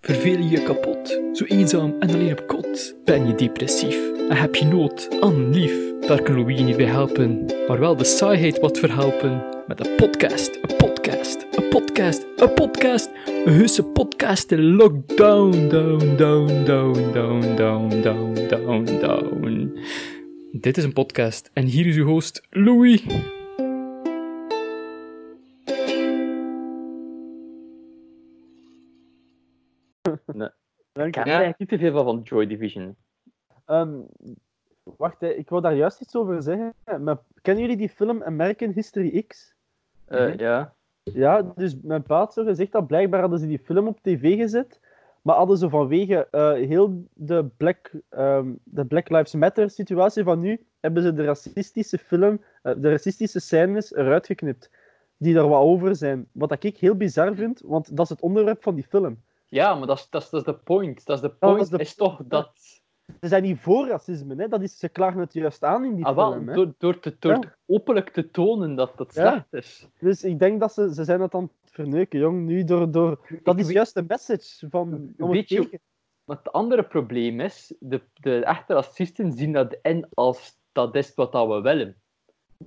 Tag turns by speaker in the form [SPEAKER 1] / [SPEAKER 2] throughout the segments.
[SPEAKER 1] Verveel je je kapot, zo eenzaam en alleen op kot? Ben je depressief en heb je nood aan lief? Daar kan Louis niet bij helpen, maar wel de saaiheid wat verhelpen. Met een podcast, een podcast, een podcast, een podcast, een husse podcast in lockdown, down, down, down, down, down, down, down, down. Dit is een podcast en hier is uw host Louis.
[SPEAKER 2] Dank
[SPEAKER 3] Ik heb
[SPEAKER 2] je.
[SPEAKER 3] er eigenlijk niet te veel van, van Joy Division.
[SPEAKER 2] Ehm, wacht, hè, ik wil daar juist iets over zeggen. Maar kennen jullie die film American History X?
[SPEAKER 3] Eh,
[SPEAKER 1] Mhm.
[SPEAKER 3] Ja.
[SPEAKER 2] Ja, dus mijn paat zo gezegd dat blijkbaar hadden ze die film op tv gezet. Maar hadden ze vanwege eh, heel de Black, ehm, de Black Lives Matter situatie van nu, hebben ze de racistische film, eh, de racistische scènes eruit geknipt. Die daar wat over zijn. Wat dat ik heel bizar vind, want dat is het onderwerp van die film.
[SPEAKER 3] ja, maar dat is- dat is dat is de point. Dat is de
[SPEAKER 2] dat
[SPEAKER 3] point,
[SPEAKER 2] is
[SPEAKER 3] is,
[SPEAKER 2] de-
[SPEAKER 3] toch dat...
[SPEAKER 2] Ze zijn niet voor racisme, hè? Dat is, ze klagen het juist aan in die
[SPEAKER 3] Ah, wel,
[SPEAKER 2] film. Hè?
[SPEAKER 3] door, door, te, door
[SPEAKER 2] Ja.
[SPEAKER 3] te- openlijk te tonen dat dat
[SPEAKER 2] Ja.
[SPEAKER 3] slecht is.
[SPEAKER 2] Dus ik denk dat ze, ze zijn het aan het verneuken, jong. Nu door, door... Dat
[SPEAKER 3] Ik
[SPEAKER 2] is
[SPEAKER 3] weet-
[SPEAKER 2] juist de message van... om het
[SPEAKER 3] Weet je-
[SPEAKER 2] tegen.
[SPEAKER 3] Maar het andere probleem is, de, de echte racisten zien dat en als dat is wat dat we willen.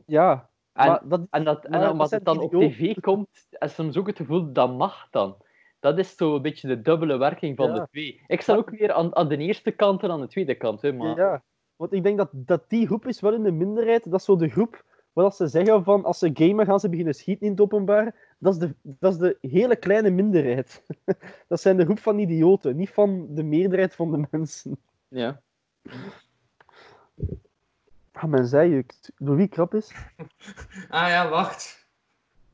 [SPEAKER 2] Ja,
[SPEAKER 3] En,
[SPEAKER 2] maar dat,
[SPEAKER 3] en, dat, en
[SPEAKER 2] maar dat
[SPEAKER 3] omdat
[SPEAKER 2] zijn
[SPEAKER 3] het dan op
[SPEAKER 2] idioten.
[SPEAKER 3] tv komt, is soms ook het gevoel dat mag dan. Dat is zo een beetje de dubbele werking van
[SPEAKER 2] Ja.
[SPEAKER 3] de twee. Ik sta ook weer aan, aan de eerste kant en aan de tweede kant. Hè, maar...
[SPEAKER 2] ja. Want ik denk dat, dat die groep is wel in de minderheid. Dat is zo de groep waar dat ze zeggen van... Als ze gamen, gaan ze beginnen schieten in het openbaar. Dat is de, dat is de hele kleine minderheid. dat zijn de groep van idioten. Niet van de meerderheid van de mensen.
[SPEAKER 3] ja.
[SPEAKER 2] Ah, men zei je, Louis krap is.
[SPEAKER 4] Ah ja, wacht.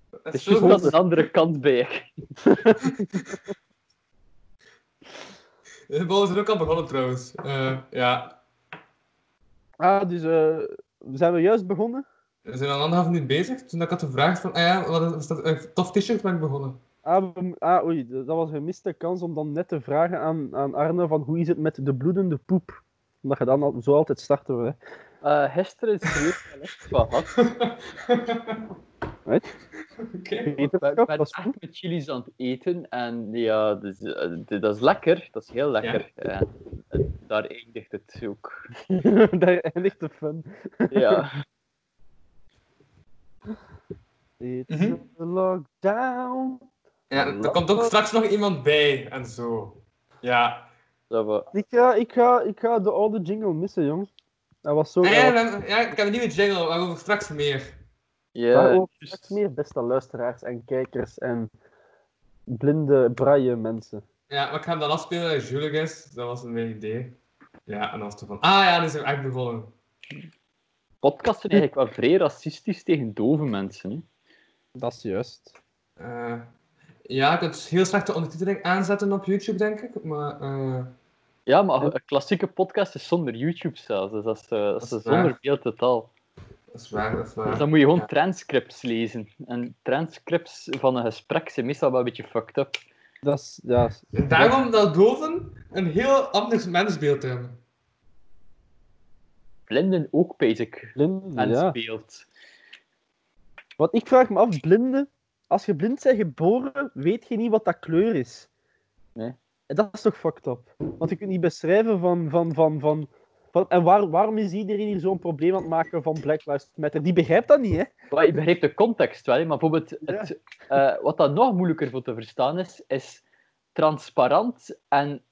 [SPEAKER 4] Dat
[SPEAKER 3] Het
[SPEAKER 4] is
[SPEAKER 3] is juist
[SPEAKER 4] zo
[SPEAKER 3] dat
[SPEAKER 4] goed.
[SPEAKER 3] een andere kant bij.
[SPEAKER 4] De ballen zijn ook al begonnen trouwens. Eh, ja,
[SPEAKER 2] Ah, dus eh, zijn we juist begonnen?
[SPEAKER 4] we zijn al anderhalf minuut bezig. Toen ik had gevraagd van, ah ja, wat is dat? Een tof t-shirt ben ik begonnen.
[SPEAKER 2] Ah, we- ah, oei, dat was een gemiste kans om dan net te vragen aan, aan Arne van hoe is het met de bloedende poep? Omdat je dan al- zo altijd starten. we, Hè.
[SPEAKER 3] Eh gisteren is er weer wel echt wat gehad.
[SPEAKER 2] Wat?
[SPEAKER 4] Oké.
[SPEAKER 3] Ik ben
[SPEAKER 2] Wetenschap, dat is goed.
[SPEAKER 3] echt met chilis aan het eten en ja, dus, eh, d- dat is lekker. Dat is heel lekker. En, eh, daar eindigt het ook.
[SPEAKER 2] Daar eindigt de fun.
[SPEAKER 3] Ja.
[SPEAKER 2] It's
[SPEAKER 4] Mhm.
[SPEAKER 2] a lockdown.
[SPEAKER 4] Ja, er komt ook straks nog iemand bij en zo. Ja.
[SPEAKER 3] Dat we...
[SPEAKER 2] Ik ga, ik, ga, ik ga de oude jingle missen, jong. Dat was zo...
[SPEAKER 4] Ah, ja,
[SPEAKER 2] dat was-
[SPEAKER 4] we hebben- ja, ik heb een nieuwe jingle, waarover straks meer.
[SPEAKER 3] Ja,
[SPEAKER 2] Daarover straks meer, beste luisteraars en kijkers en blinde, braille mensen.
[SPEAKER 4] Ja, maar ik ga hem dan afspelen als Julik is. Dat was een mijn idee. Ja, en dan is het van, ah ja, die zijn echt begonnen.
[SPEAKER 3] podcasts zijn eigenlijk wel vrij racistisch tegen dove mensen. Hè.
[SPEAKER 2] Dat is juist.
[SPEAKER 4] Eh, ja, ik kunt heel slecht de ondertiteling aanzetten op YouTube, denk ik. Maar eh,
[SPEAKER 3] Ja, maar een klassieke podcast is zonder YouTube zelfs. Dus dat is, eh, dat is
[SPEAKER 4] Dat is
[SPEAKER 3] zonder
[SPEAKER 4] waar.
[SPEAKER 3] beeld totaal.
[SPEAKER 4] dat is waar, dat is
[SPEAKER 3] Dus
[SPEAKER 4] waar.
[SPEAKER 3] dan moet je gewoon
[SPEAKER 4] Ja.
[SPEAKER 3] transcripts lezen. En transcripts van een gesprek zijn meestal wel een beetje fucked up.
[SPEAKER 2] Dat is... Ja,
[SPEAKER 4] En daarom dat doven een heel anders mensbeeld hebben.
[SPEAKER 3] blinden ook basic
[SPEAKER 2] blinde,
[SPEAKER 3] en
[SPEAKER 2] ja.
[SPEAKER 3] speelt.
[SPEAKER 2] Want ik vraag me af, blinden, als je blind bent geboren, weet je niet wat dat kleur is.
[SPEAKER 3] Nee.
[SPEAKER 2] En dat is toch fucked up? Want je kunt niet beschrijven van... van, van, van, van en waar, waarom is iedereen hier zo'n probleem aan het maken van Black Lives Matter? Die begrijpt dat niet, hè?
[SPEAKER 3] Maar ik begrijp de context wel, hè, maar bijvoorbeeld het, eh, wat dat nog moeilijker voor te verstaan is, is transparant en,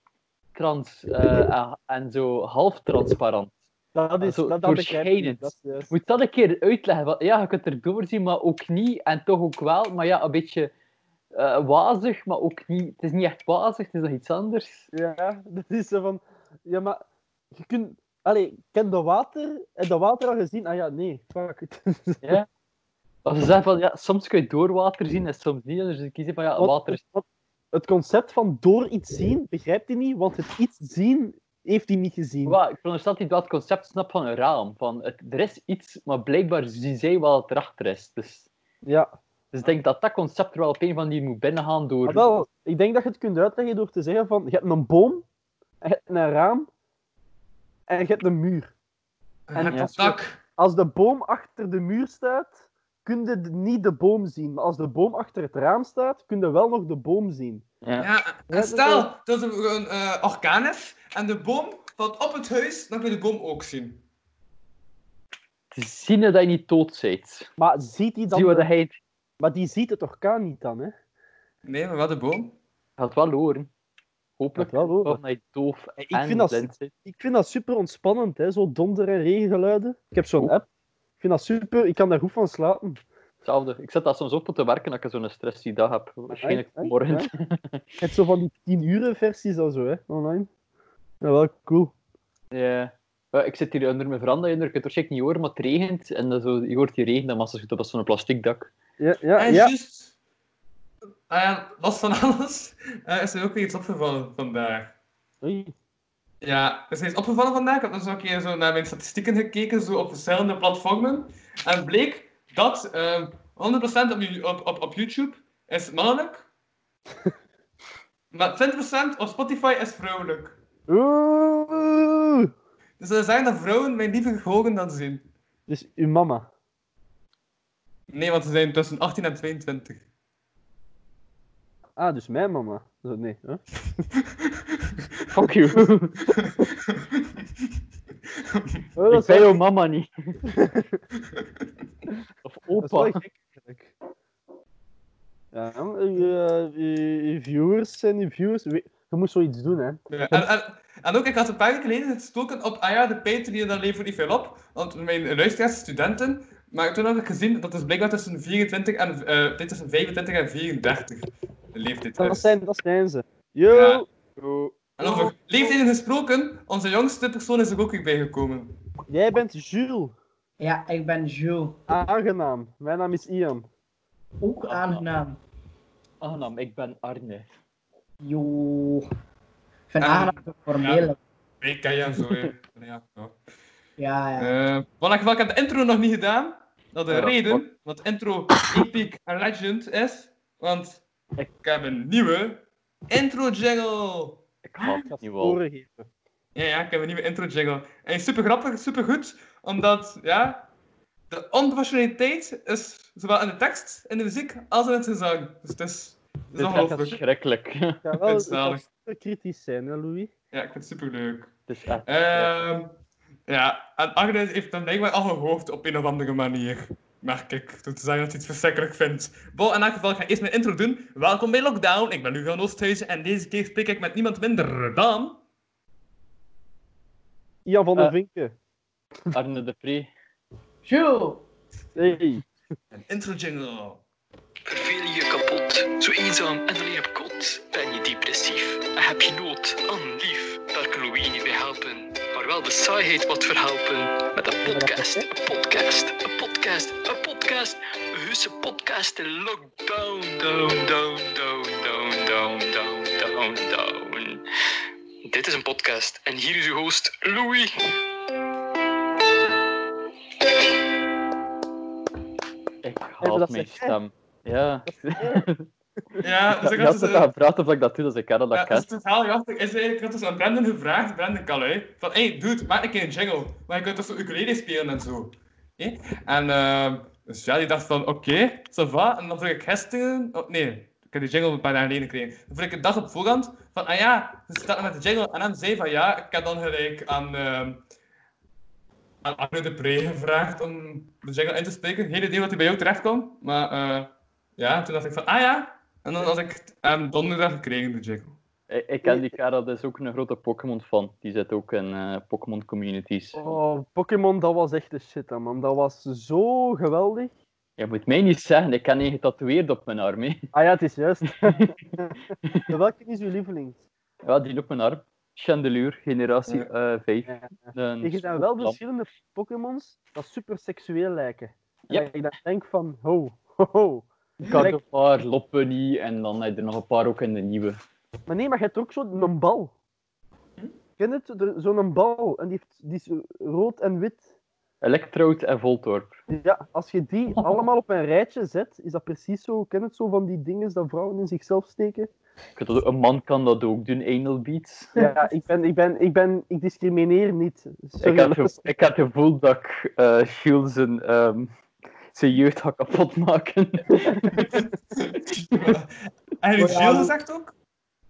[SPEAKER 3] trans, eh, en- en zo half transparant.
[SPEAKER 2] Dat is...
[SPEAKER 3] Zo
[SPEAKER 2] dat, dat begrijp ik
[SPEAKER 3] doorschijnend.
[SPEAKER 2] niet. Dat is juist.
[SPEAKER 3] Moet dat een keer uitleggen? Want ja, je kunt er doorzien, maar ook niet. En toch ook wel, maar ja, een beetje eh, wazig, maar ook niet. Het is niet echt wazig, het is nog iets anders.
[SPEAKER 2] Ja, dat is zo van... Ja, maar... Je kunt... Allee, ken dat water? En dat water al gezien? Ah ja, nee. Fuck it.
[SPEAKER 3] Als ze zeggen van, ja, soms kun je door water zien en soms niet. Dus ze kiezen van, ja,
[SPEAKER 2] Wat-
[SPEAKER 3] water is...
[SPEAKER 2] wat- het concept van door iets zien begrijpt hij niet, want het iets zien heeft hij niet gezien.
[SPEAKER 3] Wa- ik veronderstel dat hij wel het concept snapt van een raam. Van het, er is iets, maar blijkbaar zien zij wel dat erachter is. Dus,
[SPEAKER 2] Ja, Ah,
[SPEAKER 3] dus ik denk dat dat concept er wel op een van die moet binnengaan door...
[SPEAKER 2] maar Ah, wel, ik denk dat je het kunt uitleggen door te zeggen van, je hebt een boom, en je hebt een raam, en je hebt een muur.
[SPEAKER 4] En
[SPEAKER 2] ja.
[SPEAKER 4] het dak.
[SPEAKER 2] Als de boom achter de muur staat, kun je d- niet de boom zien. Maar als de boom achter het raam staat, kun je wel nog de boom zien.
[SPEAKER 3] Ja.
[SPEAKER 4] Ja, en
[SPEAKER 2] dat
[SPEAKER 4] stel dat er een eh, orkaan is en de boom valt op het huis, dan kun je de boom ook zien.
[SPEAKER 3] Te zien dat je niet dood bent.
[SPEAKER 2] Maar ziet die dan... eh,
[SPEAKER 3] Zie wat hij het
[SPEAKER 2] Maar die ziet het orkaan niet dan, hè?
[SPEAKER 4] Nee, maar wel de boom.
[SPEAKER 3] gaat wel horen. Hopelijk
[SPEAKER 2] Gaat wel horen.
[SPEAKER 3] omdat hij doof
[SPEAKER 2] Ik
[SPEAKER 3] en
[SPEAKER 2] vind dat-
[SPEAKER 3] blind bent.
[SPEAKER 2] Ik vind dat super ontspannend, hè? Zo donder- en regengeluiden. Ik heb zo'n app. Ik vind dat super. Ik kan daar goed van slapen.
[SPEAKER 3] Hetzelfde. Ik zet dat soms op om te werken dat ik zo'n stress die dag heb. Waarschijnlijk
[SPEAKER 2] Ah, echt, echt,
[SPEAKER 3] morgen.
[SPEAKER 2] ja. Je hebt zo van die 10 uren versies en zo, hè? Online. Ja, wel cool.
[SPEAKER 3] Ja. Ja, Ik zit hier onder mijn veranda, en je kunt het waarschijnlijk niet horen, maar het regent. En dan zo, je hoort die regen, dan massa goed op als zo'n plastic dak.
[SPEAKER 2] Ja, ja,
[SPEAKER 4] en
[SPEAKER 2] ja.
[SPEAKER 4] juist, ah ja, los van alles, eh, is er ook weer iets opgevallen vandaag.
[SPEAKER 2] Oei.
[SPEAKER 4] Ja, dus hij is opgevallen vandaag. Ik heb nog zo'n keer zo naar mijn statistieken gekeken, zo op verschillende platformen. En bleek dat eh, 100% op, ju- op, op, op YouTube is mannelijk. maar 20% op Spotify is vrouwelijk.
[SPEAKER 2] Oeh.
[SPEAKER 4] Dus dat zijn dat vrouwen mij liever horen dan zien.
[SPEAKER 2] Dus uw mama.
[SPEAKER 4] Nee, want ze zijn tussen 18 en 22.
[SPEAKER 2] Ah, dus mijn mama. Zo, nee, hè?
[SPEAKER 3] Fuck you.
[SPEAKER 2] Oh,
[SPEAKER 3] ik
[SPEAKER 2] dat
[SPEAKER 3] ben
[SPEAKER 2] is wel-
[SPEAKER 3] jouw mama niet. of
[SPEAKER 2] dat is wel
[SPEAKER 3] opa.
[SPEAKER 2] gek, eigenlijk. Ja, uw, eh, uw- uw viewers en uw viewers. we- Je moet zoiets doen, hè?
[SPEAKER 4] Ja, en, en, en ook, ik had een paar jaar geleden gestoken op, ah ja, de Patreon, dat levert niet veel op. Want mijn luisteraars, studenten, maar toen had ik gezien dat is blijkbaar tussen 24 en, eh dit tussen 25 en 34 de leeftijd
[SPEAKER 2] Dat
[SPEAKER 4] is.
[SPEAKER 2] zijn, dat zijn ze. Yo!
[SPEAKER 4] Ja.
[SPEAKER 2] Yo.
[SPEAKER 4] En over leeftijden gesproken, onze jongste persoon is er ook weer bijgekomen.
[SPEAKER 2] Jij bent Jules.
[SPEAKER 5] Ja, ik ben Jules.
[SPEAKER 2] Aangenaam. Mijn naam is Ian.
[SPEAKER 4] Ah.
[SPEAKER 5] Ook aangenaam.
[SPEAKER 3] Aangenaam, ik ben Arne.
[SPEAKER 5] Jo. Ik vind
[SPEAKER 4] Ah.
[SPEAKER 5] aangenaam te formeel.
[SPEAKER 4] Ik ken jou zo, hè. Ja, ja.
[SPEAKER 5] Ja, ja.
[SPEAKER 4] Eh, maar in ieder geval, ik heb de intro nog niet gedaan. Dat de
[SPEAKER 3] Ja,
[SPEAKER 4] reden, want intro epic en legend is, want ik heb een nieuwe intro jingle.
[SPEAKER 3] Ik haat
[SPEAKER 2] Ik ga
[SPEAKER 3] het nu al.
[SPEAKER 2] sporen geven.
[SPEAKER 4] Ja, ja, ik heb een nieuwe intro jingle. En die is super grappig, super goed, omdat ja, de onprofessionaliteit is zowel in de tekst, in de muziek, als in het gezang. Dus het is, het is
[SPEAKER 3] Dit is echt
[SPEAKER 4] ongelooflijk.
[SPEAKER 3] verschrikkelijk.
[SPEAKER 2] Ik ga wel ik ga
[SPEAKER 4] Zalig.
[SPEAKER 2] super kritisch zijn, hè, Louis?
[SPEAKER 4] Ja, ik vind het super leuk.
[SPEAKER 3] Het is echt
[SPEAKER 4] ja, en Agnes heeft dan blijkbaar al gehoord op een of andere manier. Merk ik, door te zeggen dat hij het verschrikkelijk vindt. Bon, in elk geval, ik ga eerst mijn intro doen. Welkom bij Lockdown, ik ben Hugo Oosthuizen en deze keer spreek ik met niemand minder dan...
[SPEAKER 2] Ian van der
[SPEAKER 3] Eh.
[SPEAKER 2] Vinken.
[SPEAKER 3] Arne de Pre.
[SPEAKER 5] Jules.
[SPEAKER 2] Hey.
[SPEAKER 4] Een intro jingle.
[SPEAKER 1] Verveel je je kapot, zo eenzaam en alleen op kot? Ben je depressief en heb je nood aan lief? Daar kan Louis niet bij helpen, maar wel de saaiheid wat verhelpen. Met een podcast, een podcast, een podcast, een podcast. Een husse podcast in lockdown, down, down, down, down, down, down, down, down. Dit is een podcast en hier is uw host Louis.
[SPEAKER 3] Ik
[SPEAKER 2] maar
[SPEAKER 3] haat
[SPEAKER 2] dat
[SPEAKER 3] mijn
[SPEAKER 2] zeg jij.
[SPEAKER 3] stem. Ja.
[SPEAKER 4] Ja, dus
[SPEAKER 3] Je
[SPEAKER 4] ik had
[SPEAKER 3] had
[SPEAKER 4] dus,
[SPEAKER 3] het
[SPEAKER 4] eh,
[SPEAKER 3] aan praten of ik dat doe, dus ik ken dat
[SPEAKER 4] Ja,
[SPEAKER 3] ik
[SPEAKER 4] dat
[SPEAKER 3] ken.
[SPEAKER 4] is totaal jachtig. Is eigenlijk, ik had dus aan Brendan gevraagd, Brendan Calui, van hey, dude, maak een keer een jingle. Maar je kunt toch zo ukulele spelen en zo. Hé? En ehm, dus ja, die dacht van, oké, ça va. En dan vroeg ik gisteren, oh, nee, ik heb die jingle een paar dagen geleden gekregen. Dan vroeg ik een dag op voorhand van, ah ja, ze staat met de jingle. En dan zei van, ja, ik heb dan gelijk aan, ehm aan Arno de Pre gevraagd om de jingle in te spreken. Geen idee wat hij bij jou terecht kwam, maar eh, ja, toen dacht ik van, ah ja. En dan had ik um, donderdag gekregen, de jingle.
[SPEAKER 3] Ik, ik ken die kerel, dat is ook een grote Pokémon-fan. Die zit ook in eh, Pokémon-communities.
[SPEAKER 2] Oh, Pokémon, dat was echt de shit, hè, man. Dat was zo geweldig.
[SPEAKER 3] Je moet mij niet zeggen, ik ken een getatoeëerd op mijn arm. hè.
[SPEAKER 2] Ah ja, het is juist. Welke is uw lieveling?
[SPEAKER 3] Ja, die op mijn arm. Chandelure, generatie
[SPEAKER 4] Ja.
[SPEAKER 3] eh 5.
[SPEAKER 2] Ja.
[SPEAKER 3] Een
[SPEAKER 2] Er zijn wel dus-
[SPEAKER 3] lamp.
[SPEAKER 2] verschillende Pokémons dat super seksueel lijken.
[SPEAKER 3] Ja.
[SPEAKER 2] En dat ik dan denk van, ho, ho, ho.
[SPEAKER 3] Ik had een paar Lopunny en dan heb je er nog een paar ook in de nieuwe.
[SPEAKER 2] Maar nee, maar je hebt ook zo'n bal.
[SPEAKER 3] Hm?
[SPEAKER 2] Ken je het? Er- Zo'n bal. En die, heeft, die is rood en wit.
[SPEAKER 3] Electrode en Voltorb.
[SPEAKER 2] Ja, als je die
[SPEAKER 3] Oh.
[SPEAKER 2] allemaal op een rijtje zet, is dat precies zo. Ken je het zo van die dingen dat vrouwen in zichzelf steken?
[SPEAKER 3] Ik weet dat- Een man kan dat ook doen, anal beats.
[SPEAKER 2] Ja, ik ben, ik ben, ik ben, ik discrimineer niet. Sorry,
[SPEAKER 3] Ik had,
[SPEAKER 2] dat is-
[SPEAKER 3] ge- ik had het gevoel dat ik eh Jules zijn, ehm, zijn jeugd had kapot maken.
[SPEAKER 4] En heeft
[SPEAKER 5] Oh ja,
[SPEAKER 4] Gilles
[SPEAKER 5] dat-
[SPEAKER 4] gezegd ook?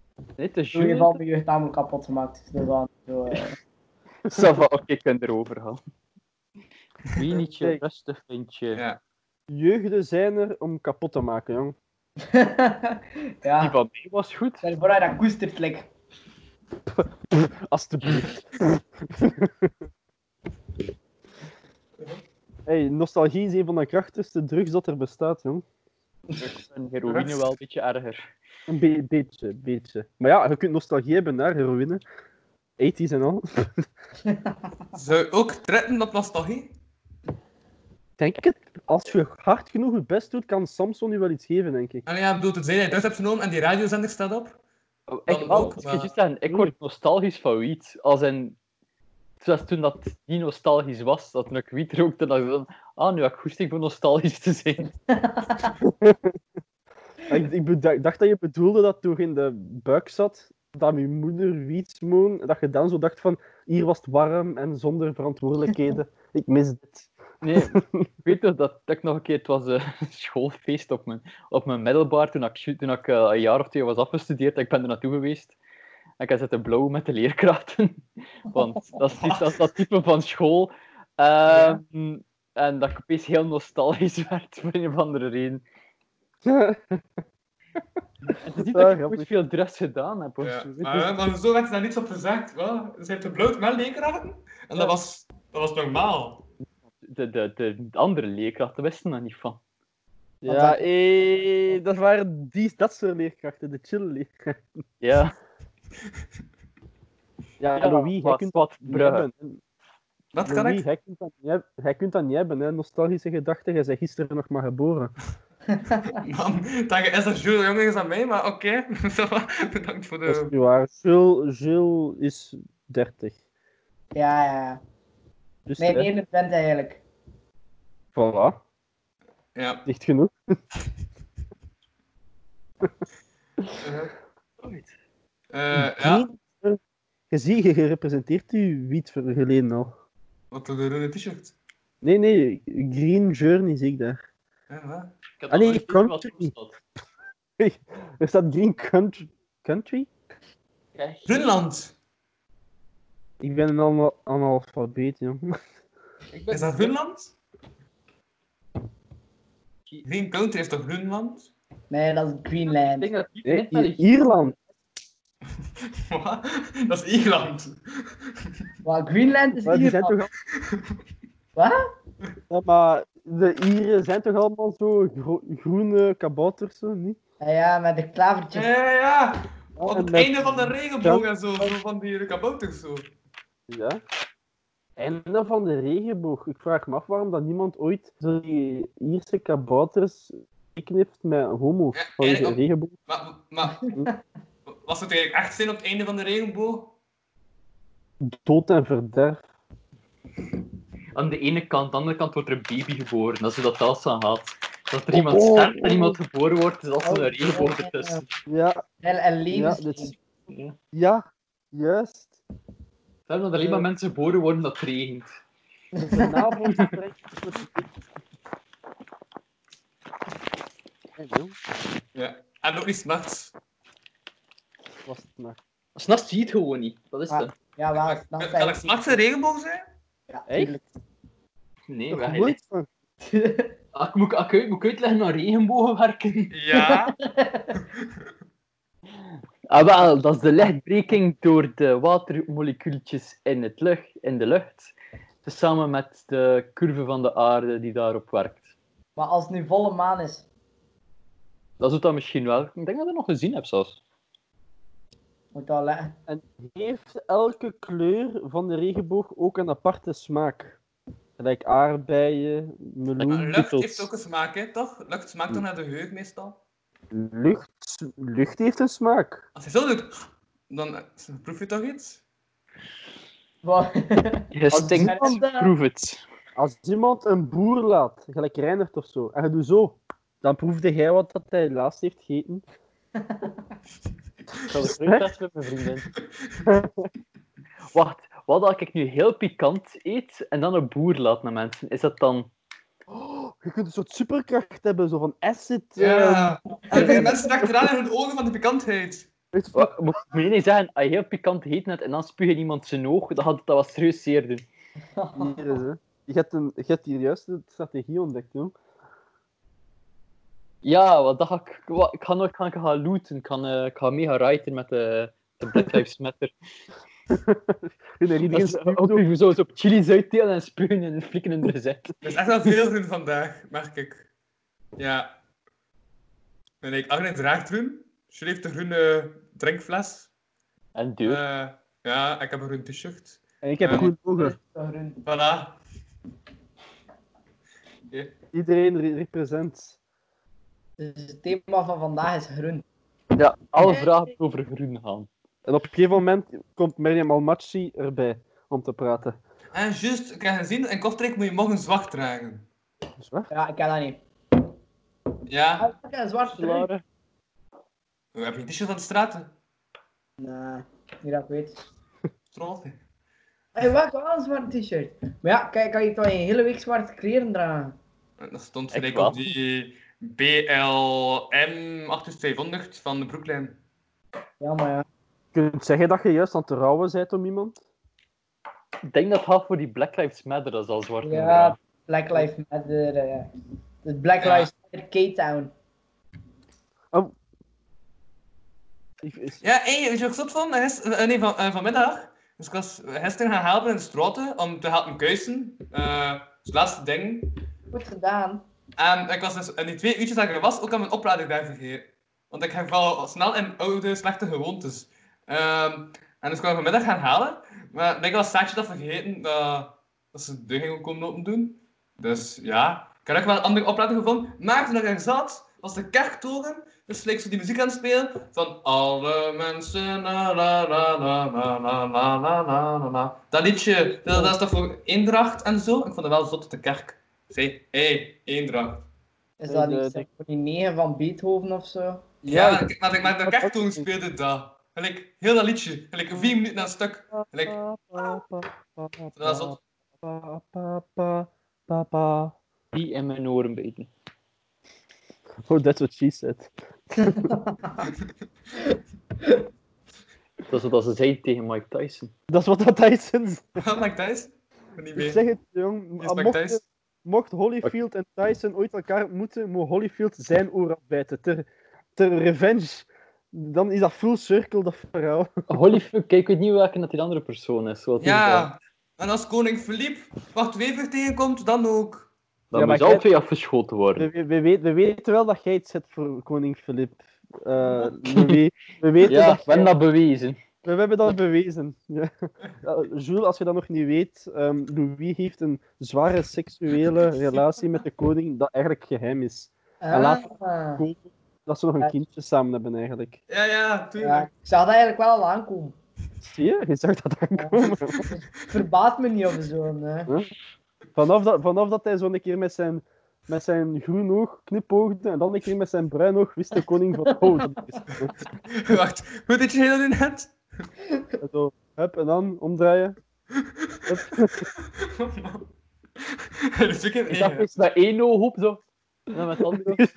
[SPEAKER 3] Nee, het is
[SPEAKER 5] In ieder geval
[SPEAKER 3] Jules.
[SPEAKER 5] mijn jeugd namelijk kapot gemaakt. Dus dat is wel zo... eh.
[SPEAKER 3] Sava, oké, ik kan erover gaan. Wienetje,
[SPEAKER 2] Kijk.
[SPEAKER 3] rustig, vindje.
[SPEAKER 4] Ja.
[SPEAKER 2] Jeugden zijn er om kapot te maken, jong.
[SPEAKER 3] Die
[SPEAKER 5] ja,
[SPEAKER 3] van mij was goed.
[SPEAKER 5] stel je voor dat je dat koestert, like.
[SPEAKER 2] Alsjeblieft. hey, nostalgie is een van de krachtigste drugs dat er bestaat, jong.
[SPEAKER 3] Ik vind heroïne wel een beetje erger.
[SPEAKER 2] Een be- beetje, beetje. Maar ja, je kunt nostalgie hebben naar heroïne. 80s en al.
[SPEAKER 4] Zou je ook trekken op nostalgie?
[SPEAKER 2] Denk ik het. Als je hard genoeg je best doet, kan Samson je wel iets geven, denk ik.
[SPEAKER 4] En ja, ik bedoel, tenzij je thuis hebt genomen en die radiozender staat op.
[SPEAKER 3] Oh,
[SPEAKER 4] Dat
[SPEAKER 3] ik,
[SPEAKER 4] ook,
[SPEAKER 3] ik,
[SPEAKER 4] maar-
[SPEAKER 3] ik word nostalgisch van wiet. Als in, zoals toen dat niet nostalgisch was, dat toen ik wiet rookte, dat ik dan, ah, nu heb ik goesting voor nostalgisch te zijn.
[SPEAKER 2] Ik, ik beda- dacht dat je bedoelde dat toen je in de buik zat, dat je moeder wiet smoon, dat je dan zo dacht van, hier was het warm en zonder verantwoordelijkheden. Ik mis dit.
[SPEAKER 3] Nee, ik weet nog dat, dat ik nog een keer, het was eh, een schoolfeest op mijn, op mijn middelbaar, toen ik, ju- toen ik eh, een jaar of twee was afgestudeerd, ik ben er naartoe geweest. En ik had zitten blauw met de leerkrachten. Want dat is, die- dat, is dat type van school. Ehm, En dat ik opeens heel nostalgisch werd, voor een of andere reden. Het is niet dat
[SPEAKER 2] Ah,
[SPEAKER 3] ik ooit
[SPEAKER 2] grappig.
[SPEAKER 3] veel drugs gedaan heb. Hoor. Dus
[SPEAKER 4] Ja.
[SPEAKER 3] Zo, weet je.
[SPEAKER 4] Maar, maar zo werd daar niets op gezegd. Wel, ze heeft de bloot wel leerkrachten. En dat was, dat was normaal.
[SPEAKER 3] de, de, de andere leerkrachten wisten daar niet van.
[SPEAKER 2] ja, eh, dat waren die, dat soort leerkrachten, de chill leerkrachten.
[SPEAKER 3] Ja,
[SPEAKER 2] Ja,
[SPEAKER 3] Ja,
[SPEAKER 2] Louis, jij
[SPEAKER 3] wat-
[SPEAKER 2] kunt
[SPEAKER 3] wat
[SPEAKER 2] dat niet
[SPEAKER 3] bruggen.
[SPEAKER 2] hebben.
[SPEAKER 4] Dat kan
[SPEAKER 2] Louis,
[SPEAKER 4] ik.
[SPEAKER 2] jij kunt dat niet hebben. Jij kunt dat niet hebben, hè. nostalgische gedachten. Jij bent gisteren nog maar geboren.
[SPEAKER 4] Man, dan is dat Jules jonger is dan mij, maar oké. Ça va. Bedankt voor
[SPEAKER 2] Dat is
[SPEAKER 4] de...
[SPEAKER 2] niet waar. Jules, Jules is 30.
[SPEAKER 5] Ja, ja, ja.
[SPEAKER 2] Dus
[SPEAKER 5] Nee,
[SPEAKER 2] hè,
[SPEAKER 5] 21 bent eigenlijk.
[SPEAKER 2] voilà,
[SPEAKER 4] Ja.
[SPEAKER 2] dicht genoeg.
[SPEAKER 4] eh. Eh, ja,
[SPEAKER 2] Hier, Je ziet, je je representeert u wiet ver- geleden al.
[SPEAKER 4] wat doe de rode t-shirt?
[SPEAKER 2] Nee, nee, Green Journey zie ik daar.
[SPEAKER 4] Ja, wat?
[SPEAKER 3] ik had
[SPEAKER 2] Ah, nee,
[SPEAKER 3] al nooit gezien wat
[SPEAKER 2] country.
[SPEAKER 3] er stond.
[SPEAKER 2] Er staat Green Country. Country?
[SPEAKER 3] Kijk.
[SPEAKER 4] Groenland!
[SPEAKER 2] Ik ben een ana- analfabeet, jong.
[SPEAKER 3] Ik ben-
[SPEAKER 4] Is dat Groenland? Green Country is toch Groenland?
[SPEAKER 5] Nee, dat is
[SPEAKER 3] Ik
[SPEAKER 5] Greenland.
[SPEAKER 3] denk dat die
[SPEAKER 2] Nee,
[SPEAKER 3] net naar
[SPEAKER 2] I-
[SPEAKER 3] de-
[SPEAKER 2] Ierland.
[SPEAKER 4] Wat? Dat is Ierland.
[SPEAKER 5] Wat, Greenland is
[SPEAKER 2] Maar die
[SPEAKER 5] hier.
[SPEAKER 2] zijn toch al...
[SPEAKER 5] Wat?
[SPEAKER 2] Ja, maar de Ieren zijn toch allemaal zo gro- groene kabouters, zo, niet?
[SPEAKER 5] Ja, ja, met de
[SPEAKER 4] Ja,
[SPEAKER 5] klavertjes.
[SPEAKER 4] ja, ja.
[SPEAKER 2] Ja,
[SPEAKER 4] Op
[SPEAKER 2] en
[SPEAKER 4] het
[SPEAKER 2] Oh, met-
[SPEAKER 4] einde van de regenboog en zo, zo van die kabouters zo.
[SPEAKER 2] Ja. Einde van de regenboog. Ik vraag me af waarom dat niemand ooit zo die Ierse kabouters knipt met homo's
[SPEAKER 4] Ja,
[SPEAKER 2] van de
[SPEAKER 4] eigenlijk ook.
[SPEAKER 2] regenboog.
[SPEAKER 4] Maar, maar was het eigenlijk echt zin op het einde van de regenboog?
[SPEAKER 2] Dood en verderf.
[SPEAKER 3] Aan de ene kant, aan de andere kant wordt er een baby geboren. Dat is hoe dat alles aan gaat. Dat er
[SPEAKER 2] Oh,
[SPEAKER 3] iemand
[SPEAKER 2] oh,
[SPEAKER 3] sterft en
[SPEAKER 2] oh.
[SPEAKER 3] iemand geboren wordt, is als er
[SPEAKER 5] Oh,
[SPEAKER 3] een regenboog
[SPEAKER 5] ja.
[SPEAKER 3] ertussen.
[SPEAKER 2] Ja,
[SPEAKER 5] En, en
[SPEAKER 2] ja,
[SPEAKER 5] levens.
[SPEAKER 2] dit is-
[SPEAKER 3] Ja.
[SPEAKER 2] ja, juist.
[SPEAKER 3] Terwijl dat alleen maar mensen geboren worden dat het regent.
[SPEAKER 2] De navelstreng is met- Hey, jong,
[SPEAKER 4] Ja. En ook niet s'nachts.
[SPEAKER 2] was het maar.
[SPEAKER 3] S'nachts zie je het gewoon niet. Dat is
[SPEAKER 5] Ah.
[SPEAKER 3] het.
[SPEAKER 5] Ja, wel.
[SPEAKER 4] Eh, Kan kan er s'nachts een regenboog zijn?
[SPEAKER 5] Ja,
[SPEAKER 2] Hey?
[SPEAKER 5] tuurlijk.
[SPEAKER 3] Nee,
[SPEAKER 2] Nog
[SPEAKER 3] maar hij-
[SPEAKER 2] nooit van.
[SPEAKER 3] Ah, ik moet, ah, ik uit- moet ik uitleggen naar regenbogen werken?
[SPEAKER 4] Ja.
[SPEAKER 3] Ah, wel, dat is de lichtbreking door de watermolecuultjes in, het lucht, in de lucht. Samen met de curve van de aarde die daarop werkt.
[SPEAKER 5] Maar als het nu volle maan is.
[SPEAKER 3] Dat doet dat misschien wel. Ik denk dat ik dat nog gezien heb zelfs.
[SPEAKER 5] Moet dat letten.
[SPEAKER 2] En heeft elke kleur van de regenboog ook een aparte smaak? Gelijk aardbeien, meloen,
[SPEAKER 4] Lucht heeft
[SPEAKER 2] pickles.
[SPEAKER 4] ook een smaak, hè, toch? Lucht smaakt toch naar de geur meestal?
[SPEAKER 2] Lucht, lucht heeft een smaak.
[SPEAKER 4] Als je zo doet, dan eh, proef je toch iets?
[SPEAKER 5] Wat?
[SPEAKER 3] Je stinkt,
[SPEAKER 5] iemand, eh,
[SPEAKER 3] proef het.
[SPEAKER 2] Als iemand een boer laat, gelijk Reinert of zo, en je doet zo, dan proefde jij wat dat hij laatst heeft gegeten.
[SPEAKER 3] Ik zal de terugtest met mijn vriendin. Wacht, wat als ik nu heel pikant eet en dan een boer laat naar mensen? Is dat dan...
[SPEAKER 2] Oh, je kunt een soort superkracht hebben, zo van acid. eh,
[SPEAKER 4] Ja. En dan gaan mensen achteraan in hun ogen van de pikantheid.
[SPEAKER 2] Echt, fuck.
[SPEAKER 3] Wa- Moet moet je niet zeggen, als je heel pikant heet net en dan spuug je iemand zijn oog, dan gaat het dat wat serieus zeer doen.
[SPEAKER 4] Oh.
[SPEAKER 2] Hier is, hè. Je hebt, een, je hebt hier juist de strategie ontdekt, jong.
[SPEAKER 3] Ja, wat dat ga ik, wat, ik ga nog ik ga, ik ga looten, ik ga, eh, ik ga mee gaan riten met de, de Black Lives Matter.
[SPEAKER 2] En er iedereen
[SPEAKER 3] Dus,
[SPEAKER 2] stuurt
[SPEAKER 3] ook
[SPEAKER 2] zo-
[SPEAKER 3] zo op chili's uitdelen en spugen en flikken in de zet.
[SPEAKER 4] Er is echt wel veel groen vandaag, merk ik. Ja. En ik, Agnes draagt groen. Jules heeft een groene drinkfles.
[SPEAKER 3] En
[SPEAKER 4] Eh,
[SPEAKER 3] deur.
[SPEAKER 4] ja, ik heb een groen t-shirt.
[SPEAKER 2] En ik heb
[SPEAKER 4] Ja.
[SPEAKER 2] goed ogen.
[SPEAKER 5] Groen.
[SPEAKER 4] Voilà.
[SPEAKER 2] Iedereen re- represent.
[SPEAKER 5] Dus het thema van vandaag is groen.
[SPEAKER 3] Ja, alle vragen over groen gaan.
[SPEAKER 2] En op een gegeven moment komt Miriam Almachi erbij om te praten.
[SPEAKER 4] En juist, ik heb gezien, in Kortrijk moet je morgen zwart dragen.
[SPEAKER 2] Is waar?
[SPEAKER 5] Ja, ik ken dat niet.
[SPEAKER 4] Ja.
[SPEAKER 5] Ah, ik ken een zwart groen.
[SPEAKER 3] Lara?
[SPEAKER 4] Hoe Heb je een t-shirt van de straten?
[SPEAKER 5] Nee, niet dat ik weet.
[SPEAKER 4] Trots. hè.
[SPEAKER 5] Hey, wat? Ik heb wel een zwart t-shirt. Maar ja, kijk, ik kan je toch een hele week zwarte kleren dragen.
[SPEAKER 4] En Dat stond
[SPEAKER 3] Ik
[SPEAKER 4] gelijk
[SPEAKER 3] wel.
[SPEAKER 4] op die BLM 8500 van de Brooklyn.
[SPEAKER 5] Ja, maar ja.
[SPEAKER 2] Je kunt zeggen dat je juist aan het rouwen bent om iemand.
[SPEAKER 3] Ik denk dat het gaat voor die Black Lives Matter, dat is al zwart.
[SPEAKER 5] Ja, Black Lives Matter. eh, Het Black
[SPEAKER 4] Ja.
[SPEAKER 5] Lives Matter K-Town.
[SPEAKER 2] Ik- is-
[SPEAKER 4] Ja, hé, weet je wat ik zot vond? Gis- eh, nee, van, eh, vanmiddag. Dus ik was gisteren gaan helpen in de straten om te helpen kuisen. Eh, dat is het laatste ding.
[SPEAKER 5] Goed gedaan.
[SPEAKER 4] En ik was dus in die twee uurtjes dat ik er was ook aan mijn oplader daar vergeten. Want ik val snel in oude, slechte gewoontes. Ehm, en dus ik kwam vanmiddag gaan halen. Maar ik denk dat Saatje dat vergeten dat, dat ze de deur gingen komen open doen. Dus ja, ik had ook wel een andere oplader gevonden. Maar toen ik er zat, was de kerktoren. Dus leek ze die muziek aan het spelen. Van alle mensen, la la la la la la la la la la la. Dat liedje, dat, dat is toch voor eendracht en zo? Ik vond het wel zot dat de kerk. Zei, hé, hey, eendracht.
[SPEAKER 5] Is
[SPEAKER 2] Nee,
[SPEAKER 5] dat
[SPEAKER 2] de-
[SPEAKER 5] niet
[SPEAKER 2] de-
[SPEAKER 5] Symfonie 9 van Beethoven of zo?
[SPEAKER 4] Ja,
[SPEAKER 2] ik-
[SPEAKER 4] ik- maar, ik- maar de
[SPEAKER 2] dat
[SPEAKER 4] kerk
[SPEAKER 2] ook
[SPEAKER 4] toen
[SPEAKER 2] niet.
[SPEAKER 4] speelde dat. Gelijk, heel dat liedje. Gelijk, vier minuten aan een stuk. Gelijk, dat is zot.
[SPEAKER 2] Pa, pa, pa, pa, pa.
[SPEAKER 3] Die in mijn oren bijten.
[SPEAKER 2] Oh, that's what she said.
[SPEAKER 3] Dat is wat ze zei tegen Mike Tyson.
[SPEAKER 2] Dat is wat dat Tyson zegt.
[SPEAKER 4] Wat maakt Thijs? Ik ben niet
[SPEAKER 2] Ik
[SPEAKER 4] mee.
[SPEAKER 2] zeg het, jong.
[SPEAKER 4] Is Mike Tyson?
[SPEAKER 2] Mocht, mocht Holyfield en Tyson ooit elkaar moeten, moet Holyfield zijn oor afbijten. Ter, ter revenge. Dan is dat full circle, dat verhaal.
[SPEAKER 3] Holyfield, kijk, ik weet niet welke dat die andere persoon is. Wat is dat?
[SPEAKER 4] Ja, en als koning Filip wacht Wever tegenkomt, dan ook.
[SPEAKER 3] Dan
[SPEAKER 2] Ja, maar
[SPEAKER 3] moet al
[SPEAKER 2] kijk-
[SPEAKER 3] twee afgeschoten worden.
[SPEAKER 2] We, we, we, weten- we weten wel dat jij het zet voor koning Filip. Eh, we, we- we weten
[SPEAKER 3] Ja,
[SPEAKER 2] dat
[SPEAKER 3] we hebben dat bewezen.
[SPEAKER 2] We hebben dat bewezen. Ja. Ja, Jules, als je dat nog niet weet, ehm Louis heeft een zware seksuele relatie met de koning dat eigenlijk geheim is. En laat-
[SPEAKER 5] Ah.
[SPEAKER 2] Dat ze nog een kindje samen hebben eigenlijk.
[SPEAKER 4] Ja, ja,
[SPEAKER 5] Ja,
[SPEAKER 4] tuurlijk.
[SPEAKER 5] ik zag dat eigenlijk wel al aankomen.
[SPEAKER 2] Zie je? Je zag dat aankomen.
[SPEAKER 5] Verbaast me niet of zo. Nee.
[SPEAKER 2] Vanaf dat, vanaf dat hij zo'n keer met zijn, met zijn groen oog knipoogde en dan een keer met zijn bruin oog, wist de koning van... Oh, dat is
[SPEAKER 4] Wacht, hoe deed je dat in het?
[SPEAKER 2] en Zo, hup, en dan omdraaien. Hup.
[SPEAKER 4] Dat is ook een
[SPEAKER 3] Is dat
[SPEAKER 4] eigen.
[SPEAKER 3] iets met één oog op zo? En dan met het andere.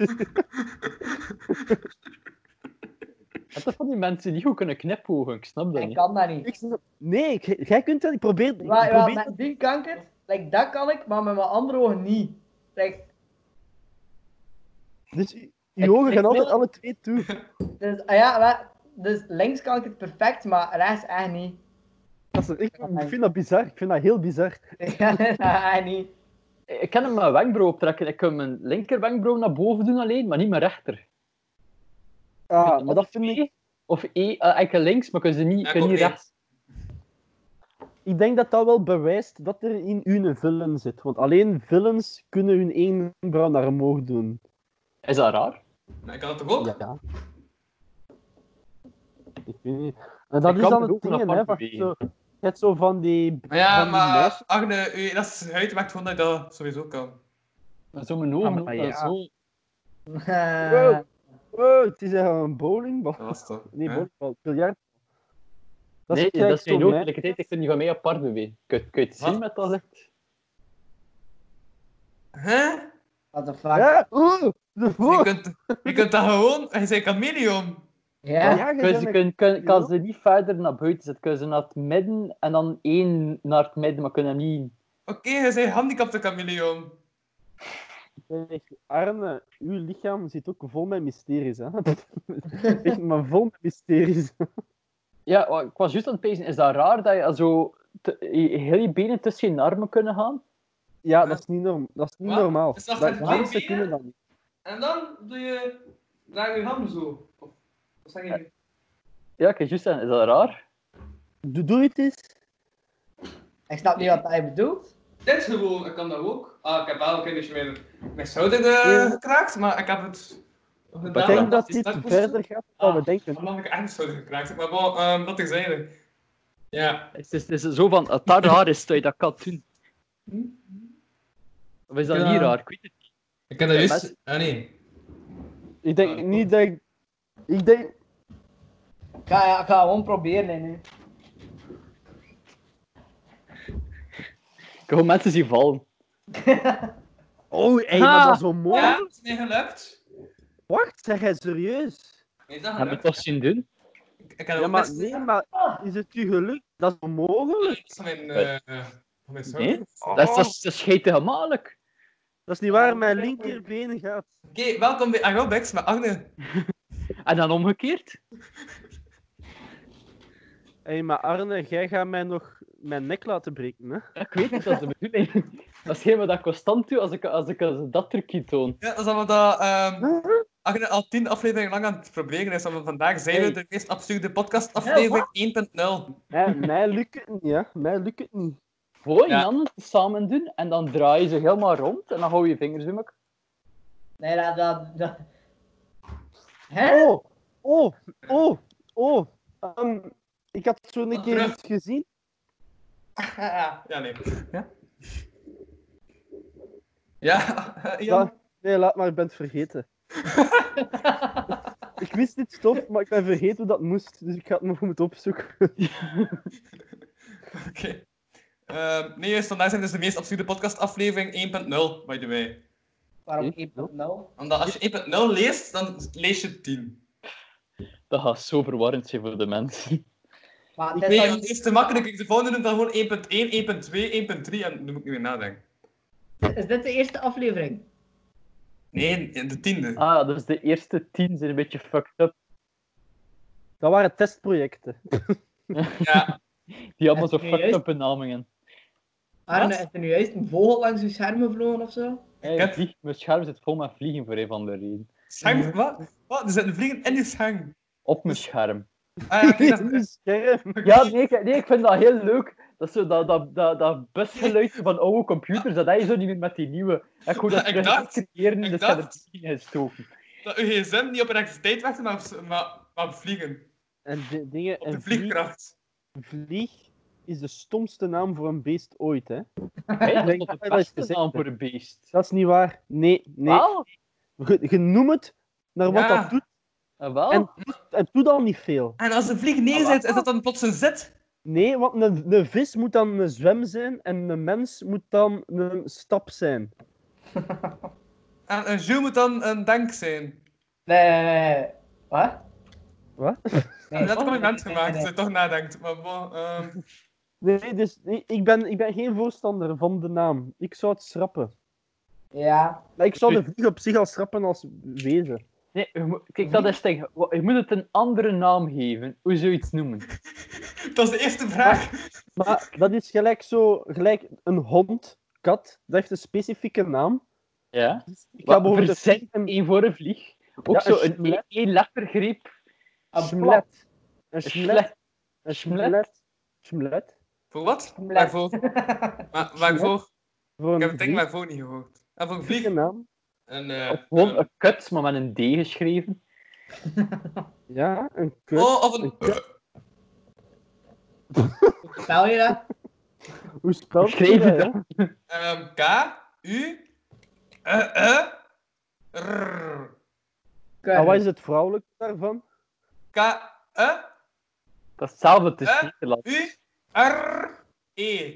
[SPEAKER 3] Het is van die mensen die goed kunnen knipogen, ik snap dat
[SPEAKER 5] Ik
[SPEAKER 3] niet.
[SPEAKER 5] kan dat niet.
[SPEAKER 2] Ik snap- Nee, ik- jij kunt dat. Ik probeer... ik
[SPEAKER 5] Maar, ja,
[SPEAKER 2] probeer
[SPEAKER 5] met die kan ik het. Like, dat kan ik, maar met mijn andere ogen niet. Like,
[SPEAKER 2] Dus je-
[SPEAKER 3] Ik-
[SPEAKER 2] je ogen
[SPEAKER 3] ik
[SPEAKER 2] gaan altijd
[SPEAKER 3] wil-
[SPEAKER 2] alle twee toe.
[SPEAKER 5] dus, ah ja, wel, dus links kan ik het perfect, maar rechts echt niet.
[SPEAKER 2] Dat is, ik,
[SPEAKER 3] Oh
[SPEAKER 2] ik vind dat bizar. Ik vind dat heel bizar.
[SPEAKER 5] Ja, echt Dus, eh, niet.
[SPEAKER 3] Ik kan hem mijn wenkbrauw optrekken. Ik kan mijn linker wenkbrauw naar boven doen alleen, maar niet mijn rechter.
[SPEAKER 2] Ah, maar dat vind ik...
[SPEAKER 3] E Of E, eh, ik kan links, maar ik kan ze niet,
[SPEAKER 4] Ja,
[SPEAKER 3] ik kan
[SPEAKER 4] ik
[SPEAKER 3] niet
[SPEAKER 4] ook
[SPEAKER 3] rechts.
[SPEAKER 2] Ik denk dat dat wel bewijst dat er in u een villain zit. Want alleen villains kunnen hun één brand naar omhoog doen.
[SPEAKER 3] Is dat raar?
[SPEAKER 4] Maar Ik kan het toch ook?
[SPEAKER 2] Ja. Ik weet niet. En dat
[SPEAKER 3] Ik
[SPEAKER 2] is
[SPEAKER 3] kan
[SPEAKER 2] dan
[SPEAKER 3] het
[SPEAKER 2] het
[SPEAKER 3] ook
[SPEAKER 2] ding, hè.
[SPEAKER 3] apart
[SPEAKER 2] van
[SPEAKER 3] bewegen.
[SPEAKER 2] Zo, je hebt zo van die...
[SPEAKER 4] Maar ja,
[SPEAKER 2] van die
[SPEAKER 4] maar
[SPEAKER 2] meisjes-
[SPEAKER 4] Agne, u- dat is huid maakt gewoon dat je dat sowieso kan.
[SPEAKER 3] Maar Zo mijn ogen,
[SPEAKER 2] Ah, maar
[SPEAKER 3] ook, dat
[SPEAKER 2] ja.
[SPEAKER 3] is zo...
[SPEAKER 5] Eh,
[SPEAKER 2] Wow. Wow, Oh, het is eigenlijk een bowlingbal.
[SPEAKER 4] Dat was toch?
[SPEAKER 2] Nee,
[SPEAKER 4] hè?
[SPEAKER 2] bowlingbal. Biljart.
[SPEAKER 3] nee,
[SPEAKER 2] gelijk
[SPEAKER 3] dat is geen
[SPEAKER 2] zo
[SPEAKER 3] oog.
[SPEAKER 2] mijn-
[SPEAKER 3] Tegelijkertijd, ik kan die van mij apart bewegen. Kun je kun je het zien
[SPEAKER 4] Wat?
[SPEAKER 3] met dat licht?
[SPEAKER 4] Hè?
[SPEAKER 5] What the fuck?
[SPEAKER 2] Ja, oeh! Ah, oh, de-
[SPEAKER 4] Je
[SPEAKER 2] oeh.
[SPEAKER 4] kunt, je kunt dat gewoon, hij zei chameleon.
[SPEAKER 5] Ja.
[SPEAKER 2] Ja, je
[SPEAKER 3] Kun
[SPEAKER 2] bent
[SPEAKER 3] ze,
[SPEAKER 2] een
[SPEAKER 3] kun, kun- kan
[SPEAKER 2] Ja.
[SPEAKER 3] ze niet verder naar buiten zetten. Kun ze naar het midden en dan één naar het midden, maar kunnen hem niet...
[SPEAKER 4] Oké, hij is een handicapte chameleon.
[SPEAKER 2] Zeg, Arne, uw lichaam zit ook vol met mysteries. Hè? Echt, maar vol met mysteries.
[SPEAKER 3] Ja, wa- ik was juist aan het pezen. Is dat raar dat je zo... te- je- heel je benen tussen je armen kunnen gaan?
[SPEAKER 2] Ja, dat is niet, norm dat is niet
[SPEAKER 4] Wat?
[SPEAKER 2] normaal.
[SPEAKER 4] Is dat
[SPEAKER 2] Dat-
[SPEAKER 4] geen
[SPEAKER 2] de hamsters
[SPEAKER 4] twee
[SPEAKER 2] kunnen dat niet.
[SPEAKER 4] En dan doe je naar je handen zo. Of, wat zeg je?
[SPEAKER 3] Ja, ik kan juist zeggen, is dat raar?
[SPEAKER 2] Doe, doe het eens.
[SPEAKER 5] Ik snap niet wat hij bedoelt.
[SPEAKER 4] Dit gewoon, ik kan dat ook. Ah, ik heb wel een keer dus mijn, mijn schouder eh, gekraakt, maar ik heb het gedaan.
[SPEAKER 2] Ik denk dat
[SPEAKER 4] is
[SPEAKER 2] dit
[SPEAKER 4] dat moest.
[SPEAKER 2] verder gaat dan we
[SPEAKER 4] Ah.
[SPEAKER 2] denken.
[SPEAKER 4] Dan heb ik echt mijn schouder gekraakt. Maar bon, ehm, dat is eigenlijk. Ja.
[SPEAKER 3] Het is, het is zo van, dat dat raar is, dat je dat kan doen. Of is dat
[SPEAKER 4] Ja.
[SPEAKER 3] niet raar? Ik weet het niet.
[SPEAKER 4] Ik heb dat
[SPEAKER 3] Ja,
[SPEAKER 4] juist... Ah, nee.
[SPEAKER 2] Ik
[SPEAKER 4] Ah,
[SPEAKER 2] denk
[SPEAKER 4] dat
[SPEAKER 2] niet dat ik... Ik denk...
[SPEAKER 5] Ik ga, ja, ik ga gewoon proberen hè, nu.
[SPEAKER 3] Ik heb gewoon mensen zien vallen.
[SPEAKER 2] Oh, ey, maar
[SPEAKER 3] Ha!
[SPEAKER 2] dat is wel mooi.
[SPEAKER 4] Ja, het is niet gelukt.
[SPEAKER 2] Wacht, zeg jij serieus?
[SPEAKER 4] Nee, is dat
[SPEAKER 3] Hebben we
[SPEAKER 4] gelukt?
[SPEAKER 3] het toch zien doen?
[SPEAKER 4] Ik- Ik heb
[SPEAKER 2] Ja,
[SPEAKER 4] ook
[SPEAKER 2] maar
[SPEAKER 4] best...
[SPEAKER 2] nee, maar is het u gelukt? Dat is onmogelijk.
[SPEAKER 4] van mijn... eh, van mijn schouder.
[SPEAKER 3] Nee. Dat is, dat is, dat is schijtig gemakkelijk.
[SPEAKER 2] Dat is niet waar
[SPEAKER 4] Oh.
[SPEAKER 2] mijn linkerbeen gaat.
[SPEAKER 4] Oké, welkom bij Aerobics met Arne.
[SPEAKER 3] En dan omgekeerd?
[SPEAKER 2] Hé, maar Arne, jij gaat mij nog mijn nek laten breken, hè?
[SPEAKER 3] Ja, ik weet het, dat is de bedoeling. Dat is helemaal dat ik constant doe als ik, als ik als dat trucje toon.
[SPEAKER 4] Ja, dat is allemaal dat... ehm,
[SPEAKER 3] Mhm.
[SPEAKER 4] Agne al tien afleveringen lang aan het proberen is, want vandaag zijn we
[SPEAKER 3] Hey.
[SPEAKER 4] de meest absurde podcast aflevering 1.0.
[SPEAKER 2] Mij, mij lukt het niet, hè? Mij lukt het niet.
[SPEAKER 3] Gewoon je
[SPEAKER 4] Ja.
[SPEAKER 3] handen samen doen en dan draai je ze helemaal rond en dan hou je je vingers in elkaar.
[SPEAKER 5] Nee, dat... dat, dat... Hè?
[SPEAKER 2] Oh, oh, oh, oh. Ehm, ik had zo een keer
[SPEAKER 4] Terug.
[SPEAKER 2] iets gezien.
[SPEAKER 4] ja, nee. Ja? Ja,
[SPEAKER 2] Dat...
[SPEAKER 4] Ian?
[SPEAKER 2] Nee, laat maar, ik ben het vergeten. ik wist dit stof, maar ik ben vergeten hoe dat moest, dus ik ga het nog moeten opzoeken.
[SPEAKER 4] Oké. Ehm, nee, juist, vandaag zijn dus de meest absurde podcast aflevering 1.0, by the way.
[SPEAKER 5] Waarom nou?
[SPEAKER 3] Hm?
[SPEAKER 5] 1.0?
[SPEAKER 4] Omdat als je 1.0 leest, dan lees je 10.
[SPEAKER 3] Dat gaat zo verwarrend zijn voor de mensen.
[SPEAKER 5] Maar
[SPEAKER 2] Ik
[SPEAKER 5] het is
[SPEAKER 4] Nee,
[SPEAKER 5] dan
[SPEAKER 4] want
[SPEAKER 5] niet-
[SPEAKER 4] het is te makkelijk. Ik de volgende doen dan gewoon 1.1, 1.2, 1.3 en nu moet ik niet meer nadenken.
[SPEAKER 5] Is dit de eerste aflevering?
[SPEAKER 4] Nee, de tiende.
[SPEAKER 3] Ah, dus de eerste tien zijn een beetje fucked up.
[SPEAKER 2] Dat waren testprojecten.
[SPEAKER 4] Ja,
[SPEAKER 3] Die allemaal zo
[SPEAKER 5] Heb je
[SPEAKER 3] fucked
[SPEAKER 5] juist-
[SPEAKER 3] up benamingen.
[SPEAKER 5] Arne, is er nu juist een vogel langs uw scherm gevlogen of zo?
[SPEAKER 3] Hey,
[SPEAKER 4] heb-
[SPEAKER 3] vlieg, mijn scherm zit vol met vliegen voor een van de reden.
[SPEAKER 4] schang. Wat? Wat? Er zitten vliegen in je schang.
[SPEAKER 3] Op mijn scherm.
[SPEAKER 4] Ah, ja, oké, dat-
[SPEAKER 2] Scherm.
[SPEAKER 3] Ja, nee, ik- nee, ik vind dat heel leuk. Dat, zo, dat, dat, dat, dat busgeluidje van oude computers, dat heb je zo niet meer met die nieuwe. Ik hoor dat
[SPEAKER 4] Ik
[SPEAKER 3] terug
[SPEAKER 4] dacht-
[SPEAKER 3] creëren, dus
[SPEAKER 4] ik
[SPEAKER 3] ik heb
[SPEAKER 4] dacht-
[SPEAKER 3] het misschien gestoken.
[SPEAKER 4] dat uw gsm niet op elektriciteit werkte, maar, op s- maar, maar op vliegen.
[SPEAKER 2] En de dingen...
[SPEAKER 4] Op de
[SPEAKER 2] en vlieg,
[SPEAKER 4] vliegkracht.
[SPEAKER 2] vlieg is de stomste naam voor een beest ooit, hè?
[SPEAKER 3] Hey, dat is
[SPEAKER 2] denk
[SPEAKER 3] tot
[SPEAKER 2] dat
[SPEAKER 3] de
[SPEAKER 2] hij dat
[SPEAKER 3] beste
[SPEAKER 2] gezegd
[SPEAKER 3] naam
[SPEAKER 2] heeft.
[SPEAKER 3] voor een beest.
[SPEAKER 2] Dat is niet waar. Nee, nee.
[SPEAKER 3] Wel?
[SPEAKER 2] Je, je noem het naar wat
[SPEAKER 4] Ja.
[SPEAKER 2] dat doet.
[SPEAKER 3] Eh, wel?
[SPEAKER 2] En- En doe dan niet veel.
[SPEAKER 4] En als de vlieg neer zit, is dat dan plots een zet?
[SPEAKER 2] Nee, want een, een vis moet dan een zwem zijn en een mens moet dan een stap zijn.
[SPEAKER 4] En een jeu moet dan een dank zijn.
[SPEAKER 5] Nee, nee, nee, nee. Wat?
[SPEAKER 2] Wat?
[SPEAKER 5] Nee,
[SPEAKER 4] dat
[SPEAKER 5] oh,
[SPEAKER 4] kom ik
[SPEAKER 5] nee,
[SPEAKER 4] mens
[SPEAKER 5] nee,
[SPEAKER 4] gemaakt,
[SPEAKER 5] nee,
[SPEAKER 4] als je
[SPEAKER 5] nee.
[SPEAKER 4] toch nadenkt. Maar bon, ehm,
[SPEAKER 2] Nee, dus i- ik ben, ik ben geen voorstander van de naam. Ik zou het schrappen.
[SPEAKER 5] Ja.
[SPEAKER 2] Maar ik zou de vlieg op zich al schrappen als wezen.
[SPEAKER 3] Nee, je moet- kijk, dat is het ding. Wa- Je moet het een andere naam geven. Hoe zou je iets noemen?
[SPEAKER 4] dat is de eerste vraag.
[SPEAKER 2] Maar dat is gelijk zo, gelijk een hond, kat, dat heeft een specifieke naam.
[SPEAKER 3] Ja?
[SPEAKER 2] Ik
[SPEAKER 3] Wat,
[SPEAKER 2] bijvoorbeeld
[SPEAKER 3] verzet
[SPEAKER 2] een-
[SPEAKER 3] één voor een vlieg. Ook
[SPEAKER 2] Ja,
[SPEAKER 3] zo
[SPEAKER 2] een
[SPEAKER 3] een e- één- één lettergreep.
[SPEAKER 5] Een plat.
[SPEAKER 2] schmlet. Een
[SPEAKER 3] Een
[SPEAKER 2] schmlet.
[SPEAKER 3] sle-
[SPEAKER 2] Een schmlet. Schmlet.
[SPEAKER 4] Voor wat?
[SPEAKER 5] Blijf.
[SPEAKER 4] Waarvoor? Wa- Waarvoor?
[SPEAKER 2] Voor een
[SPEAKER 4] Ik heb het ding
[SPEAKER 2] vlieg,
[SPEAKER 4] waarvoor niet gehoord. En voor een vlieg.
[SPEAKER 2] specifieke naam.
[SPEAKER 4] Een, eh,
[SPEAKER 3] Of gewoon een kut, maar met een D geschreven.
[SPEAKER 2] Ja, een kut.
[SPEAKER 4] Oh, of een...
[SPEAKER 5] Stel je dat?
[SPEAKER 2] Hoe spelt je
[SPEAKER 3] Schreef je
[SPEAKER 2] dat, hè?
[SPEAKER 4] Ehm, K, U, eh, eh, rrr.
[SPEAKER 2] En wat is het vrouwelijk daarvan?
[SPEAKER 4] K, E,
[SPEAKER 3] Dat is hetzelfde, het is
[SPEAKER 4] Eh?
[SPEAKER 3] Nederlands.
[SPEAKER 4] U, R, E.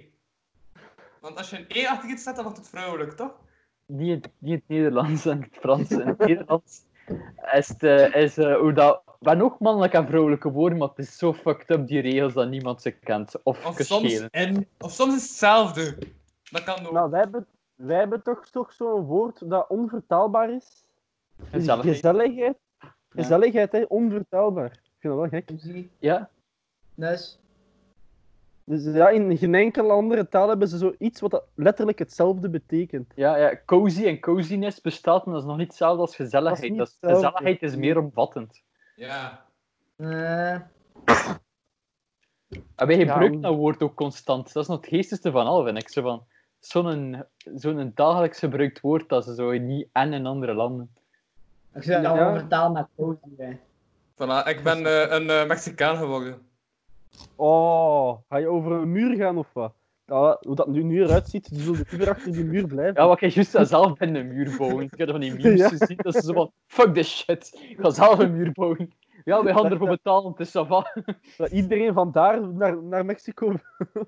[SPEAKER 4] Want als je een E achter iets zet, dan wordt het vrouwelijk, toch?
[SPEAKER 3] Niet in, niet in het Nederlands en het Frans. In het Nederlands is, het, eh, is eh, hoe dat ben ook mannelijk en vrouwelijke woorden, maar het is zo fucked up die regels dat niemand ze kent. Of,
[SPEAKER 4] Of
[SPEAKER 3] kan
[SPEAKER 4] soms,
[SPEAKER 3] schelen.
[SPEAKER 4] en, of soms is hetzelfde. Dat kan ook.
[SPEAKER 2] Nou, wij hebben, wij hebben toch, toch zo'n woord dat onvertaalbaar is?
[SPEAKER 3] Gezelligheid.
[SPEAKER 2] Gezelligheid. Gezelligheid, hè? Onvertaalbaar. Ik vind dat wel gek.
[SPEAKER 5] Muziek,
[SPEAKER 3] Ja,
[SPEAKER 5] dus.
[SPEAKER 2] Dus ja, in geen enkele andere taal hebben ze zoiets wat dat letterlijk hetzelfde betekent.
[SPEAKER 3] ja, ja, cozy en coziness bestaat, maar dat is nog niet hetzelfde als
[SPEAKER 2] Dat is
[SPEAKER 3] gezelligheid.
[SPEAKER 2] niet
[SPEAKER 3] Dat is-
[SPEAKER 2] hetzelfde.
[SPEAKER 3] gezelligheid is meer omvattend.
[SPEAKER 4] Ja.
[SPEAKER 5] eh,
[SPEAKER 3] En wij gebruiken
[SPEAKER 2] om-
[SPEAKER 3] dat woord ook constant. Dat is nog het geestigste van al, vind ik. Zo van, zo'n, zo'n dagelijks gebruikt woord dat ze zo niet en in andere landen.
[SPEAKER 5] ik zou dat
[SPEAKER 2] Ja.
[SPEAKER 5] wel vertalen naar eh. cozy. hè.
[SPEAKER 4] Voilà, ik ben eh, een eh, Mexicaan geworden.
[SPEAKER 2] Oh, ga je over een muur gaan of wat? Dat, hoe dat nu, nu eruit ziet, die zullen liever achter die muur blijven.
[SPEAKER 3] Ja, wat jij juist zelf in de muur bouwen. Ik heb van die memes
[SPEAKER 2] Ja.
[SPEAKER 3] gezien, dat ze zo van, fuck this shit, ik ga zelf een muur bouwen. Ja, wij gaan ervoor betalen, het is ça va.
[SPEAKER 2] Dat iedereen van daar naar, naar Mexico wil.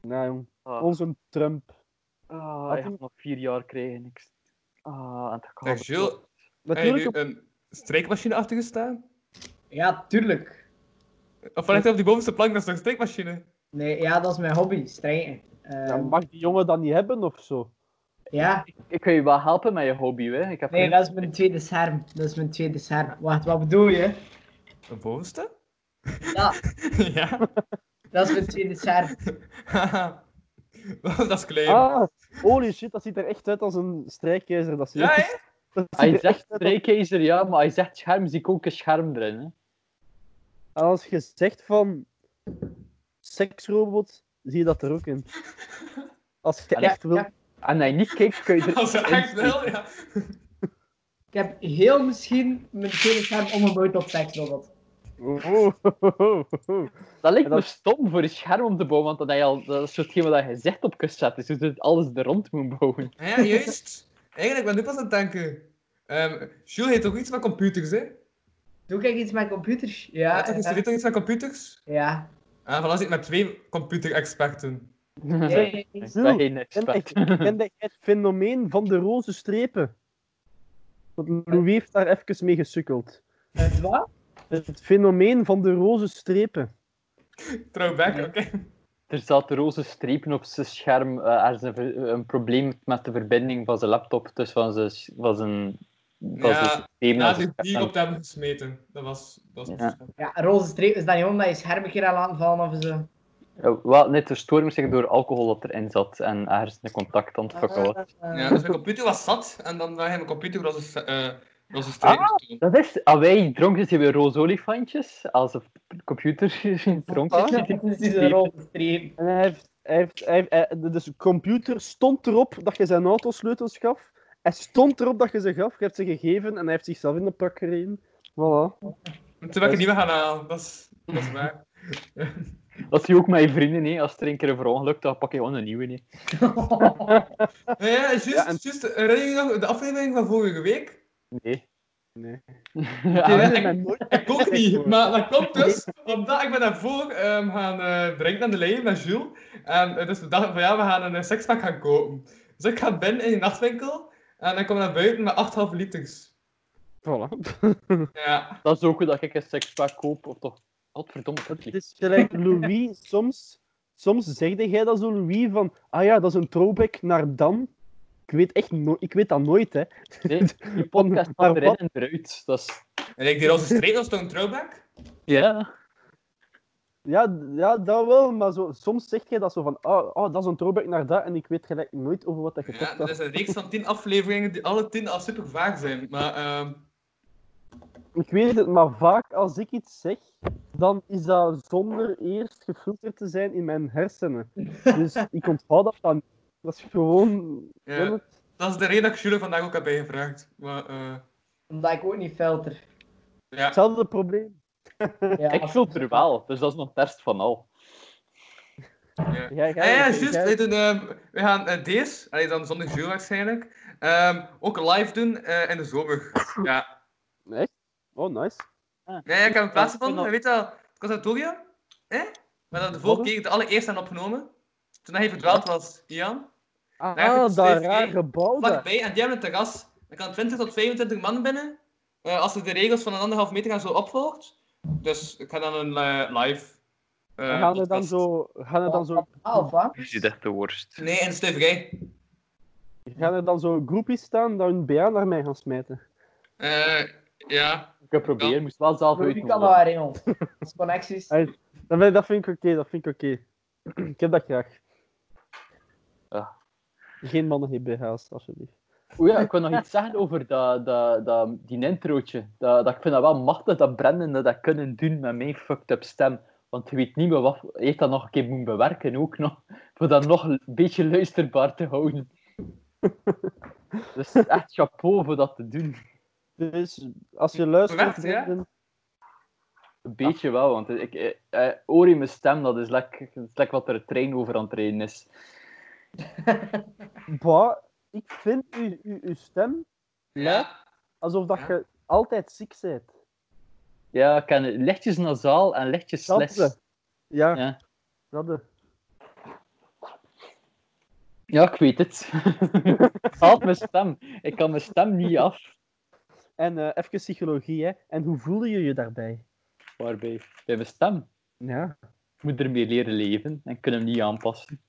[SPEAKER 2] nou, jong. Onze Trump.
[SPEAKER 3] Ah, hij gaat nog vier jaar krijgen. Ik... Ah, en dat kan
[SPEAKER 4] Zeg,
[SPEAKER 3] wel.
[SPEAKER 4] Jules, heb je
[SPEAKER 2] Natuurlijk
[SPEAKER 4] nu
[SPEAKER 2] op
[SPEAKER 4] een strijkmachine achter gestaan?
[SPEAKER 5] Ja, tuurlijk.
[SPEAKER 4] Of ligt hij op die bovenste plank, dat is toch een strijkmachine?
[SPEAKER 5] Nee, ja, dat is mijn hobby, strijken. Eh,
[SPEAKER 2] Ja, mag die jongen dat niet hebben of zo?
[SPEAKER 5] ja,
[SPEAKER 3] Ik kan je wel helpen met je hobby, hè? Ik heb
[SPEAKER 5] nee,
[SPEAKER 3] geen-
[SPEAKER 5] dat is mijn tweede scherm. Dat is mijn tweede scherm. Wacht, wat bedoel je?
[SPEAKER 4] Een bovenste?
[SPEAKER 5] Ja,
[SPEAKER 4] ja.
[SPEAKER 5] dat is mijn tweede scherm.
[SPEAKER 4] Haha. dat is klein.
[SPEAKER 2] Ah, holy shit, dat ziet er echt uit als een strijkkeizer. Dat ziet er-
[SPEAKER 4] ja, hè?
[SPEAKER 2] dat ziet
[SPEAKER 3] Hij
[SPEAKER 2] er
[SPEAKER 3] zegt
[SPEAKER 2] echt uit als-
[SPEAKER 3] strijkijzer, ja, maar hij zegt scherm, zie ik ook een scherm erin. Hè.
[SPEAKER 2] Als je zegt van seksrobot, zie je dat er ook in. Als
[SPEAKER 3] Ja,
[SPEAKER 2] je echt wil.
[SPEAKER 5] ja.
[SPEAKER 3] En hij niet kijkt, kun je er
[SPEAKER 4] Als hij echt wel, ja.
[SPEAKER 5] Ik heb heel misschien mijn tweede scherm omgebouwd tot seksrobot.
[SPEAKER 2] Oh, oh, oh, oh, oh.
[SPEAKER 3] Dat lijkt
[SPEAKER 2] En
[SPEAKER 3] me
[SPEAKER 2] dat-
[SPEAKER 3] stom voor een scherm om te bouwen, want dan heb je al, dat is hetgeen wat je gezicht op kunt zetten. Dus je doet alles er rond moet bouwen.
[SPEAKER 4] Ah Ja, juist. Eigenlijk ben ik nu pas aan het denken. Ehm Jules heeft toch iets met computers, hè?
[SPEAKER 5] Doe ik iets met computers?
[SPEAKER 4] Ja,
[SPEAKER 5] Ja,
[SPEAKER 4] toch, is
[SPEAKER 5] ja.
[SPEAKER 4] er toch iets met computers?
[SPEAKER 5] ja.
[SPEAKER 4] Ah, voilà, zit ik met twee computerexperten.
[SPEAKER 5] Nee,
[SPEAKER 3] Nee,
[SPEAKER 5] nee, nee.
[SPEAKER 3] ik ben geen
[SPEAKER 2] En
[SPEAKER 3] expert.
[SPEAKER 2] echt, ken jij het fenomeen van de roze strepen? Want Louis heeft daar even mee gesukkeld.
[SPEAKER 5] Het Eh, wat?
[SPEAKER 2] Het fenomeen van de roze strepen.
[SPEAKER 4] Throwback,
[SPEAKER 5] Nee.
[SPEAKER 4] oké.
[SPEAKER 3] Er zaten roze strepen op zijn scherm. eh, er is een, ver- een probleem met de verbinding van zijn laptop, dus van zijn, van zijn, van
[SPEAKER 4] Ja,
[SPEAKER 3] zijn systeem.
[SPEAKER 4] Ja,
[SPEAKER 3] naar
[SPEAKER 4] die
[SPEAKER 3] zijn
[SPEAKER 4] die
[SPEAKER 3] scherm.
[SPEAKER 4] op hem gesmeten. Dat was... Dat was
[SPEAKER 3] Ja.
[SPEAKER 5] Ja, roze streep is dat niet omdat je scherm een keer aan laten vallen of zo.
[SPEAKER 3] Ja, Eh, wel, net de storing zich door alcohol dat erin zat en hersencontact
[SPEAKER 2] Ah.
[SPEAKER 3] aan het fucken was.
[SPEAKER 5] Eh,
[SPEAKER 4] Ja, dus mijn computer was zat en dan had hij mijn computer roze, eh roze strepen toen.
[SPEAKER 3] Dat is, ah, wij dronken ze weer roze olifantjes. Als een computer dronken.
[SPEAKER 5] Ja,
[SPEAKER 3] zit.
[SPEAKER 5] dat is een roze streep.
[SPEAKER 2] En hij heeft, hij heeft, hij heeft- hij- de- dus de computer stond erop dat je zijn autosleutels gaf. Hij stond erop dat je ze gaf. Je hebt ze gegeven en hij heeft zichzelf in de pak gereden. Voilà.
[SPEAKER 4] En toen ben ik het niet meer gaan halen, dat is, dat is waar.
[SPEAKER 3] Dat zie je ook met je vrienden, hè. als er een keer een verongelukt, dan pak je gewoon een nieuwe. Hè.
[SPEAKER 4] Ja, Nou ja, juist,
[SPEAKER 2] Ja, en-
[SPEAKER 4] juist. Herinner je je nog de aflevering van vorige week?
[SPEAKER 3] Nee.
[SPEAKER 2] Nee.
[SPEAKER 3] Ja,
[SPEAKER 4] Ja,
[SPEAKER 2] Ik
[SPEAKER 4] ik-
[SPEAKER 2] ben nooit-
[SPEAKER 4] Ik ook niet, maar dat komt dus omdat ik ben daarvoor ehm gaan eh, drinken aan de lijn met Jules. En eh, dus we dachten van ja, we gaan een eh, sixpack gaan kopen. Dus ik ga binnen in die nachtwinkel en ik kom naar buiten met 8,5 liters.
[SPEAKER 2] Voilà.
[SPEAKER 4] Ja,
[SPEAKER 3] dat is ook hoe dat ik een sexpack koop, of toch? Godverdomme, dat
[SPEAKER 2] Het
[SPEAKER 3] is...
[SPEAKER 2] is Dus gelijk Louis, soms, soms zegde jij dat zo, Louis, van... Ah ja, dat is een throwback naar dan. Ik weet, echt no ik weet dat nooit, hè.
[SPEAKER 3] Nee, die podcast
[SPEAKER 2] Maar
[SPEAKER 3] gaat erin
[SPEAKER 2] wat-
[SPEAKER 3] en eruit. Dat is...
[SPEAKER 4] en ik die roze streep was toch een throwback?
[SPEAKER 3] Ja.
[SPEAKER 2] Ja, d- ja, dat wel, maar zo, soms zeg jij dat zo van... Ah, ah, dat is een throwback naar dat, en ik weet gelijk nooit over wat dat
[SPEAKER 4] Ja,
[SPEAKER 2] gekocht
[SPEAKER 4] dat
[SPEAKER 2] had.
[SPEAKER 4] is een reeks van 10 afleveringen die alle 10 al super vaag zijn. Maar ehm,
[SPEAKER 2] Ik weet het, maar vaak als ik iets zeg, dan is dat zonder eerst gefilterd te zijn in mijn hersenen. Dus ik onthoud dat dan. Dat is gewoon...
[SPEAKER 4] ja, dat is de reden dat ik Jules vandaag ook heb bijgevraagd. Maar eh,
[SPEAKER 5] Omdat ik ook niet filter.
[SPEAKER 4] ja,
[SPEAKER 2] Hetzelfde probleem.
[SPEAKER 5] Ja,
[SPEAKER 3] Ik filter wel, dus dat is nog het best van al.
[SPEAKER 4] ja.
[SPEAKER 2] Jij-
[SPEAKER 4] Ja,
[SPEAKER 2] jij-
[SPEAKER 4] ja,
[SPEAKER 2] jij-
[SPEAKER 4] juist.
[SPEAKER 2] jij-
[SPEAKER 4] Wij doen, ehm, we gaan eh, deze, allee, dan zondag Jules waarschijnlijk, ehm, ook live doen eh, in de zomer. Ja.
[SPEAKER 2] Echt? Oh, nice.
[SPEAKER 4] Ja, ja, ik heb een plaats gevonden.
[SPEAKER 3] Ja.
[SPEAKER 4] Weet je wel, het conservatorium? Hè? Maar dat de vorige keer de allereerste aan opgenomen. Toen hij verdwaald was, Ian.
[SPEAKER 2] Ah,
[SPEAKER 4] heb ik
[SPEAKER 2] dat
[SPEAKER 4] steeds
[SPEAKER 2] raar
[SPEAKER 4] één.
[SPEAKER 2] gebouw daar.
[SPEAKER 4] Vlakbij, en die hebben een terras. Er kan 20 tot 25 man binnen. eh, als ze de regels van een anderhalf meter en zo opvolgt. Dus ik ga dan een eh, live. eh,
[SPEAKER 2] En gaan er dan
[SPEAKER 4] podcast-
[SPEAKER 2] zo, gaan er dan zo,
[SPEAKER 5] Alpha.
[SPEAKER 3] Je ziet echt de worst.
[SPEAKER 4] Nee, in stuiverij.
[SPEAKER 2] gaan er dan zo groepjes staan dat hun BA naar mij gaan smijten?
[SPEAKER 4] Eh, ja.
[SPEAKER 3] Ik heb proberen, moest wel zelf
[SPEAKER 5] Wie
[SPEAKER 3] uit.
[SPEAKER 5] kan daar, jongen? Dat is connecties.
[SPEAKER 2] Hey. Dat vind, dat vind ik oké, dat vind ik oké. ik heb dat graag.
[SPEAKER 3] Ja.
[SPEAKER 2] Geen mannen, geen BH's, alsjeblieft.
[SPEAKER 3] O ja, ik wil nog iets zeggen over dat, dat, dat, die introotje. Dat, dat, ik vind dat wel machtig dat Brendan dat, dat kunnen doen met mijn fucked up stem. Want je weet niet meer wat... Hij heeft dat nog een keer moeten bewerken ook nog. Voor dat nog een beetje luisterbaar te houden. Dus echt chapeau voor dat te doen.
[SPEAKER 2] Dus als je luistert,
[SPEAKER 4] Verwacht, ja?
[SPEAKER 2] Brendan,
[SPEAKER 3] Een beetje wel, want ik, eh, eh, oor in mijn stem, dat is lekker lek wat er een trein over aan het rijden is.
[SPEAKER 2] bah, ik vind u, u, uw stem
[SPEAKER 4] Ja.
[SPEAKER 2] alsof dat
[SPEAKER 4] Ja.
[SPEAKER 2] je altijd ziek bent.
[SPEAKER 3] Ja, ik ken het. lichtjes nasaal en lichtjes
[SPEAKER 2] Dat
[SPEAKER 3] sles.
[SPEAKER 2] ze. Ja,
[SPEAKER 3] Ja.
[SPEAKER 2] dat ze.
[SPEAKER 3] ja, ik weet het. Haat mijn stem. Ik kan mijn stem niet af.
[SPEAKER 2] En eh, even psychologie, hè. En hoe voelde je je daarbij?
[SPEAKER 3] Waarbij? Bij mijn stem.
[SPEAKER 2] Ja.
[SPEAKER 3] Ik moet ermee leren leven en kunnen hem niet aanpassen.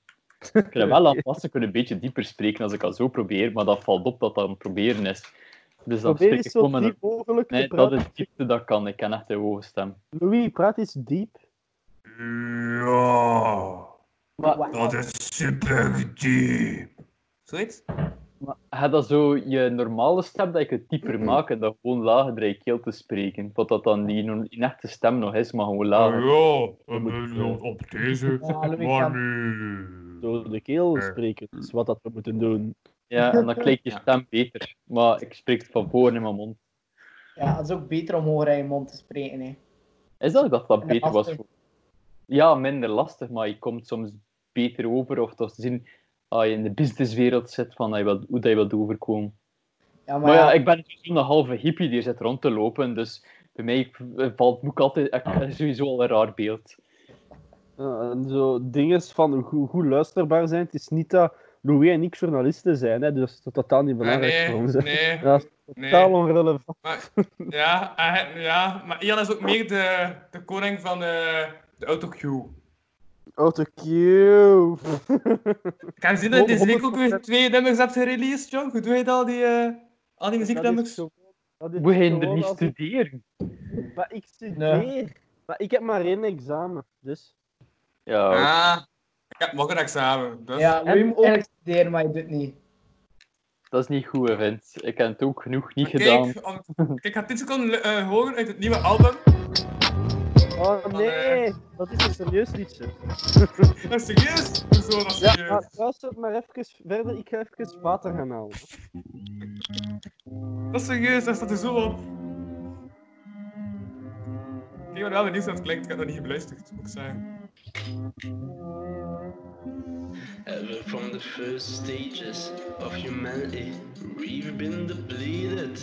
[SPEAKER 3] Ik kan hem wel aanpassen, ik kan een beetje dieper spreken als ik al zo probeer, maar dat valt op dat dat een proberen is. Dus dan
[SPEAKER 2] Probeer
[SPEAKER 3] spreek
[SPEAKER 2] eens
[SPEAKER 3] ik
[SPEAKER 2] zo
[SPEAKER 3] gewoon met
[SPEAKER 2] diep
[SPEAKER 3] een...
[SPEAKER 2] mogelijk
[SPEAKER 3] Nee,
[SPEAKER 2] te
[SPEAKER 3] dat
[SPEAKER 2] praten.
[SPEAKER 3] is diepte dat kan. Ik ken echt een hoge stem.
[SPEAKER 2] Louis, praat eens diep.
[SPEAKER 4] Ja.
[SPEAKER 3] Maar
[SPEAKER 4] Dat is super diep. Zoiets?
[SPEAKER 3] Ga dat zo je normale stem, dat je het dieper maakt en dat gewoon lager door je keel te spreken. Wat dat dan niet in in echte stem nog is, maar gewoon lager.
[SPEAKER 4] eh,
[SPEAKER 3] moet-
[SPEAKER 4] eh, op deze.
[SPEAKER 5] Ja, Louis
[SPEAKER 4] Maar
[SPEAKER 5] kan-
[SPEAKER 4] nu.
[SPEAKER 2] Door de keel spreken, is wat dat we moeten doen.
[SPEAKER 3] Ja, en dan klinkt je stem beter. Maar ik spreek het van voren in mijn mond.
[SPEAKER 5] Ja, dat is ook beter om horen in je mond te spreken. Hè.
[SPEAKER 3] Is dat dat dat
[SPEAKER 5] En
[SPEAKER 3] beter was?
[SPEAKER 5] lastig.
[SPEAKER 3] voor- Ja, minder lastig, maar je komt soms beter over. Of dat zien als je in de businesswereld zit, van dat je wilt- hoe dat je wilt overkomen.
[SPEAKER 5] Ja, maar,
[SPEAKER 3] Maar ja,
[SPEAKER 5] ja,
[SPEAKER 3] ik ben sowieso een halve hippie die er zit rond te lopen. Dus bij mij valt ook altijd ik heb sowieso al een raar beeld.
[SPEAKER 2] Ja, Eh, en zo dingen van hoe, hoe luisterbaar zijn. Het is niet dat Louis en ik journalisten zijn, hè, dus dat is totaal niet
[SPEAKER 4] Eh,
[SPEAKER 2] belangrijk
[SPEAKER 4] Nee,
[SPEAKER 2] voor ons. hè.
[SPEAKER 4] nee,
[SPEAKER 2] Ja, dat is totaal
[SPEAKER 4] nee.
[SPEAKER 2] onrelevant.
[SPEAKER 4] Ja, eh, ja, maar Ian is ook meer de, de koning van eh, de autocue.
[SPEAKER 2] Autocue.
[SPEAKER 4] Ik heb gezien dat je deze week ook
[SPEAKER 2] 100%
[SPEAKER 4] weer twee nummers hebt gereleased, John. Hoe doe je dat, al die, eh, al die muzieknummers?
[SPEAKER 3] Moet je er
[SPEAKER 2] gewoon
[SPEAKER 3] niet
[SPEAKER 2] als ik-
[SPEAKER 3] studeren?
[SPEAKER 2] Maar ik studeer. Maar ik heb maar één examen, dus...
[SPEAKER 3] Ja,
[SPEAKER 4] Ah, ik heb morgen examen. Dus.
[SPEAKER 5] ja,
[SPEAKER 2] en
[SPEAKER 5] Louis moet
[SPEAKER 2] ook-
[SPEAKER 5] eigenlijk studeren, maar je doet het niet.
[SPEAKER 3] dat is niet goed, hè, Vince. Ik heb het ook genoeg niet
[SPEAKER 4] Maar
[SPEAKER 3] gedaan.
[SPEAKER 4] Kijk, om- kijk, ik ga 10 seconden eh, horen uit het nieuwe album.
[SPEAKER 2] Oh nee, dat is een serieus liedje.
[SPEAKER 4] Maar serieus? Hoezo, dat is
[SPEAKER 2] Ja,
[SPEAKER 4] serieus.
[SPEAKER 2] maar luister maar even verder. Ik ga even water gaan halen.
[SPEAKER 4] Dat is serieus, daar staat er zo op. Ik ben wel benieuwd hoe dat klinkt, ik heb dat niet geluisterd, moet ik zeggen.
[SPEAKER 6] Ever from the first stages of humanity, we've been depleted.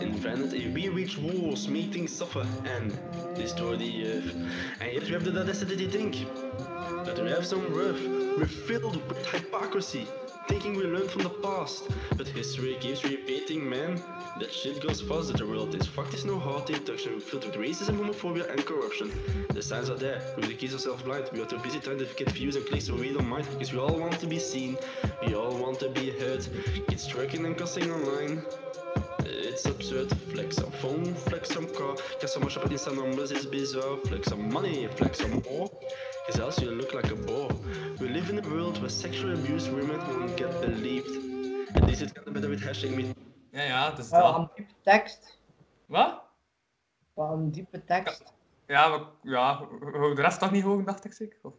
[SPEAKER 6] In vanity, we wage wars, making suffer and destroy the earth. And yet we have the audacity to think that we have some worth. We're filled with hypocrisy, thinking we learn from the past. But history keeps repeating, man. That shit goes fast, that the world is fucked, is no hard deduction, filled with racism, homophobia, and corruption. The signs are there. We accuse ourselves blind. We are too busy trying to get views and clicks so we don't mind. Because we all want to be seen. We all want to be heard. Kids twerking and cussing online. It's absurd. Flex on phone, flex on car. Guess how much up in some numbers is bizarre. Flex on money, flex on more. Cause else you look like a bore. We live in a world where sexual abuse women won't get believed. At least it's getting better with hashtag me
[SPEAKER 4] Ja, ja, dus
[SPEAKER 5] Wat
[SPEAKER 4] dat.
[SPEAKER 5] een diepe tekst.
[SPEAKER 4] Wat?
[SPEAKER 5] Wat een diepe tekst.
[SPEAKER 4] Ja, maar, ja, wou de rest toch niet horen, dacht ik zeker? Of-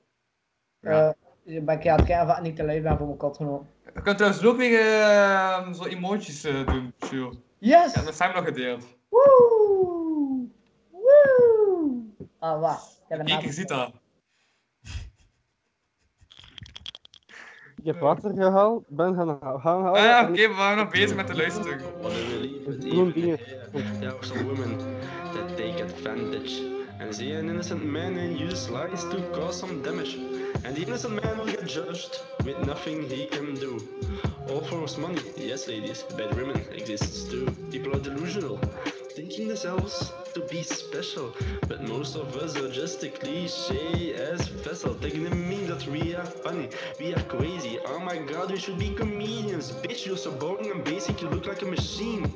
[SPEAKER 5] Eh ik ben ik aan het kijken of ik niet te lui ben voor mijn kotgenoot.
[SPEAKER 4] Je kunt trouwens ook weer eh, zo emojis eh, doen, chill.
[SPEAKER 5] Yes!
[SPEAKER 4] Ja, dat zijn we nog gedeeld.
[SPEAKER 5] Woe! Woe! Ah, wacht. Ik heb een
[SPEAKER 4] Kijk, je ziet dat.
[SPEAKER 2] Ik heb water gehaald, ben gaan gaan halen.
[SPEAKER 4] Ah ja, oké,
[SPEAKER 2] en
[SPEAKER 4] we waren nog bezig met de luisteren.
[SPEAKER 6] What I believe, but
[SPEAKER 2] Groen
[SPEAKER 6] even
[SPEAKER 2] dingen.
[SPEAKER 6] here, there are some women that take advantage and see an innocent man and use lies to cause some damage. And the innocent man will get judged with nothing he can do. All for his money, yes, ladies, bad women exists too. People are delusional. thinking themselves to be special, but most of us are just a cliche as vessel, taking the mean that we are funny, we are crazy. Oh my god, we should be comedians. Bitch, you're so boring and basic, you look like a machine.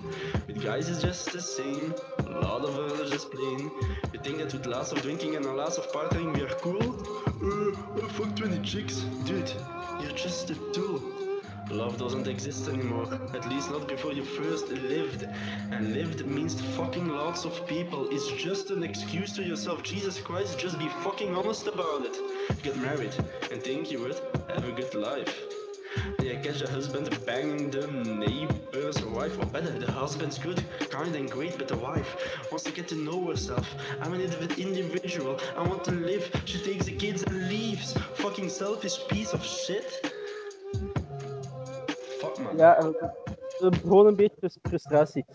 [SPEAKER 6] With guys, it's just the same. A lot of us are just plain. We think that with lots of drinking and a lot of partying, we are cool. Uh, I fucked 20 chicks. Dude, you're just a tool. Love doesn't exist anymore, at least not before you first lived. And lived means fucking lots of people. It's just an excuse to yourself. Jesus Christ, just be fucking honest about it. Get married and think you would have a good life. Yeah, catch a husband banging the neighbor's wife, or better, the husband's good, kind and great, but the wife wants to get to know herself. I'm an indiv- individual, I want to live. She takes the kids and leaves. Fucking selfish piece of shit. Fuck man.
[SPEAKER 2] Ja, en dat begon een beetje frus- frustratie.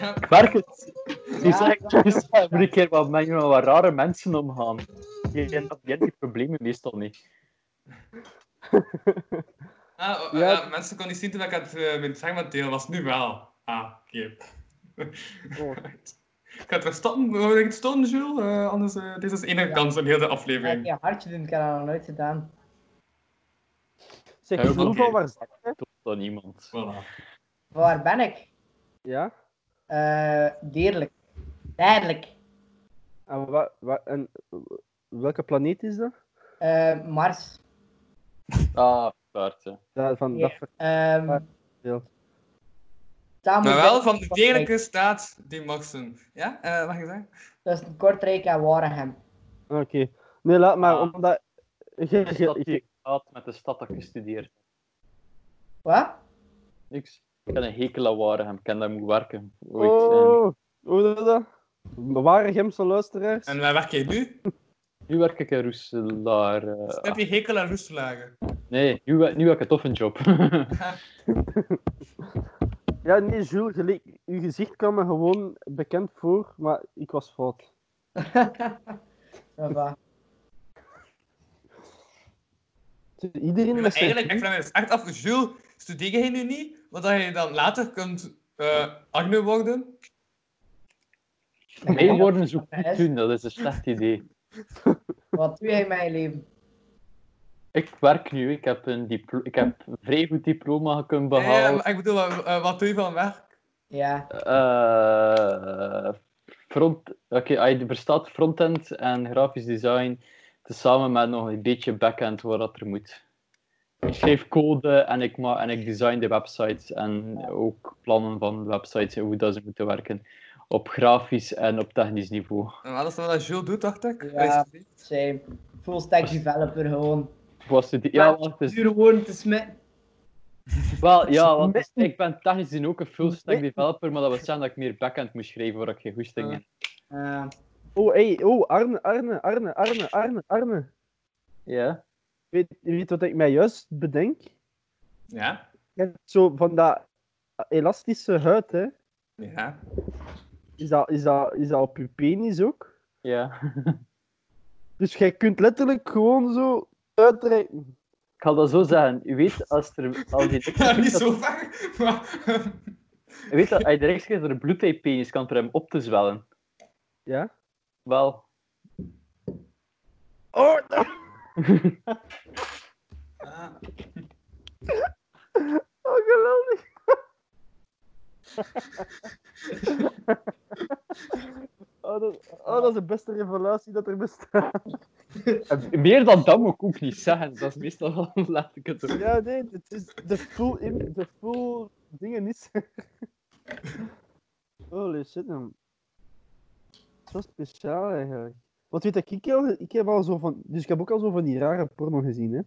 [SPEAKER 4] Ja,
[SPEAKER 3] Ik merk het. Die
[SPEAKER 5] Ja,
[SPEAKER 3] zegt
[SPEAKER 5] dat-
[SPEAKER 3] juist every keer wat met met wat rare mensen omgaan. Die hebben die problemen meestal niet.
[SPEAKER 4] Ah, oh,
[SPEAKER 2] Ja.
[SPEAKER 4] ah, mensen konden niet zien toen ik het eh, met het segmentdeel was. Nu wel. Ah, oké.
[SPEAKER 2] Oh.
[SPEAKER 4] ik ga het weer stoppen. Wil je het stoppen, Jules? Eh, anders, eh, dit is de enige
[SPEAKER 5] Ja.
[SPEAKER 4] kans in heel de
[SPEAKER 5] Ja,
[SPEAKER 4] aflevering.
[SPEAKER 5] ik heb hartje doen, ik heb dat nog nooit gedaan.
[SPEAKER 2] Zeg,
[SPEAKER 3] Ja,
[SPEAKER 2] Roel,
[SPEAKER 4] oké.
[SPEAKER 2] van waar zat je?
[SPEAKER 3] Tot dan iemand.
[SPEAKER 4] Voilà.
[SPEAKER 5] Van waar ben ik?
[SPEAKER 2] Ja?
[SPEAKER 5] Eh deerlijk. Duidelijk.
[SPEAKER 2] En, wa, wa, en welke planeet is dat?
[SPEAKER 5] Eh, Mars.
[SPEAKER 3] Ah, paard. hè.
[SPEAKER 2] Ja, van
[SPEAKER 5] Ja.
[SPEAKER 2] dat ver-
[SPEAKER 5] Ehm
[SPEAKER 2] Ja.
[SPEAKER 5] daar
[SPEAKER 4] Maar
[SPEAKER 5] moet
[SPEAKER 4] wel
[SPEAKER 5] ik-
[SPEAKER 4] van de degelijke staat die Maxen. Ja, eh, mag ik zeggen?
[SPEAKER 5] Dat is Kortrijk en Waregem.
[SPEAKER 2] Ah, Oké. Nee, laat maar,
[SPEAKER 3] Ah.
[SPEAKER 2] omdat... Je,
[SPEAKER 3] De
[SPEAKER 2] je,
[SPEAKER 3] stad die
[SPEAKER 2] je-
[SPEAKER 3] ik haat met de stad dat ik gestudeerd heb.
[SPEAKER 5] Wat?
[SPEAKER 3] Niks. Ik heb een hekel aan Waregem. Ik ken dat moet werken. Ooit. En
[SPEAKER 2] Oh, hoe doe je dat? Bewaren Gemse luisteraars.
[SPEAKER 4] En waar werk jij nu?
[SPEAKER 3] nu werk ik in Roeselaar. eh,
[SPEAKER 4] Heb je hekel aan roestelagen?
[SPEAKER 3] nee, nu, we- nu heb ik een toffe job.
[SPEAKER 2] Ja, nee, Jules, je leek- uw gezicht kwam me gewoon bekend voor, maar ik was fout.
[SPEAKER 5] Of wat?
[SPEAKER 2] Iedereen
[SPEAKER 4] Maar
[SPEAKER 2] met zijn...
[SPEAKER 4] eigenlijk, ik vraag me dus echt af, Jules, studeer jij nu niet? Want dat je dan later kunt eh Agne worden?
[SPEAKER 3] Mee worden zo goed doen, dat is een slecht idee.
[SPEAKER 5] Wat doe jij in mijn leven?
[SPEAKER 3] Ik werk nu. Ik heb een, diplo- ik heb een vrij goed diploma kunnen
[SPEAKER 4] Ja, ja,
[SPEAKER 3] behalen.
[SPEAKER 4] maar ik bedoel, wat, eh, wat doe je van werk?
[SPEAKER 5] Ja.
[SPEAKER 3] Eh, front, oké, ah, hij bestaat frontend en grafisch design, tezamen met nog een beetje backend waar dat er moet. Ik schrijf code en ik, ma- en ik design de websites en ook plannen van websites en hoe dat ze moeten werken. Op grafisch en op technisch niveau.
[SPEAKER 4] Nou, dat is wel wat Jules doet, dacht ik.
[SPEAKER 5] Ja. Zijn full stack developer gewoon.
[SPEAKER 3] Was het, ja, wacht, het is-
[SPEAKER 5] Duur woorden te smitten.
[SPEAKER 3] wel, ja want het is- ik ben technisch gezien ook een full-stack developer, maar dat wil zeggen dat ik meer backend moest schrijven waar ik geen goesting in
[SPEAKER 5] Eh,
[SPEAKER 2] Oh, hey, oh, Arne, Arne, Arne, Arne, Arne, Arne.
[SPEAKER 3] Ja.
[SPEAKER 2] Weet, weet wat ik mij juist bedenk?
[SPEAKER 4] Ja?
[SPEAKER 2] Je hebt Zo van dat elastische huid, hè.
[SPEAKER 4] Ja.
[SPEAKER 2] Is dat, is dat, is dat op je penis ook?
[SPEAKER 3] Ja.
[SPEAKER 2] Dus jij kunt letterlijk gewoon zo uitreiken.
[SPEAKER 3] Ik ga dat zo zeggen. U weet, als er... Als die,
[SPEAKER 4] Ja, niet zo ver, maar...
[SPEAKER 3] Je weet dat uit de rechtstreeks er bloed bij penis kan voor hem op te zwellen.
[SPEAKER 2] Ja?
[SPEAKER 3] Wel,
[SPEAKER 2] Oh, dat-
[SPEAKER 4] Ah.
[SPEAKER 2] oh geweldig. oh, dat, oh, dat is de beste revelatie dat er bestaat.
[SPEAKER 3] meer dan dat moet ik ook niet zeggen. Dat is meestal wel, laat ik het zo.
[SPEAKER 2] Ja, nee, het is de full, im- de full dingen is. er. Holy shit, man. Zo speciaal eigenlijk. Want weet ik, ik, al- ik heb al zo van. Dus ik heb ook al zo van die rare porno gezien, hè?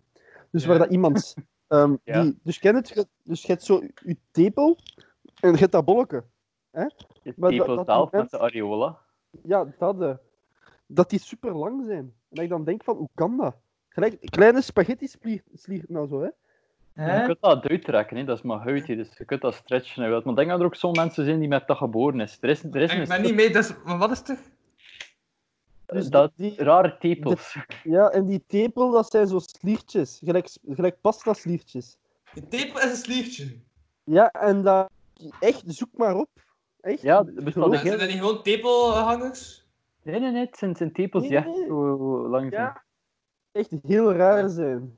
[SPEAKER 2] Dus
[SPEAKER 4] Ja.
[SPEAKER 2] waar dat iemand. ehm,
[SPEAKER 3] Ja.
[SPEAKER 2] die, dus ken het, je- dus je hebt zo je tepel en je hebt dat bolletje.
[SPEAKER 3] Het
[SPEAKER 2] Maar dat-
[SPEAKER 3] tepel
[SPEAKER 2] dat
[SPEAKER 3] zelf met
[SPEAKER 2] moment-
[SPEAKER 3] de areola.
[SPEAKER 2] Ja, dat, eh, dat die super lang zijn. En dat ik dan denk van, hoe kan dat? Gelijk, kleine spaghetti sliert sliert nou zo, hè?
[SPEAKER 3] Je
[SPEAKER 5] hè?
[SPEAKER 3] kunt dat uittrekken, hè. dat is maar huidje, dus je kunt dat stretchen. en wat. Maar ik denk dat er ook zo'n mensen zijn die met dat geboren is. Er is, er is
[SPEAKER 4] Ik
[SPEAKER 3] een
[SPEAKER 4] ben niet mee, dus... Maar wat is er?
[SPEAKER 2] Dus
[SPEAKER 3] dat
[SPEAKER 2] die-
[SPEAKER 3] rare tepels.
[SPEAKER 2] Ja, en die tepel, dat zijn zo sliertjes. Gelijk, gelijk pasta sliertjes.
[SPEAKER 4] Je tepel is een sliertje.
[SPEAKER 2] Ja, en dat... Echt, zoek maar op. Echt?
[SPEAKER 3] Ja, er bestaat
[SPEAKER 2] Geloof-
[SPEAKER 3] echt-
[SPEAKER 4] Zijn dat niet gewoon tepelhangers?
[SPEAKER 3] Nee, nee, nee, het zijn, het zijn tepels die
[SPEAKER 2] Nee,
[SPEAKER 3] echt
[SPEAKER 2] nee, nee.
[SPEAKER 3] zo lang zijn.
[SPEAKER 2] Ja. Echt heel raar zijn.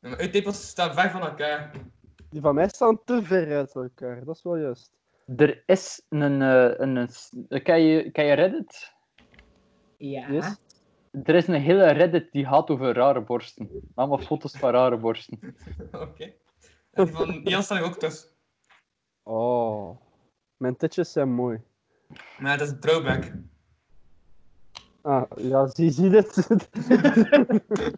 [SPEAKER 4] Ja, maar uw tepels staan ver van elkaar.
[SPEAKER 2] Die van mij staan te ver uit elkaar, dat is wel juist.
[SPEAKER 3] Er is een... eh, een, een s- ken, je, ken je Reddit?
[SPEAKER 5] Ja.
[SPEAKER 2] Yes.
[SPEAKER 3] Er is een hele Reddit die gaat over rare borsten. Allemaal foto's van rare borsten.
[SPEAKER 4] Oké. En die van Jan staan er ook tussen.
[SPEAKER 2] Oh. Mijn titjes zijn mooi.
[SPEAKER 4] Maar dat is een throwback.
[SPEAKER 2] Ah, ja, zie zie je dit?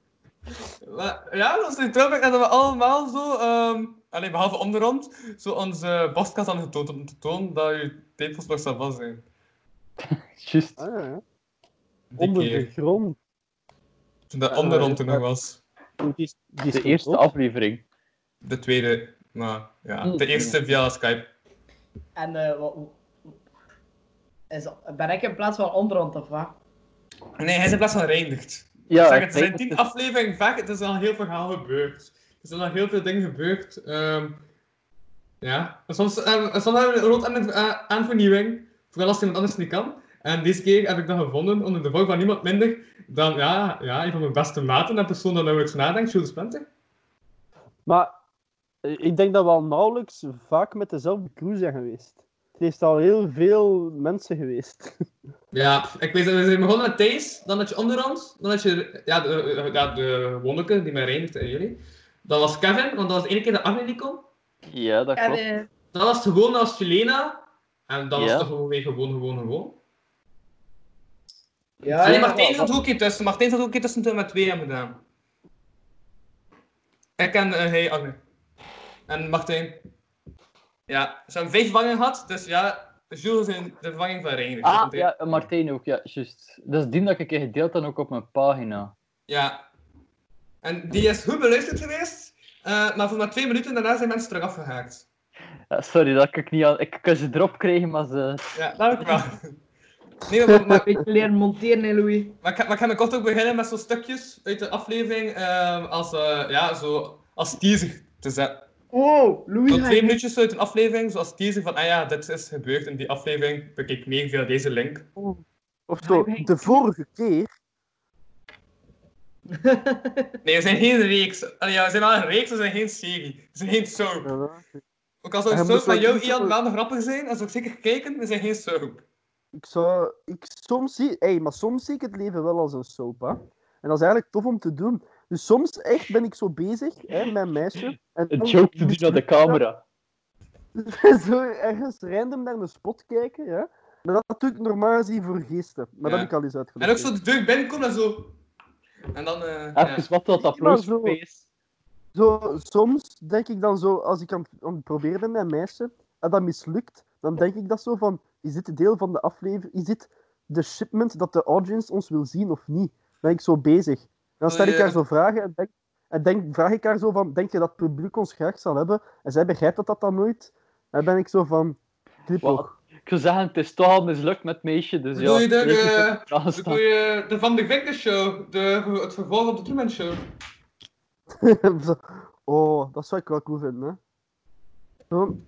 [SPEAKER 4] Maar, ja, dat is een throwback dat we allemaal zo, ehm alleen behalve onderhand, zo onze borstkast aan getoond om te tonen dat je tepels nog staan vast zijn.
[SPEAKER 3] Juist.
[SPEAKER 2] Ah, ja.
[SPEAKER 4] Die
[SPEAKER 2] Onder
[SPEAKER 4] keer.
[SPEAKER 2] de grond.
[SPEAKER 4] Toen de onderhand er nog was.
[SPEAKER 2] Die, die
[SPEAKER 3] De
[SPEAKER 2] stond
[SPEAKER 3] eerste
[SPEAKER 2] op.
[SPEAKER 3] aflevering.
[SPEAKER 4] De tweede, maar ja,
[SPEAKER 3] Mm.
[SPEAKER 4] de eerste via Skype.
[SPEAKER 5] En eh, wat, is, ben ik in plaats van onderhand of wat?
[SPEAKER 4] Nee, hij is in plaats van reinigd.
[SPEAKER 3] Ja,
[SPEAKER 4] zeg, het
[SPEAKER 3] ik
[SPEAKER 4] zijn
[SPEAKER 3] denk
[SPEAKER 4] tien
[SPEAKER 3] dat het-
[SPEAKER 4] afleveringen vaak, het is al heel veel verhaal gebeurd. Er zijn al heel veel dingen gebeurd. ehm, ja, En soms, ehm, soms hebben we rood aan, eh, aan vernieuwing, vooral als iemand anders niet kan. En deze keer heb ik dat gevonden, onder de vorm van niemand minder dan ja, ja, een van mijn beste maten en persoon dat nou eens nadenkt, Jules Spencer.
[SPEAKER 2] Maar eh, ik denk dat we al nauwelijks vaak met dezelfde crew zijn geweest. Het is al heel veel mensen geweest.
[SPEAKER 4] Ja, ik weet dat we zijn begonnen met Thijs, dan had je onderhand, dan had je ja, de, ja, de Wonneke, die mij reinigt en jullie. Dan was Kevin, want dat was de ene keer dat Amelie kon.
[SPEAKER 3] Ja, dat
[SPEAKER 5] En,
[SPEAKER 3] klopt.
[SPEAKER 5] eh,
[SPEAKER 4] Dan was het gewoon als Jelena. En dan was
[SPEAKER 3] Ja.
[SPEAKER 4] het gewoon weer gewoon, gewoon, gewoon.
[SPEAKER 5] ja,
[SPEAKER 4] Alleen
[SPEAKER 5] ja,
[SPEAKER 4] Martijn
[SPEAKER 5] wat-
[SPEAKER 4] zat er ook in tussen. Martijn zat er ook in tussen toen we met twee hebben gedaan. Ik en eh, hij, Agne. En Martijn. Ja, ze hebben vijf vervangingen gehad. Dus ja, Jules is in de vervanging van Reiner.
[SPEAKER 3] Ah, ja, en Martijn ook, ja, juist. Dat is die dat ik heb gedeeld dan ook op mijn pagina.
[SPEAKER 4] Ja. En die is goed beluisterd geweest. eh, maar voor maar twee minuten daarna zijn mensen terug afgehaakt.
[SPEAKER 3] Ja, sorry, dat kan ik niet aan... Ik kan ze erop krijgen, maar ze...
[SPEAKER 4] Ja, dat ook wel. Nee, maar, maar,
[SPEAKER 5] Een beetje leren monteren, hè, Louis.
[SPEAKER 4] Maar ik, ga- maar ik ga me kort ook beginnen met zo'n stukjes uit de aflevering ehm, als, eh, ja, zo, als teaser te zetten.
[SPEAKER 5] Wow, Louis.
[SPEAKER 4] Zo
[SPEAKER 5] ga
[SPEAKER 4] twee
[SPEAKER 5] je-
[SPEAKER 4] minuutjes uit een aflevering, zoals teaser van, ah ja, dit is gebeurd in die aflevering, bekijk mee via deze link.
[SPEAKER 2] Of zo, de vorige keer.
[SPEAKER 4] Nee, we zijn geen reeks. Allee, ja, we zijn wel een reeks, we zijn geen serie. We zijn geen soap. Ook al zou
[SPEAKER 2] Ja,
[SPEAKER 4] een
[SPEAKER 2] maar
[SPEAKER 4] soap van
[SPEAKER 2] zo-
[SPEAKER 4] jou, Ian, wel nog grappig zijn, dan zou ik zeker kijken, we zijn geen soap.
[SPEAKER 2] Ik zou, ik soms zie, ey, maar soms zie ik het leven wel als een soap, hè. En dat is eigenlijk tof om te doen. Dus soms echt ben ik zo bezig, hè, met mijn meisje. En
[SPEAKER 3] Een
[SPEAKER 2] dan
[SPEAKER 3] joke te doen naar de camera.
[SPEAKER 2] zo ergens random naar een spot kijken, hè. Maar dat doe ik normaal zien voor geesten. Maar dat
[SPEAKER 4] Ja.
[SPEAKER 2] heb ik al eens uitgelegd.
[SPEAKER 4] En ook zo de deur binnenkomt en zo... En dan... eh, ja.
[SPEAKER 3] Even wat dat applaus
[SPEAKER 2] zo.
[SPEAKER 3] voor mij is.
[SPEAKER 2] Zo, soms denk ik dan zo, als ik aan, het- aan het proberen ben met een meisje, en dat mislukt, dan denk ik dat zo van, is dit deel van de aflevering, is dit de shipment dat de audience ons wil zien of niet? Ben ik zo bezig. En dan stel ik haar zo vragen en, denk, en denk, vraag ik haar zo van, denk je dat het publiek ons graag zal hebben? En zij begrijpt dat dat dan nooit. En ben ik zo van,
[SPEAKER 3] Wat?
[SPEAKER 2] knipoog.
[SPEAKER 3] Ik zou zeggen, het is toch al mislukt met meisje, dus ja...
[SPEAKER 4] Doe je daar,
[SPEAKER 3] weet niet
[SPEAKER 4] eh,
[SPEAKER 3] wat er aan
[SPEAKER 4] Dan
[SPEAKER 3] staat.
[SPEAKER 4] doe je de Van de Vinken show, de, het vervolg op de Truman show.
[SPEAKER 2] Zo, oh, dat zou ik wel cool vinden, hè. Zo,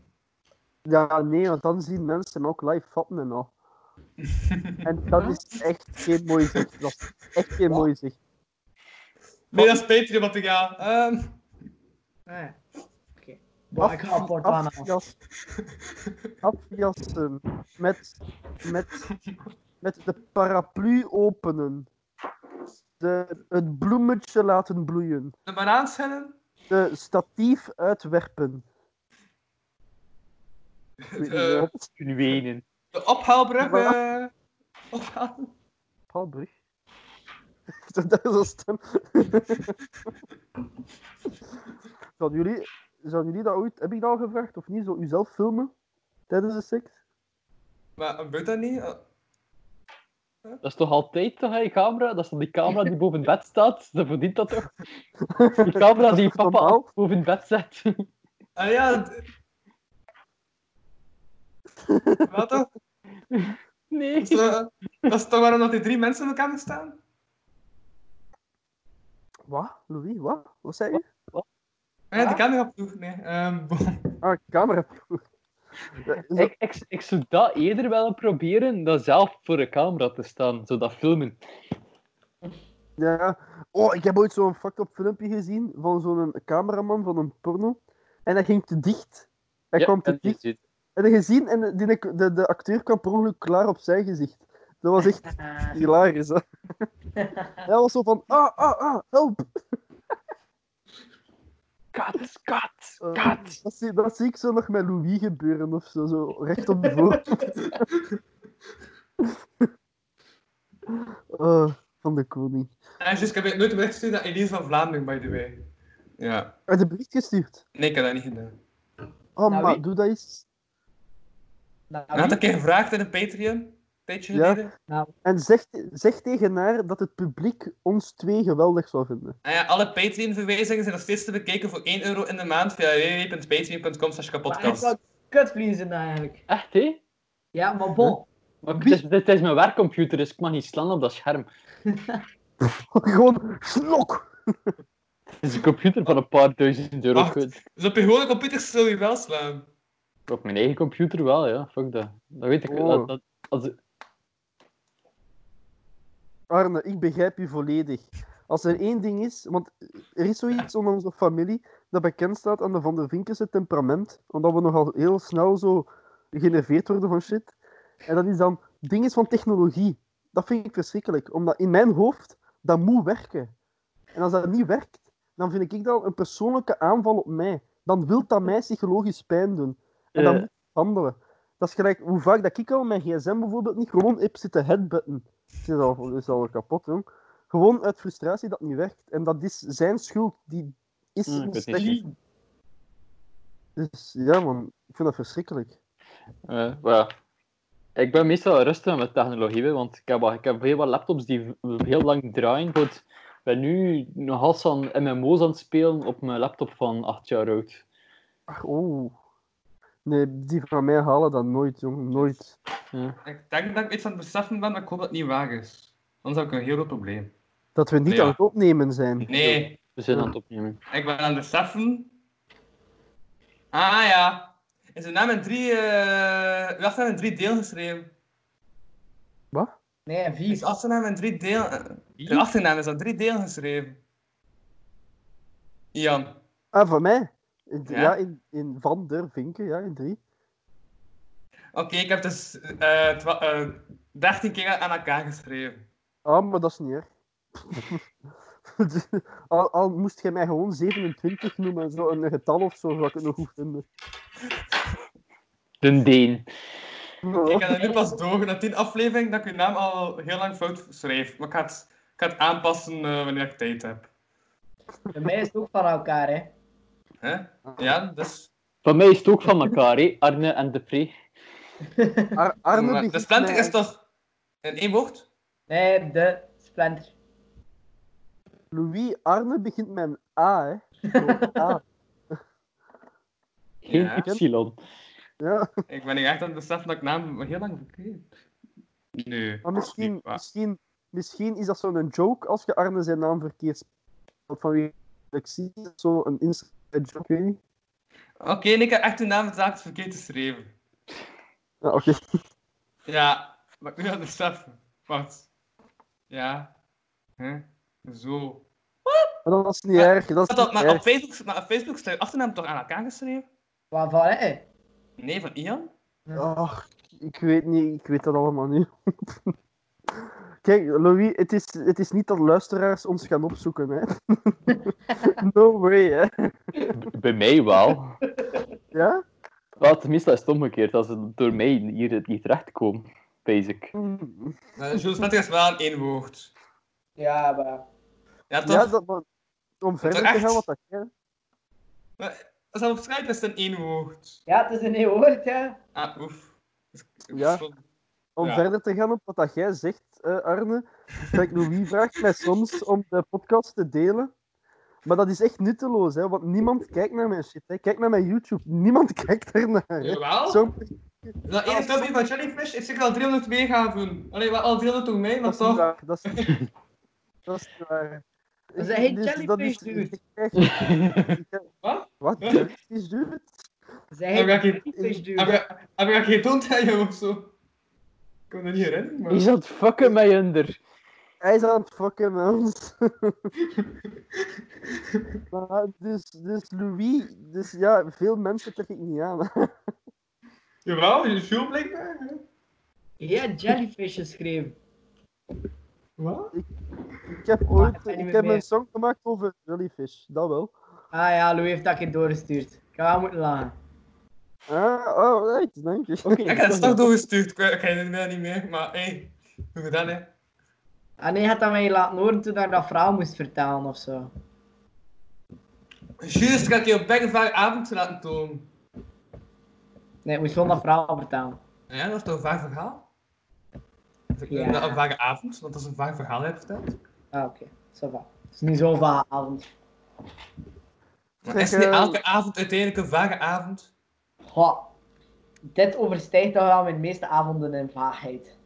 [SPEAKER 2] ja, nee, want dan zien mensen hem ook live vatten en al. En dat is echt geen mooi zicht. Dat is echt geen mooi zicht.
[SPEAKER 4] Nee, dat is Patreon materiaal. Ehm
[SPEAKER 5] Ah, Oké. Bah, Ik ga een port aan.
[SPEAKER 2] Afjas- Afjassen. Met, met, met de paraplu openen. De, het bloemetje laten bloeien.
[SPEAKER 4] de banaanschillen,
[SPEAKER 2] De statief uitwerpen. Ik weet niet
[SPEAKER 4] Eh.
[SPEAKER 2] wat.
[SPEAKER 3] Kunnen wenen.
[SPEAKER 4] de ophaalbrug. eh, ophaal-
[SPEAKER 2] Paalbrug. dat is een stem. zouden, jullie, zouden jullie dat ooit, heb ik dat al gevraagd of niet? Zo uzelf filmen tijdens de seks?
[SPEAKER 4] Maar gebeurt dat niet? Eh,
[SPEAKER 3] Dat is toch altijd toch, hè, die camera? Dat is toch die camera die boven het bed staat? Dat verdient dat toch? Die camera die
[SPEAKER 2] is toch
[SPEAKER 3] papa
[SPEAKER 2] normaal?
[SPEAKER 3] altijd boven het bed zet.
[SPEAKER 4] Ah ja. d- Wat toch?
[SPEAKER 3] Nee.
[SPEAKER 4] Dat is, eh, dat is toch waarom dat die drie mensen in elkaar staan?
[SPEAKER 2] Wat? Louis, wat? Wat zei je?
[SPEAKER 4] Ah ja, de camera ploeg. Nee. ehm, bon.
[SPEAKER 2] Ah, camera. Zo-
[SPEAKER 3] Ik, ik, ik zou dat eerder wel proberen dan zelf voor de camera te staan, zo dat filmen.
[SPEAKER 2] Ja. Oh, ik heb ooit zo'n fucked up filmpje gezien van zo'n cameraman van een porno. En hij ging te dicht. Hij
[SPEAKER 3] Ja,
[SPEAKER 2] kwam te
[SPEAKER 3] dat is
[SPEAKER 2] dicht.
[SPEAKER 3] het.
[SPEAKER 2] En hij gezien en die, de, de acteur kwam per ongeluk klaar op zijn gezicht. Dat was echt
[SPEAKER 5] Ah.
[SPEAKER 2] hilarisch, hè. Hij was zo van, ah, ah, ah, help.
[SPEAKER 3] Kat, kat,
[SPEAKER 2] Eh,
[SPEAKER 3] kat.
[SPEAKER 2] Dat zie, dat zie ik zo nog met Louis gebeuren of zo, zo recht op de voor. Eh, van de koning.
[SPEAKER 4] En Ah, juist, ik heb het nooit weggestuurd dat Elise van Vlaanderen, by the way. Ja.
[SPEAKER 2] Hij de bericht gestuurd.
[SPEAKER 4] Nee, ik heb dat niet gedaan.
[SPEAKER 2] Oh,
[SPEAKER 5] Naar
[SPEAKER 2] maar
[SPEAKER 5] wie?
[SPEAKER 2] doe dat eens.
[SPEAKER 5] Nou,
[SPEAKER 4] Hij had een keer gevraagd in een Patreon. Een tijdje
[SPEAKER 2] Ja.
[SPEAKER 4] geleden.
[SPEAKER 2] En zeg, zeg tegen haar dat het publiek ons twee geweldig zou vinden.
[SPEAKER 4] En Ah, ja, alle Patreon-verwijzingen zijn nog steeds te bekijken voor 1 euro in de maand via www.patreon.com slash
[SPEAKER 5] maar ik
[SPEAKER 4] kapodcast.
[SPEAKER 5] zou kutvliezen dan eigenlijk.
[SPEAKER 3] Echt, hé?
[SPEAKER 5] Ja, maar bon.
[SPEAKER 3] Maar het, is, het is mijn werkcomputer, dus ik mag niet slaan op dat scherm.
[SPEAKER 2] Gewoon slok!
[SPEAKER 3] Het is een computer van een paar duizend euro.
[SPEAKER 4] Wacht.
[SPEAKER 3] goed.
[SPEAKER 4] Dus op je gewone computer zul je wel slaan.
[SPEAKER 3] Op mijn eigen computer wel, ja. Fuck dat. Dat weet ik.
[SPEAKER 2] Oh.
[SPEAKER 3] Dat, dat, als,
[SPEAKER 2] Arne, ik begrijp je volledig. Als er één ding is, want er is zoiets onder onze familie dat bekend staat aan de Van der Vinkense temperament, omdat we nogal heel snel zo genereerd worden van shit. En dat is dan dingen van technologie. Dat vind ik verschrikkelijk, omdat in mijn hoofd dat moet werken. En als dat niet werkt, dan vind ik dat een persoonlijke aanval op mij. Dan wil dat mij psychologisch pijn doen. En dan
[SPEAKER 3] Eh.
[SPEAKER 2] moet ik handelen. Dat is gelijk hoe vaak dat ik al mijn gsm bijvoorbeeld niet gewoon heb zitten headbutten. Het is al, het is al kapot, jong. Gewoon uit frustratie dat het niet werkt. En dat is zijn schuld. Die is
[SPEAKER 3] Hmm, ik
[SPEAKER 2] niet
[SPEAKER 3] weet
[SPEAKER 2] slecht.
[SPEAKER 3] niet.
[SPEAKER 2] Dus ja, man. Ik vind dat verschrikkelijk.
[SPEAKER 3] eh, maar ja. Ik ben meestal rustig met technologie, hè, want ik heb, al- ik heb heel wat laptops die v- heel lang draaien. Goed, ik ben nu nogal aan MMO's aan het spelen op mijn laptop van 8 jaar oud. Dus
[SPEAKER 2] Ach, oh. Nee, die van mij halen dat nooit, jong. Nooit.
[SPEAKER 4] Ik denk dat ik iets aan het beseffen ben, maar ik hoop dat het niet waar is. Anders heb ik een heel groot probleem.
[SPEAKER 2] Dat we niet
[SPEAKER 4] Ja.
[SPEAKER 2] aan het opnemen zijn.
[SPEAKER 4] Nee,
[SPEAKER 3] We zijn aan het opnemen.
[SPEAKER 4] ik ben aan het beseffen. Ah ja. Is zijn naam in drie, eh uw achternaam in drie delen geschreven?
[SPEAKER 2] Wat?
[SPEAKER 5] Nee,
[SPEAKER 4] Is
[SPEAKER 5] vies.
[SPEAKER 4] achternaam in drie delen... Eh, Uw achternaam is aan nou, drie delen geschreven. Jan.
[SPEAKER 2] Ah, van mij? In, ja,
[SPEAKER 4] Ja.
[SPEAKER 2] in, in Van der Vinken, ja, in drie.
[SPEAKER 4] Oké, ik heb dus eh twa- eh, 13 keer aan elkaar geschreven.
[SPEAKER 2] Ah, maar dat is niet erg. al, al moest je mij gewoon 27 noemen, zo een getal of zo, zou ik het nog goed vinden.
[SPEAKER 3] De Deen.
[SPEAKER 4] Ik heb het nu pas door na 10 aflevering dat ik uw naam al heel lang fout schreef. Maar ik ga het, ik ga het aanpassen eh, wanneer ik tijd heb.
[SPEAKER 5] Bij mij is het ook van elkaar, hè.
[SPEAKER 4] Hè?
[SPEAKER 2] Ah.
[SPEAKER 4] Ja, dus...
[SPEAKER 3] Van mij is het ook van elkaar, hè? Arne en de Pre.
[SPEAKER 2] Ar- Arne
[SPEAKER 4] maar, de
[SPEAKER 2] begint
[SPEAKER 4] splinter
[SPEAKER 2] mij-
[SPEAKER 4] is toch in één woord?
[SPEAKER 5] Nee, de splinter.
[SPEAKER 2] Louis, Arne begint met een A, hè. Gewoon A.
[SPEAKER 3] Geen
[SPEAKER 4] Ja.
[SPEAKER 3] Ypsilon.
[SPEAKER 2] Ja,
[SPEAKER 4] Ik ben hier echt aan het beseffen dat ik naam heel lang verkeerd. Nee.
[SPEAKER 2] maar
[SPEAKER 4] dat is
[SPEAKER 2] misschien,
[SPEAKER 4] niet waar.
[SPEAKER 2] misschien, misschien is dat zo'n joke als je Arne zijn naam verkeerd speelt. Vanwege dyslexie, zo'n inside joke, ik weet niet.
[SPEAKER 4] Oké, en ik heb echt uw naam zaak verkeerd geschreven.
[SPEAKER 2] Ja, Ah, oké.
[SPEAKER 4] Ja, maar ik ben nu aan het beseffen. Wat? Ja. Hè? Zo.
[SPEAKER 2] Maar dat is niet erg, dat is
[SPEAKER 4] Maar, dat,
[SPEAKER 2] niet
[SPEAKER 4] maar,
[SPEAKER 2] erg.
[SPEAKER 4] op Facebook, maar op Facebook staat je achternaam toch aan elkaar geschreven?
[SPEAKER 5] Wat van, hè?
[SPEAKER 4] Nee, van Ian?
[SPEAKER 2] Ach, ik weet niet, ik weet dat allemaal niet. Kijk, Louis, het is, het is niet dat luisteraars ons gaan opzoeken, hè. no way, hè.
[SPEAKER 3] Bij mij wel.
[SPEAKER 2] Ja?
[SPEAKER 3] Wel, tenminste, dat is het omgekeerd. Als ze door mij hier niet terechtkomen, basic.
[SPEAKER 2] Mm.
[SPEAKER 4] Eh, Jules Splinter is wel in één woord.
[SPEAKER 5] Ja, maar...
[SPEAKER 4] Ja, toch?
[SPEAKER 2] Ja, dat, maar om verder te
[SPEAKER 4] echt?
[SPEAKER 2] gaan wat dat jij...
[SPEAKER 4] Als dat op Skype is, het in één woord.
[SPEAKER 5] Ja, het is een heel woord, ja.
[SPEAKER 4] Ah, oef. Dus ik-
[SPEAKER 2] Ja. Om
[SPEAKER 4] Ja.
[SPEAKER 2] verder te gaan op wat dat jij zegt, eh, Arne, dat ik Louis vraagt mij soms om de podcast te delen. Maar dat is echt nutteloos, hè, want niemand kijkt naar mijn shit. Hè. Kijk naar mijn YouTube, niemand kijkt ernaar. Hè.
[SPEAKER 4] Jawel?
[SPEAKER 2] Zo, Nou,
[SPEAKER 4] Dat ene filmpje van Jellyfish heeft zeker al 300 meegaven. Allee, wel al 300 door mij,
[SPEAKER 2] dat
[SPEAKER 4] maar
[SPEAKER 2] is niet
[SPEAKER 4] toch.
[SPEAKER 2] waar. Dat is, dat is niet waar.
[SPEAKER 5] Dat is geen
[SPEAKER 2] Dus
[SPEAKER 5] jellyfish, dude.
[SPEAKER 2] ik krijg- ik krijg-
[SPEAKER 4] Wat?
[SPEAKER 2] Wat? Jellyfish, dude?
[SPEAKER 5] Zij
[SPEAKER 4] Heb ik dat
[SPEAKER 5] het
[SPEAKER 4] geen-
[SPEAKER 5] kritisch
[SPEAKER 4] heb
[SPEAKER 5] duur.
[SPEAKER 4] ik- heb ik dat geen toont aan jou of zo? Ik kan me dat niet herinneren, maar...
[SPEAKER 3] Is dat fucken met Junder?
[SPEAKER 2] Hij is aan het fucken met ons. Maar dus, dus Louis, dus ja, veel mensen trek ik niet aan.
[SPEAKER 4] Jawel, je viel blijkbaar. hè.
[SPEAKER 5] Ja, jellyfish geschreven.
[SPEAKER 4] Wat?
[SPEAKER 2] Ik heb
[SPEAKER 5] Maar het
[SPEAKER 2] ooit
[SPEAKER 5] zijn niet
[SPEAKER 2] ik
[SPEAKER 5] meer
[SPEAKER 2] heb een
[SPEAKER 5] meer.
[SPEAKER 2] song gemaakt over Jellyfish, dat wel.
[SPEAKER 5] Ah ja, Louis heeft dat keer doorgestuurd. Ik ga wel moeten lachen.
[SPEAKER 2] Ah, alright, dank je.
[SPEAKER 4] Ik heb het toch doorgestuurd, ik weet- ik herinner me dat niet meer, maar hé, hoe gedaan hè?
[SPEAKER 5] En Ah, hij had dat mij laten horen toen ik dat verhaal moest vertalen of zo.
[SPEAKER 4] Juist, ik had je op Bekkenvaar avond laten tonen.
[SPEAKER 5] Nee, ik moest gewoon dat verhaal vertalen.
[SPEAKER 4] Ja, dat is toch een vaag verhaal? Dat is
[SPEAKER 5] Ja.
[SPEAKER 4] Een een vage avond, want dat is een vaag verhaal heb je verteld.
[SPEAKER 5] Ah, oké. zo va. Het is niet zo'n vage avond.
[SPEAKER 4] Maar is
[SPEAKER 2] Zeg,
[SPEAKER 4] niet
[SPEAKER 2] eh,
[SPEAKER 4] elke avond uiteindelijk een vage avond?
[SPEAKER 5] Goh. Dit overstijgt toch wel mijn meeste avonden in vaagheid.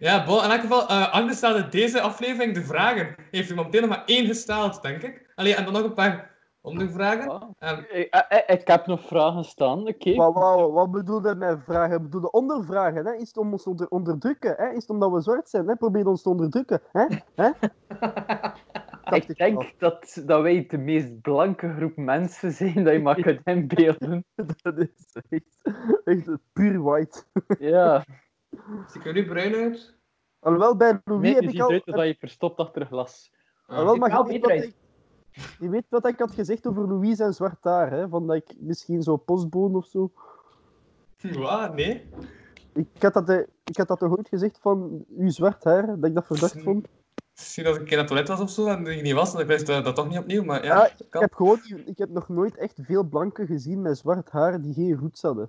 [SPEAKER 4] Ja, bon, in elk geval, eh anders stelde deze aflevering de vragen. Heeft iemand momenteel nog maar één gesteld, denk ik. Allee, en dan nog een paar ondervragen.
[SPEAKER 3] Ah.
[SPEAKER 4] Ehm,
[SPEAKER 3] Ik, eh, eh, ik heb nog vragen staan, oké.
[SPEAKER 2] Wat, wat, wat bedoelde hij met vragen? Hij bedoelde ondervragen, hè? Is het om ons te onder- onderdrukken, hè? Is het omdat we zwart zijn, hè? Probeer ons te onderdrukken, hè? hè? Dacht
[SPEAKER 3] Ik
[SPEAKER 2] wel.
[SPEAKER 3] denk dat, dat wij de meest blanke groep mensen zijn dat je maar kunt inbeelden.
[SPEAKER 2] Dat is echt, echt puur white.
[SPEAKER 3] Ja.
[SPEAKER 4] Zie ik er nu bruin uit?
[SPEAKER 2] Alhoewel, bij Louis
[SPEAKER 3] Nee,
[SPEAKER 2] heb
[SPEAKER 3] je
[SPEAKER 2] ik
[SPEAKER 3] ziet
[SPEAKER 2] al...
[SPEAKER 3] eruit als dat je verstopt achter een glas.
[SPEAKER 4] Ah.
[SPEAKER 2] Alhoewel,
[SPEAKER 5] Ziet
[SPEAKER 2] maar
[SPEAKER 5] er wel
[SPEAKER 2] je weet,
[SPEAKER 5] beter
[SPEAKER 2] wat ik, je weet wat ik had gezegd over Louis en zwart haar, hè? Van dat ik misschien zo postbode of zo...
[SPEAKER 4] Wat? Nee?
[SPEAKER 2] Ik had, dat, eh, ik had dat toch ooit gezegd van uw zwart haar, dat ik dat verdacht vond.
[SPEAKER 4] Misschien dat ik een keer naar het toilet was of zo en dat ik niet was, dan ik wist eh, dat toch niet opnieuw, maar ja,
[SPEAKER 2] Ja, Ik
[SPEAKER 4] kan.
[SPEAKER 2] heb, gewoon, ik heb nog nooit echt veel blanken gezien met zwart haar die geen roots hadden.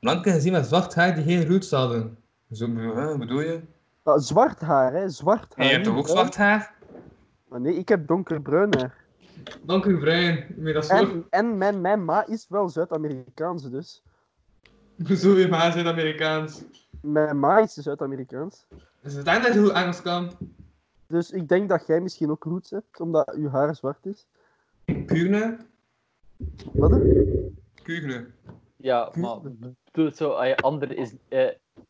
[SPEAKER 4] Blanken gezien met zwart haar die geen roots hadden. Zo, eh, bedoel je?
[SPEAKER 2] Ah, zwart haar, hè? Zwart haar.
[SPEAKER 4] En je hebt
[SPEAKER 2] niet
[SPEAKER 4] toch ook
[SPEAKER 2] bruin?
[SPEAKER 4] zwart haar?
[SPEAKER 2] Maar nee, ik heb donkerbruin haar.
[SPEAKER 4] Donkerbruin, weet je dat zo?
[SPEAKER 2] En, en mijn, mijn ma is wel Zuid-Amerikaans, dus.
[SPEAKER 4] Hoezo je maar zijn Amerikaans?
[SPEAKER 2] Mijn ma is Zuid-Amerikaans.
[SPEAKER 4] Is het eindelijk hoe Engels kan?
[SPEAKER 2] Dus ik denk dat jij misschien ook roots hebt, omdat uw haar zwart is.
[SPEAKER 4] Kugne?
[SPEAKER 2] Wat? hè?
[SPEAKER 4] Kugne.
[SPEAKER 3] Ja, maar doe het zo als je andere is, eh,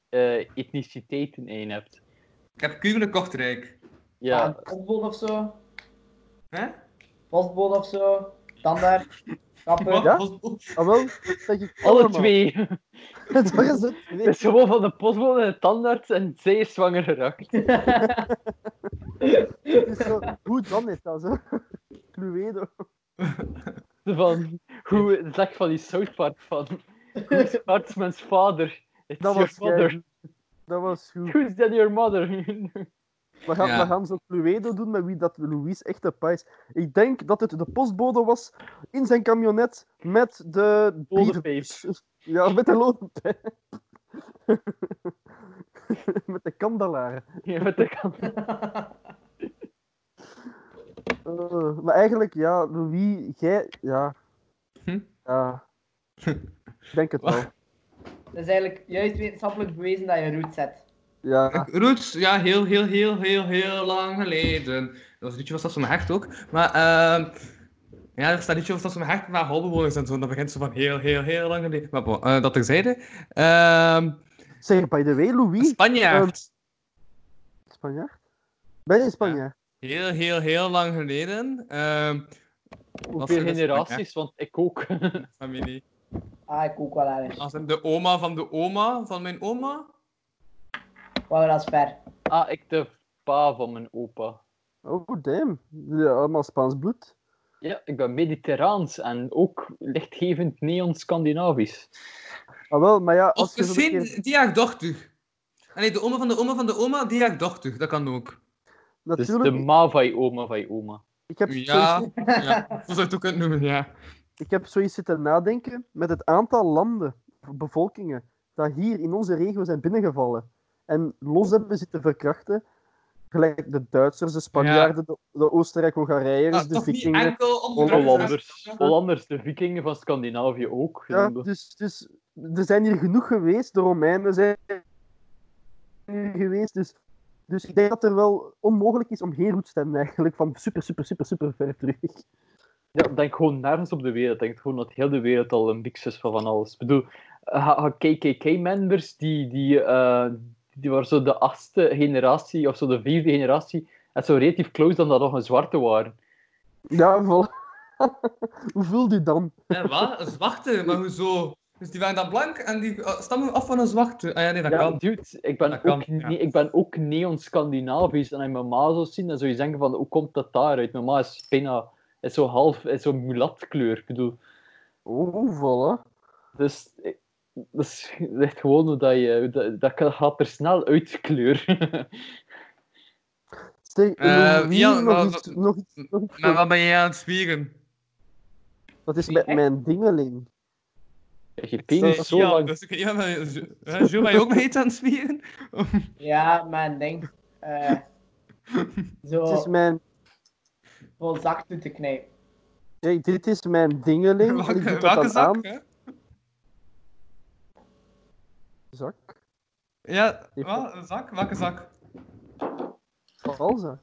[SPEAKER 3] eh, etniciteiten in hebt.
[SPEAKER 4] Ik heb Kugne Kortrijk.
[SPEAKER 5] Ja.
[SPEAKER 3] Ja,
[SPEAKER 5] Een postbode of zo.
[SPEAKER 4] Hè?
[SPEAKER 5] Postbode of zo. Standaard. Kapper.
[SPEAKER 4] Wat?
[SPEAKER 2] Ja?
[SPEAKER 4] Wat?
[SPEAKER 2] Ah, wel, dat zeg ik
[SPEAKER 3] alle
[SPEAKER 2] allemaal.
[SPEAKER 3] twee.
[SPEAKER 2] Dat is het.
[SPEAKER 3] Het is gewoon van de postbode en de tandarts en zij is zwanger geraakt.
[SPEAKER 2] Het is zo, hoe dan is dat zo? Cluedo.
[SPEAKER 3] Van, hoe zeg van die South Park van? Who's Hartman's vader? It's
[SPEAKER 2] Dat
[SPEAKER 3] your
[SPEAKER 2] was jij.
[SPEAKER 3] mother.
[SPEAKER 2] Dat was goed.
[SPEAKER 3] Who's then your mother?
[SPEAKER 2] We gaan,
[SPEAKER 4] Ja.
[SPEAKER 2] we gaan zo'n Cluedo doen met wie dat Louis echt de pa is. Ik denk dat het de postbode was in zijn camionet met de...
[SPEAKER 3] Lode
[SPEAKER 2] bierdoos. Ja, met de lode pijp. met de kandelaren.
[SPEAKER 3] ja, met de kant.
[SPEAKER 2] Eh, maar eigenlijk, ja, Louis, jij... Ja.
[SPEAKER 4] Hm?
[SPEAKER 2] Ja. Ik denk het wel.
[SPEAKER 5] Dat is eigenlijk juist wetenschappelijk bewezen dat je roet zet.
[SPEAKER 2] Ja.
[SPEAKER 4] Roots, ja, heel, heel, heel, heel, heel lang geleden. Dat liedje was dat van mijn hart ook. Maar, ehm ja, dat is dat liedje was dat van mijn hart, maar holbewoners en zo. Dat begint zo van heel, heel, heel lang geleden. Maar bon, eh, dat terzijde. Ehm
[SPEAKER 2] Zeg, by the way, Louis... eh,
[SPEAKER 4] Spanjaard.
[SPEAKER 2] Spanjaard? Ben je Spanjaard?
[SPEAKER 4] Heel, heel, heel lang geleden. Ehm
[SPEAKER 3] Hoeveel
[SPEAKER 4] dat is-
[SPEAKER 3] generaties, want ik ook.
[SPEAKER 4] familie.
[SPEAKER 5] Ah, ik ook wel erg.
[SPEAKER 4] Als in de oma van de oma van mijn oma.
[SPEAKER 5] Wauw, dat is ver.
[SPEAKER 3] ah, ik de pa van mijn opa.
[SPEAKER 2] Oh, damn. Ja, allemaal Spaans bloed.
[SPEAKER 3] Ja, ik ben mediterraans en ook lichtgevend neon-Scandinavisch.
[SPEAKER 2] Ah, wel, maar ja, als
[SPEAKER 4] Of
[SPEAKER 2] je zo'n
[SPEAKER 4] misschien
[SPEAKER 2] keer...
[SPEAKER 4] die haar dochter. Ah, Nee, de oma van de oma van de oma, die haar dochter. Dat kan ook.
[SPEAKER 3] Dus
[SPEAKER 2] Natuurlijk,
[SPEAKER 3] de ma van je oma van je oma.
[SPEAKER 2] ik heb zoiets
[SPEAKER 4] Ja, ja. Zo zou je het ook kunnen noemen, ja.
[SPEAKER 2] Ik heb zoiets zitten nadenken met het aantal landen, bevolkingen, dat hier in onze regio zijn binnengevallen. En los hebben zitten verkrachten. Gelijk de Duitsers, de Spanjaarden, de, de Oostenrijk-Hongariërs,
[SPEAKER 4] Ah,
[SPEAKER 2] de
[SPEAKER 4] toch niet
[SPEAKER 2] Vikingen.
[SPEAKER 4] enkel om de
[SPEAKER 3] Hollanders. Hollanders, de vikingen van Scandinavië ook.
[SPEAKER 2] Ja,
[SPEAKER 3] genoemd.
[SPEAKER 2] dus, dus er zijn hier genoeg geweest. De Romeinen zijn hier geweest. Dus, dus ik denk dat er wel onmogelijk is om geen route te hebben eigenlijk. Van super, super, super, super ver terug.
[SPEAKER 3] Ja, denk gewoon nergens op de wereld. Denk gewoon dat heel de wereld al een mix is van van alles. Ik bedoel, eh, ha- ha- KKK-members, die, die, eh, die waren zo de achtste generatie, of zo de vierde generatie, en zo relatief close dan dat nog een zwarte waren.
[SPEAKER 2] Ja, vol. Hoe voelt u dan?
[SPEAKER 4] En wat? Een Eh, zwarte? Maar hoezo? Dus die waren dan blank en die eh, stammen af van een zwarte. Ah ja, nee, dat
[SPEAKER 3] Ja,
[SPEAKER 4] kan.
[SPEAKER 3] dude, ik ben,
[SPEAKER 4] Dat
[SPEAKER 3] ook,
[SPEAKER 4] kan, ja.
[SPEAKER 3] nee, ik ben ook neon-Scandinavisch, en als je mijn ma zou zien, dan zou je denken van, hoe komt dat daaruit? Mijn ma is bijna, is zo half, is zo mulatkleur, ik bedoel.
[SPEAKER 2] Oh, voilà.
[SPEAKER 3] Dus ik- dat is echt gewoon hoe dat je... hoe Dat, dat kan- gaat er snel uit, kleur.
[SPEAKER 2] Zeg,
[SPEAKER 4] Eh,
[SPEAKER 2] Louis,
[SPEAKER 4] ja,
[SPEAKER 2] nog,
[SPEAKER 4] maar
[SPEAKER 2] iets,
[SPEAKER 4] dat-
[SPEAKER 2] nog iets, nog iets.
[SPEAKER 4] Maar wat ben jij aan het zwieren?
[SPEAKER 2] Wat is met mijn dingeling?
[SPEAKER 3] je penis zo
[SPEAKER 4] ja,
[SPEAKER 3] lang...
[SPEAKER 4] Dus, ik- ja, maar, eh, Jo- eh, Jo, ben je ook mee iets aan het zwieren?
[SPEAKER 5] Ja, maar denk. eh,
[SPEAKER 2] Dit is
[SPEAKER 4] Oh.
[SPEAKER 5] zo
[SPEAKER 2] mijn,
[SPEAKER 5] vol zacht toe te knijpen.
[SPEAKER 2] hey, dit is mijn dingeling. en
[SPEAKER 4] Welke,
[SPEAKER 2] ik doe dat
[SPEAKER 4] welke
[SPEAKER 2] dan
[SPEAKER 4] zak?
[SPEAKER 2] aan.
[SPEAKER 4] hè?
[SPEAKER 2] Zak?
[SPEAKER 4] Ja,
[SPEAKER 2] Die-
[SPEAKER 4] wat? Een zak? Welke zak?
[SPEAKER 2] Valzak.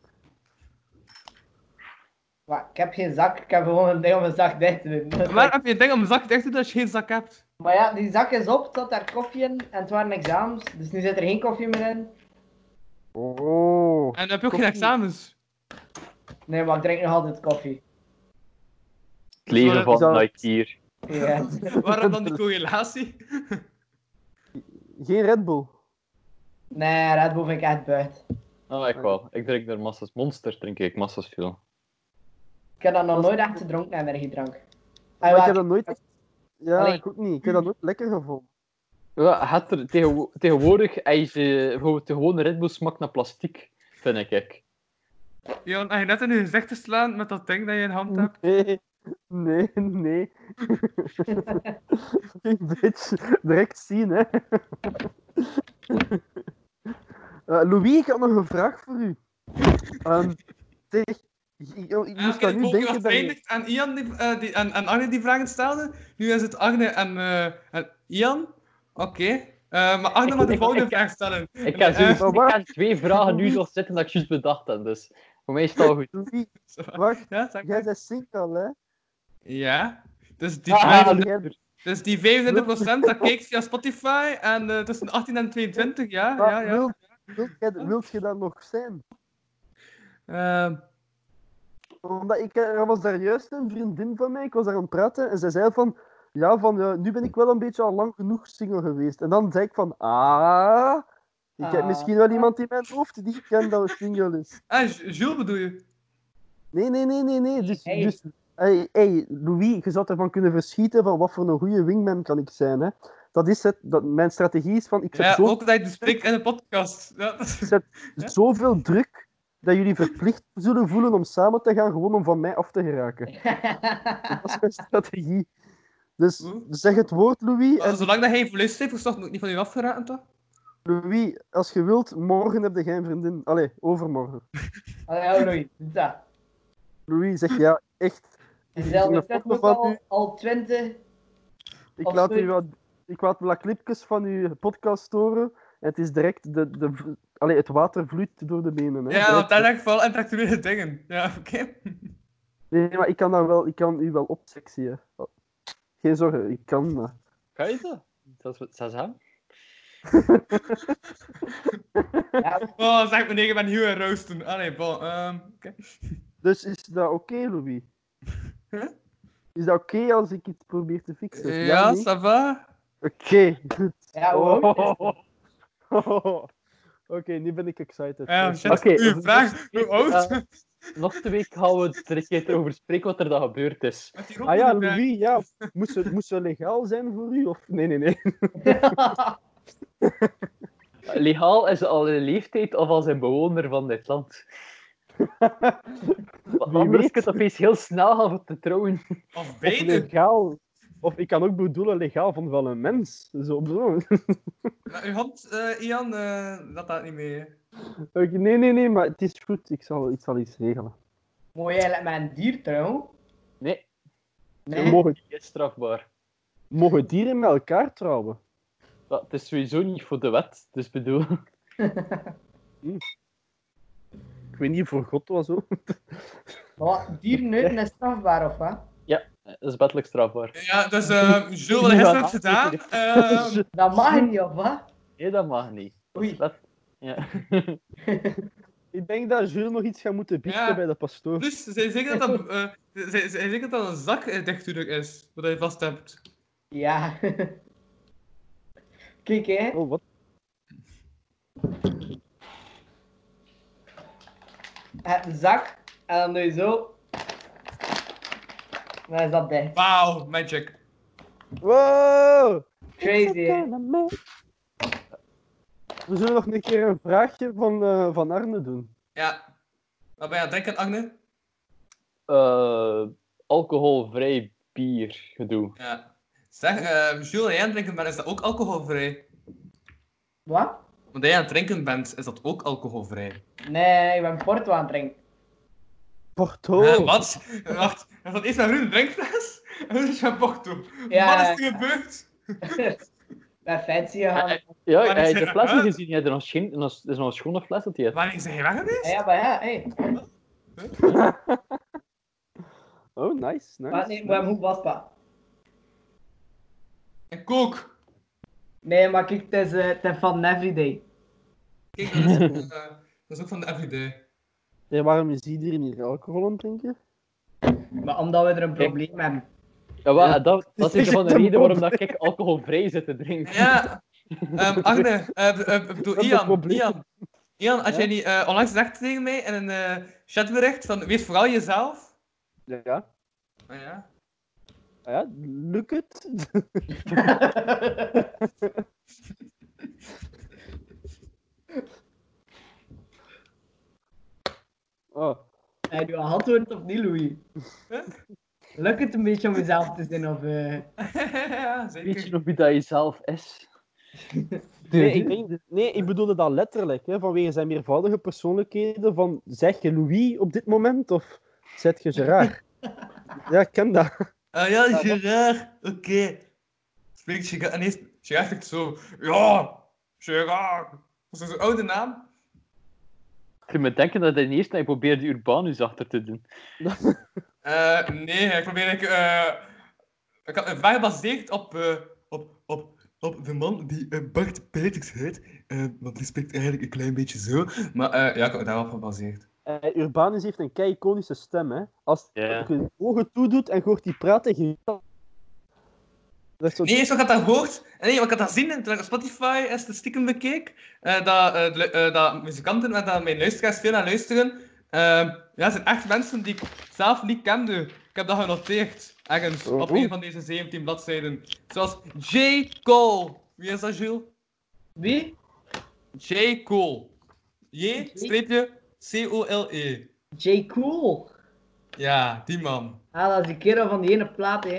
[SPEAKER 5] Maar ik heb geen zak, ik heb gewoon een ding om een zak dicht te doen.
[SPEAKER 4] Waar heb je een ding om een zak dicht te doen als je geen zak hebt?
[SPEAKER 5] Maar ja, die zak is op, zat daar koffie in en het waren examens, dus nu zit er geen koffie meer in.
[SPEAKER 2] Oh.
[SPEAKER 4] En dan heb je ook geen examens.
[SPEAKER 5] Nee, maar ik drink nog altijd koffie.
[SPEAKER 3] Het leven van
[SPEAKER 2] Zou-
[SPEAKER 3] Nikeer.
[SPEAKER 5] Ja.
[SPEAKER 4] Waarom dan die correlatie?
[SPEAKER 2] Geen Red Bull.
[SPEAKER 5] Nee, Red Bull vind ik echt buiten.
[SPEAKER 3] Ah, ik wel. Ik drink er massas monster, drink ik massas veel.
[SPEAKER 5] Ik heb dat nog nooit echt gedronken, energiedrank. Ah,
[SPEAKER 2] Maar ik
[SPEAKER 5] ja,
[SPEAKER 2] heb dat nooit... echt- Ja,
[SPEAKER 5] Allee.
[SPEAKER 2] ik ook niet. Ik heb dat nooit lekker gevonden.
[SPEAKER 3] Ja, het er tegenwo- tegenwoordig is eh, bijvoorbeeld de gewone Red Bull smaakt naar plastic, vind ik. ik.
[SPEAKER 4] Jan, als je net in je gezicht te slaan met dat ding dat je in hand hebt.
[SPEAKER 2] Nee. Nee, nee. Fucking bitch. Direct zien, hè. Eh, Louis, ik had nog een vraag voor u. Ehm zeg, ik, ik
[SPEAKER 4] En als
[SPEAKER 2] moest
[SPEAKER 4] je
[SPEAKER 2] aan
[SPEAKER 4] het
[SPEAKER 2] u
[SPEAKER 4] boekje
[SPEAKER 2] denken
[SPEAKER 4] was
[SPEAKER 2] dat je...
[SPEAKER 4] eindigt en, Ian die, eh, die, en, en Arne die vragen stelde, nu is het Arne en, eh, en Ian. Oké. Eh, maar Arne mag de
[SPEAKER 3] Ik-
[SPEAKER 4] volgende
[SPEAKER 3] ik-
[SPEAKER 4] vraag stellen.
[SPEAKER 3] Ik heb,
[SPEAKER 4] Eh,
[SPEAKER 3] zo, ik heb twee vragen nu nog zitten dat ik juist bedacht heb, dus voor mij is het al goed.
[SPEAKER 2] Louis, wacht.
[SPEAKER 4] ja, zeg maar.
[SPEAKER 2] Jij bent single, hè?
[SPEAKER 4] ja. Dus die,
[SPEAKER 3] Ah,
[SPEAKER 4] vijf-
[SPEAKER 2] jij-
[SPEAKER 4] dus die 25% dat kijkt via Spotify en eh, tussen 18 en 22, ja.
[SPEAKER 2] Maar
[SPEAKER 4] ja, ja.
[SPEAKER 2] Ah, Wilt, wilt, jij- wilt je dat nog zijn?
[SPEAKER 4] Ehm,
[SPEAKER 2] Omdat ik er was daar juist een vriendin van mij, ik was daar aan het praten en zij zei van, ja, van eh, nu ben ik wel een beetje al lang genoeg single geweest. En dan zei ik van, ah, ik heb
[SPEAKER 5] Ah.
[SPEAKER 2] misschien wel iemand in mijn hoofd die kent dat we single is.
[SPEAKER 4] ah, J- Jules bedoel je?
[SPEAKER 2] Nee, nee, nee, nee, nee. Dus,
[SPEAKER 5] Hey.
[SPEAKER 2] dus hey, hey, Louis, je zou ervan kunnen verschieten van wat voor een goede wingman kan ik zijn. Hè? Dat is het, dat, mijn strategie is van, ik zet
[SPEAKER 4] Ja,
[SPEAKER 2] zo
[SPEAKER 4] ook dat je het bespreekt in de podcast. Ja, dat is- Ja.
[SPEAKER 2] zoveel druk dat jullie verplicht zullen voelen om samen te gaan, gewoon om van mij af te geraken. Dat is mijn strategie. Dus
[SPEAKER 4] Oeh.
[SPEAKER 2] zeg het woord, Louis.
[SPEAKER 4] Maar
[SPEAKER 2] En
[SPEAKER 4] zolang dat hij verlies heeft gestopt, moet ik niet van u afgeraten, toch?
[SPEAKER 2] Louis, als je wilt, morgen heb je geen vriendin. Allee, overmorgen.
[SPEAKER 5] Hallo Louis, dat.
[SPEAKER 2] Louis zegt ja, echt.
[SPEAKER 5] Dezelfde
[SPEAKER 2] Ik
[SPEAKER 5] tijd
[SPEAKER 2] vond
[SPEAKER 5] ook
[SPEAKER 2] dat
[SPEAKER 5] al,
[SPEAKER 2] nu-
[SPEAKER 5] al 20.
[SPEAKER 2] Ik
[SPEAKER 5] Of
[SPEAKER 2] laat,
[SPEAKER 5] zoiets.
[SPEAKER 2] u wat, ik laat wat clipjes van uw podcast horen. En het is direct de, de, v- allee, het water vloeit door de benen. Hè.
[SPEAKER 4] Ja, want
[SPEAKER 2] Direct.
[SPEAKER 4] daar denk ik vooral intellectuele dingen. Ja, oké.
[SPEAKER 2] Nee, maar ik kan, dan wel, ik kan u wel opsexen. Geen zorgen, ik kan dat.
[SPEAKER 3] Kan je dat? Dat is dat is hem.
[SPEAKER 5] Ja,
[SPEAKER 4] Oh, zeg meneer, ik ben heel aan roosten. Allee, bon. ehm, oké.
[SPEAKER 2] Dus is dat oké, Louis?
[SPEAKER 4] Huh?
[SPEAKER 2] Is dat oké als ik iets probeer te fixen?
[SPEAKER 4] Ja,
[SPEAKER 2] nee?
[SPEAKER 4] ça va?
[SPEAKER 2] Oké, goed.
[SPEAKER 5] ja hoe oud is
[SPEAKER 2] Oh.
[SPEAKER 5] het?
[SPEAKER 2] Oké, nu ben ik excited.
[SPEAKER 4] Ja,
[SPEAKER 2] Oké.
[SPEAKER 4] shit.
[SPEAKER 3] Oké,
[SPEAKER 4] Uw vraag, hoe oud?
[SPEAKER 3] eh, Nog twee week gaan we er een keer over spreken wat er dan gebeurd is.
[SPEAKER 4] Met die ronde
[SPEAKER 2] Ah ja,
[SPEAKER 4] vraag.
[SPEAKER 2] Louis, ja. Moest ze, moest ze legaal zijn voor u? Of... Nee, nee, nee.
[SPEAKER 3] Legaal is al een leeftijd of als een bewoner van dit land. Want
[SPEAKER 2] Wie
[SPEAKER 3] Anders
[SPEAKER 2] weet.
[SPEAKER 3] kan het opeens heel snel gaan om te trouwen.
[SPEAKER 4] eh, Of
[SPEAKER 2] Of
[SPEAKER 4] beter.
[SPEAKER 2] legaal. Of ik kan ook bedoelen legaal van wel een mens. Zo bedoel ik.
[SPEAKER 4] Maar Uw hand, eh, Ian, eh, dat gaat niet mee.
[SPEAKER 2] Oké, Nee, nee, nee, maar het is goed. Ik zal, ik zal iets regelen.
[SPEAKER 5] Mooi eigenlijk met een dier trouwen.
[SPEAKER 3] Nee,
[SPEAKER 2] We
[SPEAKER 5] Nee.
[SPEAKER 2] Mogen,
[SPEAKER 3] die is strafbaar.
[SPEAKER 2] mogen dieren met elkaar trouwen?
[SPEAKER 3] Dat het is sowieso niet voor de wet, dus bedoel...
[SPEAKER 2] Ik weet niet, voor God was ook.
[SPEAKER 5] Maar wat, dierenneuten is strafbaar, of wat?
[SPEAKER 3] Dat is wettelijk strafbaar.
[SPEAKER 4] Ja, dus eh Jules, wat hij gisteren hebt gedaan. eh,
[SPEAKER 5] Dat mag niet, of wat?
[SPEAKER 3] Nee, dat mag niet. Dat is
[SPEAKER 5] Oei.
[SPEAKER 3] wet- Ja.
[SPEAKER 2] Ik denk dat Jules nog iets gaat moeten biechten
[SPEAKER 4] Ja.
[SPEAKER 2] bij de pastoor.
[SPEAKER 4] dus, zij zeggen dat dat, eh, zij- zij zeggen dat dat een zak eh, dichtdoener is, wat je vast hebt.
[SPEAKER 5] Ja. Kijk, hè.
[SPEAKER 2] Oh, wat?
[SPEAKER 5] Het een zak. En dan doe je zo. Dan is dat dicht.
[SPEAKER 4] Wauw, magic.
[SPEAKER 2] Wow!
[SPEAKER 5] Crazy, hè.
[SPEAKER 2] We zullen nog een keer een vraagje van, eh, van Arne doen.
[SPEAKER 4] Ja. Wat ben je aan het denken, Agne?
[SPEAKER 3] Eh, alcoholvrij bier gedoe.
[SPEAKER 4] Ja. Zeg, eh Jules, jij aan het drinken bent, is dat ook alcoholvrij?
[SPEAKER 5] Wat?
[SPEAKER 4] Want jij aan het drinken bent, is dat ook alcoholvrij?
[SPEAKER 5] Nee, ik ben porto aan het drinken.
[SPEAKER 2] Porto.
[SPEAKER 4] Eh, wat? Wacht, is dat eerst mijn vriend een drinkfles? En dan is mijn porto.
[SPEAKER 5] Ja.
[SPEAKER 4] Wat is er gebeurd?
[SPEAKER 5] Bij fancy gegaan.
[SPEAKER 3] Eh, Ja,
[SPEAKER 4] Maar
[SPEAKER 3] hij
[SPEAKER 4] is
[SPEAKER 3] heeft de
[SPEAKER 4] er-
[SPEAKER 3] fles niet
[SPEAKER 4] Huh?
[SPEAKER 3] gezien. Hij heeft er nog geen, nog- er is nog een schone fles dat hij heeft.
[SPEAKER 4] Wanneer zijn jij weg geweest?
[SPEAKER 5] Ja, ja, maar ja, hé.
[SPEAKER 2] Oh, nice, nice.
[SPEAKER 5] Maar nee, ik moet hem goed vastpakken.
[SPEAKER 4] En kook.
[SPEAKER 5] Nee, maar kijk, het is, eh, het is van Everyday.
[SPEAKER 4] Kijk, dat is, eh, dat is ook van de everyday.
[SPEAKER 2] Ja, waarom is iedereen hier alcohol aan het drinken?
[SPEAKER 5] Maar omdat we er een probleem hebben.
[SPEAKER 3] Ja, wel, dat, dat is
[SPEAKER 2] Is
[SPEAKER 3] een van de
[SPEAKER 2] het een
[SPEAKER 3] reden waarom
[SPEAKER 2] probleem?
[SPEAKER 3] dat ik alcoholvrij zit te drinken.
[SPEAKER 4] Ja. Ehm Agne, eh eh, ik bedoel,
[SPEAKER 2] Dat is een
[SPEAKER 4] Ian,
[SPEAKER 2] probleem.
[SPEAKER 4] Ian. Ian, als
[SPEAKER 2] Ja?
[SPEAKER 4] jij niet eh, onlangs zegt tegen mij in een eh, chatbericht van wees vooral jezelf.
[SPEAKER 2] Ja.
[SPEAKER 4] Oh, ja.
[SPEAKER 2] Ah ja, lukt het? Oh,
[SPEAKER 5] Heb je al antwoord of niet, Louis?
[SPEAKER 4] Huh?
[SPEAKER 5] Lukt het een beetje om mezelf te zijn, of... eh,
[SPEAKER 4] ja,
[SPEAKER 3] Weet je
[SPEAKER 4] zeker.
[SPEAKER 3] nog wie dat je zelf is?
[SPEAKER 2] nee, ik denk, nee, ik bedoelde dat letterlijk, hè, vanwege zijn meervoudige persoonlijkheden. Van, zeg je Louis op dit moment of zet je Gerard? ja, ik ken dat.
[SPEAKER 4] Ah ja, Gerard, oké. Spreekt Gerard, en eerst, Gerard zegt zo, ja, Gerard. Dat is een oude naam.
[SPEAKER 3] Ik me denken dat hij eerst hij probeerde Urbanus achter te doen.
[SPEAKER 4] Eh, nee, ik probeer ik, eh, ik had een vraag gebaseerd op, eh, op, op, op de man die eh, Bart Peters heet. Eh, want die spreekt eigenlijk een klein beetje zo. Maar eh, ja, ik had daarop gebaseerd.
[SPEAKER 2] Eh, Urbanus heeft een kei-iconische stem, hè. Als
[SPEAKER 3] Ja.
[SPEAKER 2] je je ogen toedoet en je hoort die praten, je... Dat is zo-
[SPEAKER 4] Nee, eerst wat ik had dat gehoord. en Nee, wat ik had dat zien en toen ik op Spotify eens de stiekem bekeek. eh, dat, eh, de lu- eh, dat muzikanten waar dat mijn luisteraars veel naar luisteren. eh, ja, het zijn echt mensen die ik zelf niet kende. Ik heb dat genoteerd. Ergens op
[SPEAKER 2] Oh.
[SPEAKER 4] een van deze 17 bladzijden. Zoals J. Cole. Wie is dat, Jules?
[SPEAKER 5] Wie?
[SPEAKER 4] J. Cole. J-C-O-L-E.
[SPEAKER 5] J. Cool.
[SPEAKER 4] E. Ja, die man.
[SPEAKER 5] Ah, dat is die kerel van die ene plaat, hè.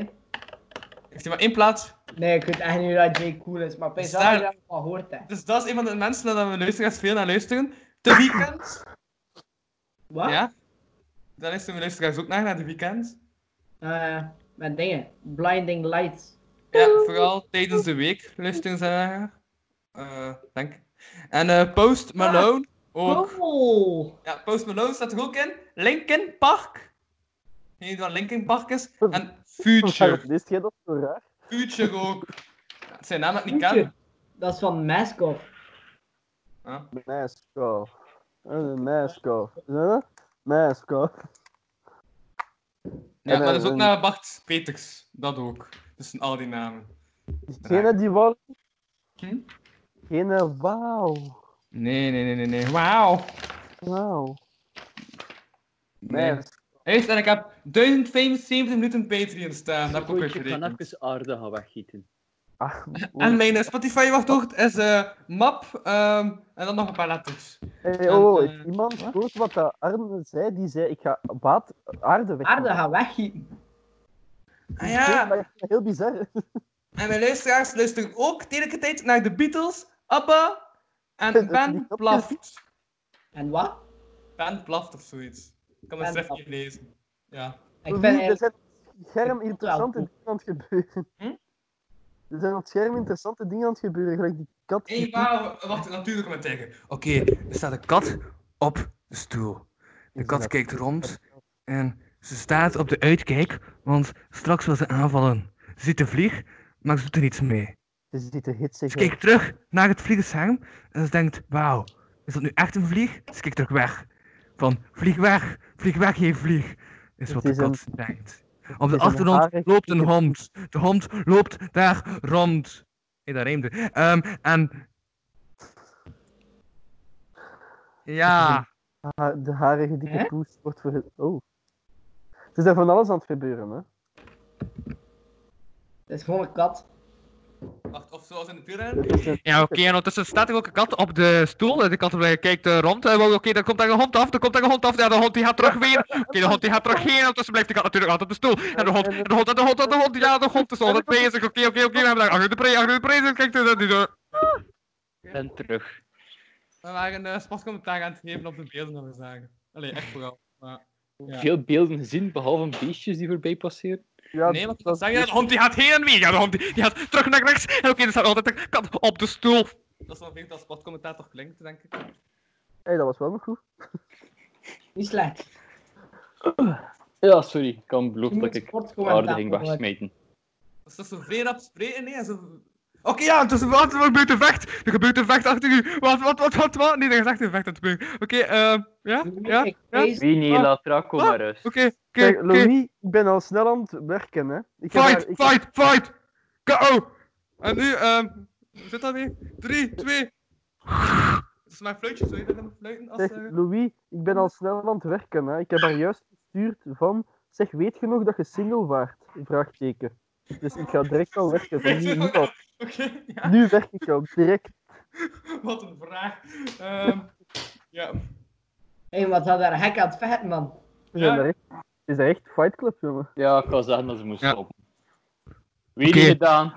[SPEAKER 4] Ik zie maar één plaats.
[SPEAKER 5] Nee, ik weet echt niet hoe dat J. Cool is, maar
[SPEAKER 4] Is
[SPEAKER 5] best wel
[SPEAKER 4] daar-
[SPEAKER 5] dat je dat al gehoord hebt.
[SPEAKER 4] Dus dat is een van de mensen waar we luisteraars veel naar luisteren. De Weekend.
[SPEAKER 5] Ah. Wat?
[SPEAKER 4] Ja. Daar luisteren we luisteraars ook naar, naar de Weekend.
[SPEAKER 5] Eh, met dingen. Blinding Lights.
[SPEAKER 4] Ja, vooral tijdens de week luisteren ze naar. Eh, denk. ik. En eh, Post
[SPEAKER 5] Ah.
[SPEAKER 4] Malone ook.
[SPEAKER 5] Oh. Cool.
[SPEAKER 4] Ja, Post Malone staat er ook in. Linkin Park. Ik weet niet wat Linkin Park is. En Future.
[SPEAKER 5] Oh.
[SPEAKER 2] Waarom Wist jij dat zo raar?
[SPEAKER 4] Future ook. Ja, het zijn namen dat ik niet
[SPEAKER 5] Future.
[SPEAKER 4] ken.
[SPEAKER 5] Dat is van Mask Off.
[SPEAKER 4] Ja.
[SPEAKER 2] Mesco. Eh, Mesco. Is dat dat? Mesco.
[SPEAKER 4] Ja,
[SPEAKER 2] En,
[SPEAKER 4] maar
[SPEAKER 2] eh,
[SPEAKER 4] dat is ook
[SPEAKER 2] en-
[SPEAKER 4] naar Bart Peters. Dat ook. Dus zijn al die namen.
[SPEAKER 2] Geen die wou...
[SPEAKER 4] Hm?
[SPEAKER 2] Geen eh, wauw.
[SPEAKER 4] Nee, nee, nee, nee, nee. Wauw.
[SPEAKER 2] Wauw.
[SPEAKER 4] Nee. Eerst, en ik heb 1075 minuten Patreon staan. Dat heb ik ook
[SPEAKER 3] Goed, ik kan
[SPEAKER 4] uitgerekend.
[SPEAKER 3] even aarde gaan weggieten.
[SPEAKER 2] Ach,
[SPEAKER 4] En mijn eh, Spotify-wachtwoord is eh, map ehm, en dan nog een paar letters.
[SPEAKER 2] hey, oh,
[SPEAKER 4] en, eh,
[SPEAKER 2] iemand hoort wat dat Arne zei. Die zei, ik ga baat aarde weg.
[SPEAKER 5] Aarde, ga weggieten.
[SPEAKER 4] Ah
[SPEAKER 2] Ja,
[SPEAKER 4] ja,
[SPEAKER 2] maar heel bizar.
[SPEAKER 4] en mijn luisteraars luisteren ook telkens tijd naar de Beatles, ABBA en Ben Plaft.
[SPEAKER 5] En wat?
[SPEAKER 4] Ben Plaft of zoiets. Ik kan
[SPEAKER 5] Ben
[SPEAKER 4] het zelf
[SPEAKER 5] Plaft.
[SPEAKER 4] niet lezen. Ja.
[SPEAKER 5] Ik vind
[SPEAKER 2] Louis, Er
[SPEAKER 5] eigenlijk...
[SPEAKER 2] zijn op het scherm interessante
[SPEAKER 5] Wel.
[SPEAKER 2] dingen aan het gebeuren.
[SPEAKER 4] Hm?
[SPEAKER 2] Er zijn op het scherm interessante dingen aan het gebeuren. Gelijk die kat.
[SPEAKER 4] Hé, hey, wauw, wacht, natuurlijk kom ik tegen. Oké, er staat een kat op de stoel. De kat kijkt rond
[SPEAKER 7] En ze staat op de uitkijk, want straks wil ze aanvallen. Ze ziet de vlieg, maar ze doet er niets mee.
[SPEAKER 2] Ze ziet er hitsig
[SPEAKER 7] Ze
[SPEAKER 2] uit.
[SPEAKER 7] kijkt Dus terug naar het vliegenscherm en ze denkt, wauw, is dat nu echt een vlieg? Ze kijkt terug weg. Van, vlieg weg, vlieg weg, geen vlieg, is
[SPEAKER 2] Het
[SPEAKER 7] wat de
[SPEAKER 2] is een-
[SPEAKER 7] kat denkt. Op de
[SPEAKER 2] is een
[SPEAKER 7] achtergrond
[SPEAKER 2] harig
[SPEAKER 7] loopt een
[SPEAKER 2] vlieger.
[SPEAKER 7] hond. De hond loopt daar rond. Hé, dat rijmde. Ehm, en... Ja,
[SPEAKER 2] Ha- de harige dikke
[SPEAKER 5] Hè?
[SPEAKER 2] poes wordt voor het. Oh. Het is daar van alles aan het gebeuren, hè?
[SPEAKER 5] Dat is gewoon een kat.
[SPEAKER 4] Wacht, of zoals in de wielrennen?
[SPEAKER 2] Het is een-
[SPEAKER 7] ja oké, en ondertussen staat er ook een kat op de stoel. En De kat eh, kijkt eh, rond. Eh, wel, Oké, daar komt daar een hond af, daar komt daar een hond af. Ja, de hond die gaat terug weer. Oké, de hond die gaat terug weer. Ondertussen blijft de kat natuurlijk altijd op de stoel. En de hond, en de hond, en de hond, en de hond. Ja, de hond is altijd bezig. Oké, oké, oké, we hebben daar achter de pre, achter de pre. Dus Kijk, dat is zo.
[SPEAKER 3] En terug.
[SPEAKER 4] We waren
[SPEAKER 7] eh,
[SPEAKER 4] een sportcommentaar aan het geven op de beelden dat we zagen. Allee, echt vooral. Maar, ja.
[SPEAKER 3] Veel beelden gezien, behalve beestjes die voorbij passeren.
[SPEAKER 2] Ja,
[SPEAKER 4] Nee, want
[SPEAKER 2] dat-
[SPEAKER 4] dat zag je
[SPEAKER 7] Ja,
[SPEAKER 4] dat
[SPEAKER 7] de
[SPEAKER 4] hond.
[SPEAKER 7] hond die gaat heen en weer. Ja, de hond die, die gaat terug naar rechts. En oké, er staat altijd een kat op de stoel.
[SPEAKER 4] Dat is wel vreemd als sportcommentaar toch klinkt, denk ik.
[SPEAKER 2] hey, dat was wel nog goed.
[SPEAKER 5] Niet slecht.
[SPEAKER 3] Ja, sorry. Ik kan beloven
[SPEAKER 5] Je
[SPEAKER 3] dat
[SPEAKER 5] moet
[SPEAKER 3] ik
[SPEAKER 5] sportcommentaar
[SPEAKER 3] aarde ging
[SPEAKER 5] volgen.
[SPEAKER 3] wegsmijten.
[SPEAKER 4] Dat is toch zo vrij rap spreken, nee? en Zo...
[SPEAKER 7] Oké, ja, het is wat, er gebeurt een vecht. Er gebeurt een vecht achter u. Wat, wat, wat, wat, wat? Nee, er is echt een vecht aan het gebeuren. Oké, ehm, ja, ja,
[SPEAKER 5] Ik
[SPEAKER 7] ja.
[SPEAKER 5] vrees-
[SPEAKER 3] Wie niet, laat Draco maar rust.
[SPEAKER 7] oké, oké,
[SPEAKER 2] Kijk,
[SPEAKER 7] oké.
[SPEAKER 2] Louis, ik ben al snel aan het werken, hè? Ik heb
[SPEAKER 7] Fight,
[SPEAKER 2] daar- ik-
[SPEAKER 7] fight, fight! KO! En nu, ehm, hoe zit dat nu? 3, 2.
[SPEAKER 4] Dat is maar fluitjes, zou je dat dan fluiten? Als,
[SPEAKER 2] Zeg,
[SPEAKER 4] eh,
[SPEAKER 2] Louis, ik ben al snel aan het werken, hè? Ik heb haar juist gestuurd van. Zeg, weet je nog dat je single waart? Vraagteken. Dus ik ga direct al werken. van nu, nu, al.
[SPEAKER 4] Oké, ja.
[SPEAKER 2] nu werk ik al direct.
[SPEAKER 4] Wat een vraag. Ehm, ja.
[SPEAKER 5] Hé, wat had daar hek aan het vechten, man.
[SPEAKER 2] We zijn
[SPEAKER 4] Ja.
[SPEAKER 2] daar echt- Het is daar echt Fight Club, jongen.
[SPEAKER 3] Ja, ik kan zeggen dat ze moest
[SPEAKER 7] Ja.
[SPEAKER 3] stoppen. Wie
[SPEAKER 7] Oké.
[SPEAKER 3] niet gedaan?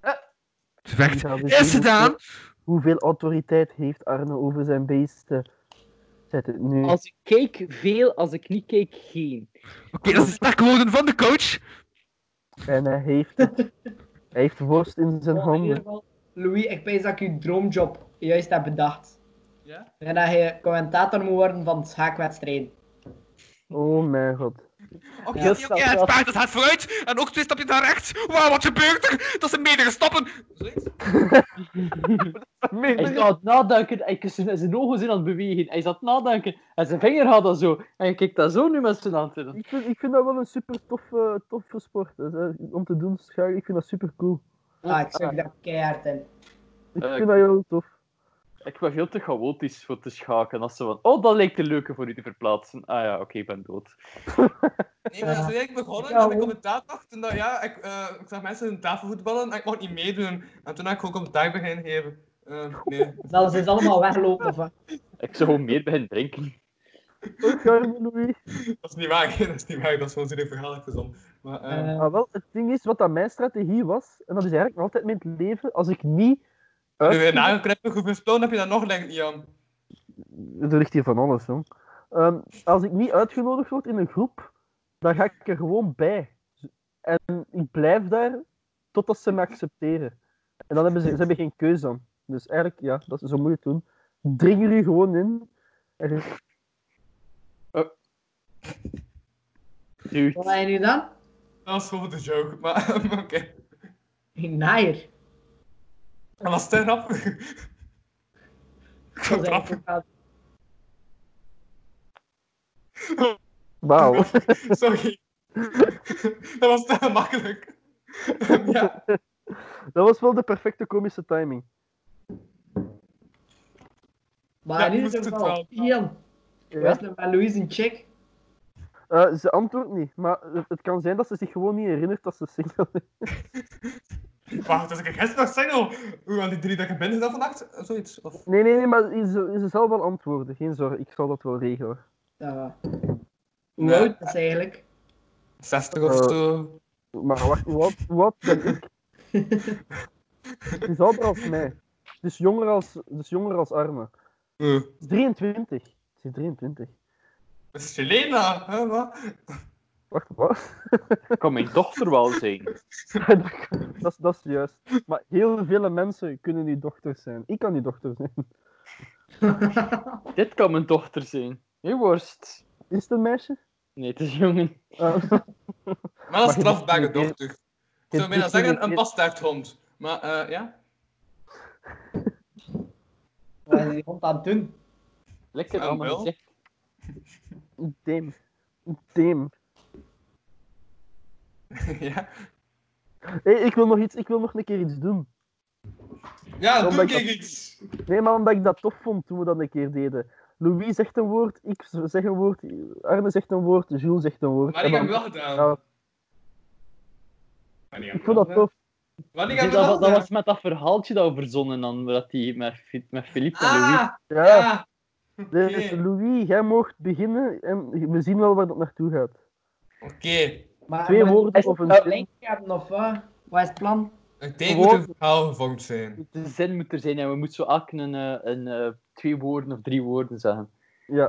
[SPEAKER 7] Het vecht
[SPEAKER 2] Die gaan dus
[SPEAKER 7] is
[SPEAKER 2] zien
[SPEAKER 7] gedaan!
[SPEAKER 2] Hoeveel autoriteit heeft Arne over zijn beesten? Zet het nu.
[SPEAKER 3] Als ik kijk, veel. Als ik niet kijk, geen.
[SPEAKER 7] Oké, dat is sterk woorden van de coach.
[SPEAKER 2] En hij heeft het. Hij heeft worst in zijn
[SPEAKER 4] Oh,
[SPEAKER 5] Maar in ieder
[SPEAKER 2] handen.
[SPEAKER 5] geval, Louis, ik weet dat ik je droomjob juist heb bedacht.
[SPEAKER 4] Ja?
[SPEAKER 5] En dat je commentator moet worden van schaakwedstrijden.
[SPEAKER 2] Oh mijn god.
[SPEAKER 4] Oké,
[SPEAKER 5] Ja.
[SPEAKER 4] ja.
[SPEAKER 7] Ja, het paard dat gaat vooruit en ook twee stapjes naar rechts. Wauw, wat gebeurt er? Dat zijn meerdere stappen.
[SPEAKER 4] zoiets.
[SPEAKER 3] Hij is aan het nadenken, hij is zijn, zijn ogen zijn aan het bewegen, hij is aan het nadenken, en zijn vinger gaat dat zo, en je kijkt dat zo nu met zijn hand in.
[SPEAKER 2] Ik vind, ik vind dat wel een super toffe, toffe sport. hè. Om te doen, schaken, ik vind dat super cool.
[SPEAKER 5] Ah, ik zag daar keihard in.
[SPEAKER 2] Ik
[SPEAKER 3] Eh,
[SPEAKER 2] vind dat heel tof.
[SPEAKER 3] Ik ben veel te chaotisch voor te schaken, als ze van, oh, dat lijkt een leuke voor u te verplaatsen. Ah ja, oké, ik ben dood.
[SPEAKER 4] Nee, maar toen ik begonnen
[SPEAKER 5] Ja,
[SPEAKER 4] en ik
[SPEAKER 5] hoor.
[SPEAKER 4] commentaar dacht, toen dat, ja, ik, eh, ik zag mensen hun tafel voetballen en ik mocht niet meedoen. En toen heb ik gewoon commentaar beginnen geven. Eh, nee.
[SPEAKER 5] Dan zijn ze allemaal weglopen. Of, wat?
[SPEAKER 3] Ik zou gewoon meer beginnen drinken.
[SPEAKER 2] Charme, Louis.
[SPEAKER 4] Dat is niet waar, dat is niet waar. Dat is gewoon zo'n verhaal dat ik verzon. Maar, eh,
[SPEAKER 5] Eh,
[SPEAKER 2] Ah, wel, het ding is, wat dat mijn strategie was, en dat is eigenlijk nog altijd mijn leven, als ik niet...
[SPEAKER 4] nu weer
[SPEAKER 2] uitkom-
[SPEAKER 4] nageknippen, hoeveel spullen heb je dan nog, denk ik, Jan?
[SPEAKER 2] Er ligt hier van alles, jong. Ehm, als ik niet uitgenodigd word in een groep, dan ga ik er gewoon bij. En ik blijf daar totdat ze me accepteren. En dan hebben ze, ze hebben geen keuze dan. Dus eigenlijk, ja, dat is zo moet je het doen. Dring er u gewoon in. En je-
[SPEAKER 3] Dude.
[SPEAKER 5] wat heb je nu dan?
[SPEAKER 4] Dat was gewoon de joke, maar maar oké.
[SPEAKER 5] Een naaier.
[SPEAKER 4] Dat was te grappig.
[SPEAKER 5] Dat is
[SPEAKER 4] Grappig.
[SPEAKER 5] eigenlijk wel-
[SPEAKER 2] Wauw.
[SPEAKER 4] Sorry. dat was te makkelijk. ja,
[SPEAKER 2] Dat was wel de perfecte komische timing.
[SPEAKER 4] Ja,
[SPEAKER 5] Maar in
[SPEAKER 4] moest
[SPEAKER 5] ieder
[SPEAKER 4] het
[SPEAKER 5] geval,
[SPEAKER 4] wel.
[SPEAKER 5] Ian.
[SPEAKER 2] Ja.
[SPEAKER 5] Was nog maar Louise een chick?
[SPEAKER 2] Eh, ze antwoordt niet, maar het, het kan zijn dat ze zich gewoon niet herinnert dat ze single is.
[SPEAKER 4] wacht, dus ik gisteren nog single. Hoe aan die drie dat ik binnen zat vannacht? Eh, Zoiets. Of...
[SPEAKER 2] Nee, nee, nee, maar ze, ze zal wel antwoorden. Geen zorg, ik zal dat wel regelen.
[SPEAKER 5] Ja. Hoe
[SPEAKER 4] Nee.
[SPEAKER 5] oud is ze eigenlijk?
[SPEAKER 4] 60 of
[SPEAKER 2] Eh.
[SPEAKER 4] zo.
[SPEAKER 2] Maar wacht, hoe oud- hoe oud ben ik? Het is ouder als mij. Dus jonger als, dus jonger als Arne.
[SPEAKER 4] Oeh.
[SPEAKER 2] Het is 23. Het is 23.
[SPEAKER 4] Dat is Jelena, hè, wat?
[SPEAKER 2] Wacht, wat?
[SPEAKER 3] Kan mijn dochter wel zijn?
[SPEAKER 2] dat, is, dat is juist. Maar heel veel mensen kunnen nu dochters zijn. Ik kan nu dochter zijn.
[SPEAKER 3] Dit kan mijn dochter zijn. Meerworst.
[SPEAKER 2] Is het een meisje?
[SPEAKER 3] Nee, het is jongen.
[SPEAKER 2] Eh,
[SPEAKER 4] Maar dat is
[SPEAKER 2] Maar je-
[SPEAKER 4] strafbare
[SPEAKER 2] je-
[SPEAKER 4] dochter. Ik zou bijna zeggen, een bastaardhond. Maar eh, ja,
[SPEAKER 5] Wat is die hond aan het doen?
[SPEAKER 3] Lekker
[SPEAKER 4] Ah,
[SPEAKER 3] allemaal
[SPEAKER 4] wel.
[SPEAKER 3] gezicht.
[SPEAKER 2] Damn. Damn.
[SPEAKER 4] ja.
[SPEAKER 2] Hé, ik wil nog iets, ik wil nog een keer iets doen.
[SPEAKER 4] Ja,
[SPEAKER 2] Omdat
[SPEAKER 4] doe
[SPEAKER 2] ik
[SPEAKER 4] ik
[SPEAKER 2] dat-
[SPEAKER 4] iets.
[SPEAKER 2] Nee, maar omdat ik dat tof vond toen we dat een keer deden. Louis zegt een woord, ik z- zeg een woord, Arne zegt een woord, Jules zegt een woord.
[SPEAKER 4] Maar
[SPEAKER 2] En
[SPEAKER 4] ik heb hem
[SPEAKER 2] dan-
[SPEAKER 4] wel gedaan.
[SPEAKER 2] Ja.
[SPEAKER 4] Maar
[SPEAKER 2] Ik vond dat tof.
[SPEAKER 4] Wat ik heb
[SPEAKER 3] Dat,
[SPEAKER 4] hem wel
[SPEAKER 3] dat, dat
[SPEAKER 4] gedaan.
[SPEAKER 3] was met dat verhaaltje dat we verzonnen dan, dat die met, Fi- met Philippe en Louis.
[SPEAKER 4] Ah,
[SPEAKER 2] Ja,
[SPEAKER 4] ja.
[SPEAKER 2] dus
[SPEAKER 4] oké.
[SPEAKER 2] Louis, jij mocht beginnen en we zien wel waar dat naartoe gaat.
[SPEAKER 4] Oké,
[SPEAKER 5] Maar
[SPEAKER 2] Twee
[SPEAKER 5] moet je
[SPEAKER 2] woorden
[SPEAKER 5] best
[SPEAKER 2] of een
[SPEAKER 5] wel
[SPEAKER 2] zin.
[SPEAKER 5] link hebben, of wat? Wat is het plan?
[SPEAKER 4] ik denk
[SPEAKER 3] Gewoon-
[SPEAKER 4] moet een verhaal gevormd zijn.
[SPEAKER 3] De zin moet er zijn en we moeten zo elk een, eh, een, eh, twee woorden of drie woorden zeggen.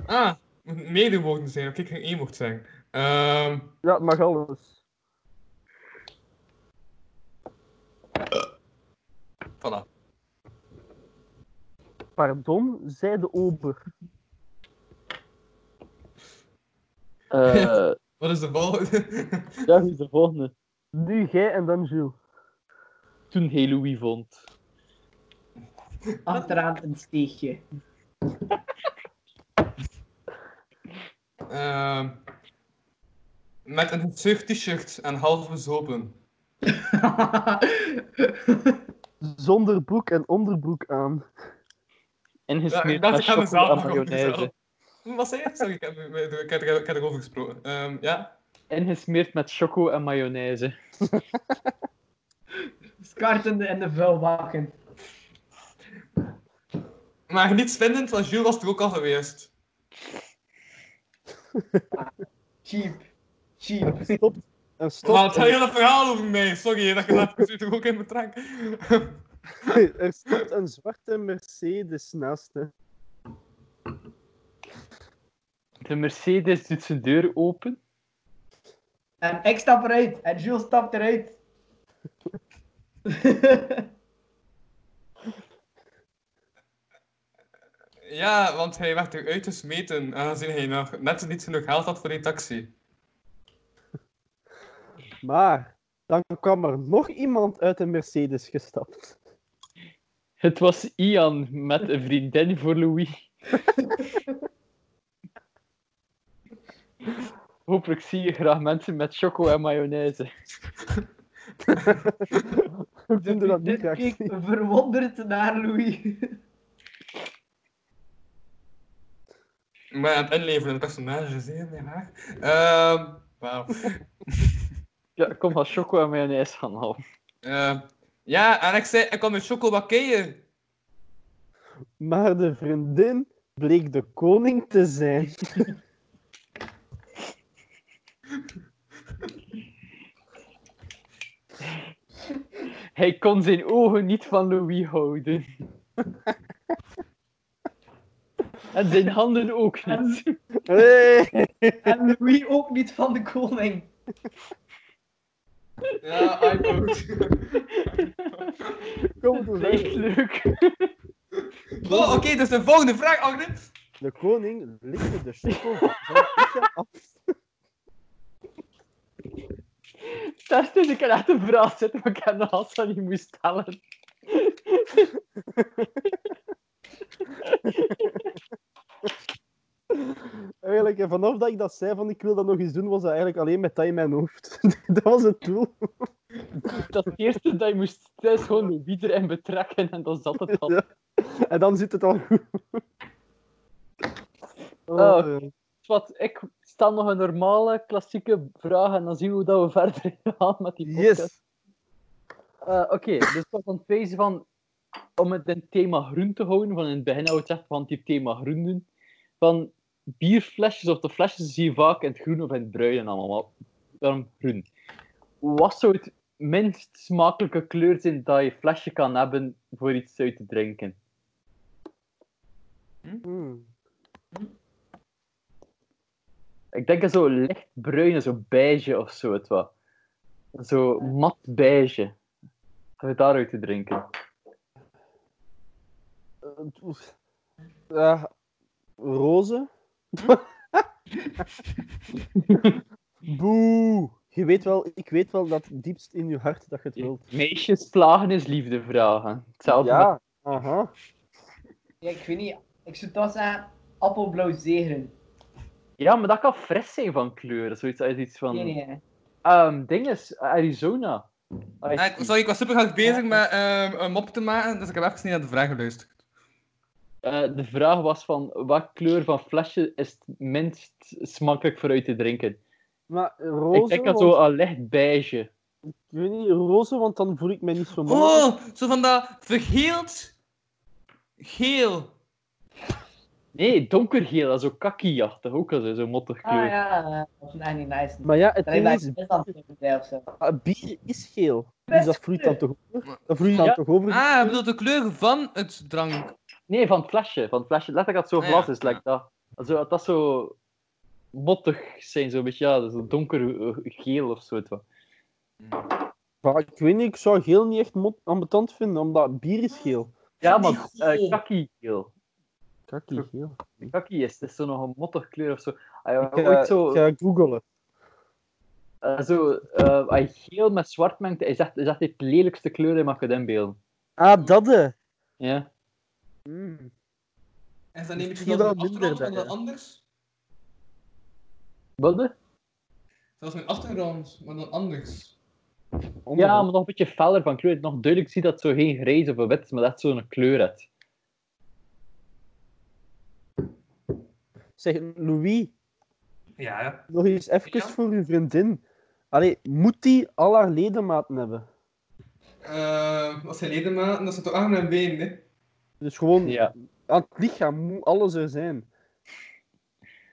[SPEAKER 4] Ah, het moet meerdere woorden zijn, of ik geen één mocht zijn. Ehm,
[SPEAKER 2] Ja, het mag alles.
[SPEAKER 4] voilà.
[SPEAKER 2] Pardon, zei de ober.
[SPEAKER 3] Eh
[SPEAKER 4] Wat is de volgende?
[SPEAKER 3] ja, wie is de volgende?
[SPEAKER 2] Nu jij en dan Jules.
[SPEAKER 3] Toen hij Louis vond.
[SPEAKER 5] Achteraan een steegje.
[SPEAKER 4] Ehm, met een gezucht t-shirt en half bezopen.
[SPEAKER 2] Zonder broek en onderbroek aan.
[SPEAKER 4] Ja,
[SPEAKER 3] Ingesmeerd
[SPEAKER 4] ik
[SPEAKER 3] ja,
[SPEAKER 4] dacht,
[SPEAKER 3] met
[SPEAKER 4] ik ga
[SPEAKER 3] chocola
[SPEAKER 4] mezelf
[SPEAKER 3] en
[SPEAKER 4] nog op mezelf.
[SPEAKER 3] mayonaise.
[SPEAKER 4] Wat zei je? Sorry, ik heb, ik heb, ik heb erover gesproken. Ehm, ja.
[SPEAKER 3] Ingesmeerd met choco en mayonaise.
[SPEAKER 5] Skartende en de vuilbakken.
[SPEAKER 4] Maar niets vindend, want Jules was er ook al geweest.
[SPEAKER 5] Cheap. Cheap.
[SPEAKER 2] Stop. En stop.
[SPEAKER 4] Maar het hele verhaal over mij, sorry dat je dat je zit er ook in betrekt.
[SPEAKER 2] Er stond een zwarte Mercedes naast hè.
[SPEAKER 3] De Mercedes doet zijn deur open.
[SPEAKER 5] En ik stap eruit. En Jules stapt eruit.
[SPEAKER 4] Ja, want hij werd eruit gesmeten aangezien hij nog net niet genoeg geld had voor die taxi.
[SPEAKER 2] Maar dan kwam er nog iemand uit een Mercedes gestapt.
[SPEAKER 3] Het was Ian met een vriendin voor Louis. Hopelijk zie je graag mensen met choco en mayonaise.
[SPEAKER 2] We doen dat niet
[SPEAKER 5] Dit
[SPEAKER 2] graag.
[SPEAKER 5] keek verwonderd naar Louis.
[SPEAKER 4] Maar aan het inleveren in personages, hè, mijn haar. Ehm, wauw.
[SPEAKER 3] Ja, kom maar choco en mayonaise gaan halen.
[SPEAKER 4] Ehm, ja, en ik zei, ik kwam met chocobakkeeën.
[SPEAKER 2] Maar de vriendin bleek de koning te zijn.
[SPEAKER 3] Hij kon zijn ogen niet van Louis houden. En zijn handen ook niet.
[SPEAKER 2] Hey!
[SPEAKER 5] En Louis ook niet van de koning.
[SPEAKER 4] Ja, I vote.
[SPEAKER 2] Kom door
[SPEAKER 3] Echt leuk.
[SPEAKER 4] Oh, oké, dus de volgende vraag, Agne.
[SPEAKER 2] De koning likte de choco van zijn lichaam af.
[SPEAKER 3] Dat is ik kan echt een verhaal zetten, maar ik heb de Hassan niet moest stellen.
[SPEAKER 2] Eigenlijk, en vanaf dat ik dat zei van ik wil dat nog eens doen, was dat eigenlijk alleen met dat in mijn hoofd. dat was het doel.
[SPEAKER 3] Dat het eerste dat je moest thuis gewoon Louis erin betrekken en dan zat het al.
[SPEAKER 2] Ja. En dan zit het al goed.
[SPEAKER 3] Oh. Wat, ik stel nog een normale, klassieke vraag en dan zien we hoe dat we verder gaan met die podcast.
[SPEAKER 2] yes.
[SPEAKER 3] Eh, Oké, dus ik was aan het wijzen van... Om het in het thema groen te houden, van in het begin hadden we het echt van het hier thema groen doen. Van bierflesjes of de flesjes zie je vaak in het groen of in het bruin en allemaal. maar Daarom groen. Wat zou het minst smakelijke kleur zijn dat je flesje kan hebben voor iets uit te drinken?
[SPEAKER 2] Hmm.
[SPEAKER 3] Ik denk aan zo licht bruin, zo beige of zo het wat. Zo mat beige. Om het daaruit te drinken.
[SPEAKER 2] Eh, oef. Ja, eh, roze. Boe. Je weet wel, ik weet wel dat diepst in je hart dat je het wilt.
[SPEAKER 3] Meisjes slagen is liefde vragen. Hetzelfde
[SPEAKER 2] Ja, aha.
[SPEAKER 5] Ja, ik weet niet. Ik zou toch zeggen, appelblauw zegeren.
[SPEAKER 3] Ja, maar dat kan fris zijn van kleur. Zoiets als iets van.
[SPEAKER 5] Nee, nee.
[SPEAKER 3] Ehm, ding is, Arizona. Als-
[SPEAKER 4] Ah, ik- sorry, ik was super hard bezig met ehm, een mop te maken, dus ik heb even niet naar de vraag geluisterd.
[SPEAKER 3] eh, de vraag was van wat kleur van flesje is het minst smakelijk voor uit te drinken?
[SPEAKER 2] Maar roze,
[SPEAKER 3] ik denk dat
[SPEAKER 2] want,
[SPEAKER 3] zo een licht beige.
[SPEAKER 2] ik weet niet, roze, want dan voel ik mij niet zo mannelijk.
[SPEAKER 4] Oh, zo van dat vergeeld geel.
[SPEAKER 3] Nee, donkergeel, dat is zo kakkie-achtig, ook al zo, zo'n mottig kleur.
[SPEAKER 5] Ah ja, dat is niet nice.
[SPEAKER 2] Maar ja, het
[SPEAKER 5] dat is
[SPEAKER 2] ding is,
[SPEAKER 5] eigenlijk best aan het zijn of zo.
[SPEAKER 2] ah, bier is geel. Dus dat vloeit dan toch over? Dat vloeit dan
[SPEAKER 3] Ja.
[SPEAKER 2] toch over?
[SPEAKER 4] Ah, je bedoelt de kleur van het drank.
[SPEAKER 3] Nee, van het flesje. Van het flesje. Letterlijk dat het
[SPEAKER 4] Ah,
[SPEAKER 3] zo glas
[SPEAKER 4] ja.
[SPEAKER 3] is, like dat. Dat zo- Dat dat zo mottig zijn, zo'n beetje, ja, zo donker eh, geel of zo. het was.
[SPEAKER 2] Maar ik weet niet, ik zou geel niet echt mot- ambetant vinden, omdat bier is geel.
[SPEAKER 3] Ja, maar eh kakkie geel.
[SPEAKER 2] Kakkie, geel.
[SPEAKER 3] Kakkie is, het is zo nog een mottig kleur of zo. Ah, ja,
[SPEAKER 2] Ik ga,
[SPEAKER 3] ooit zo,
[SPEAKER 2] ik ga googlen.
[SPEAKER 3] eh, zo eh, als je geel met zwart mengt, is dat, is dat het lelijkste kleur die mag je inbeelden.
[SPEAKER 2] Ah, dat hè.
[SPEAKER 3] Ja?
[SPEAKER 2] Mm.
[SPEAKER 4] En dan neem ik
[SPEAKER 2] Misschien
[SPEAKER 4] zelfs
[SPEAKER 2] wel
[SPEAKER 4] mijn
[SPEAKER 2] minder
[SPEAKER 4] achtergrond van
[SPEAKER 2] bij,
[SPEAKER 4] wat anders.
[SPEAKER 3] Wat? je?
[SPEAKER 4] Zelfs mijn achtergrond, maar dan anders.
[SPEAKER 3] Ja, maar nog een beetje feller van kleur. Nog duidelijk zie je dat het zo geen grijs of een wit is, maar dat het zo'n kleur heeft.
[SPEAKER 2] Zeg, Louis,
[SPEAKER 4] Ja, ja.
[SPEAKER 2] nog eens even
[SPEAKER 4] Ja?
[SPEAKER 2] voor uw vriendin. Allee, moet die al haar ledematen hebben?
[SPEAKER 4] Eh, wat zijn ledematen? Dat zijn toch armen en benen, hè?
[SPEAKER 2] Dus gewoon
[SPEAKER 3] Ja.
[SPEAKER 2] aan het lichaam moet alles er zijn.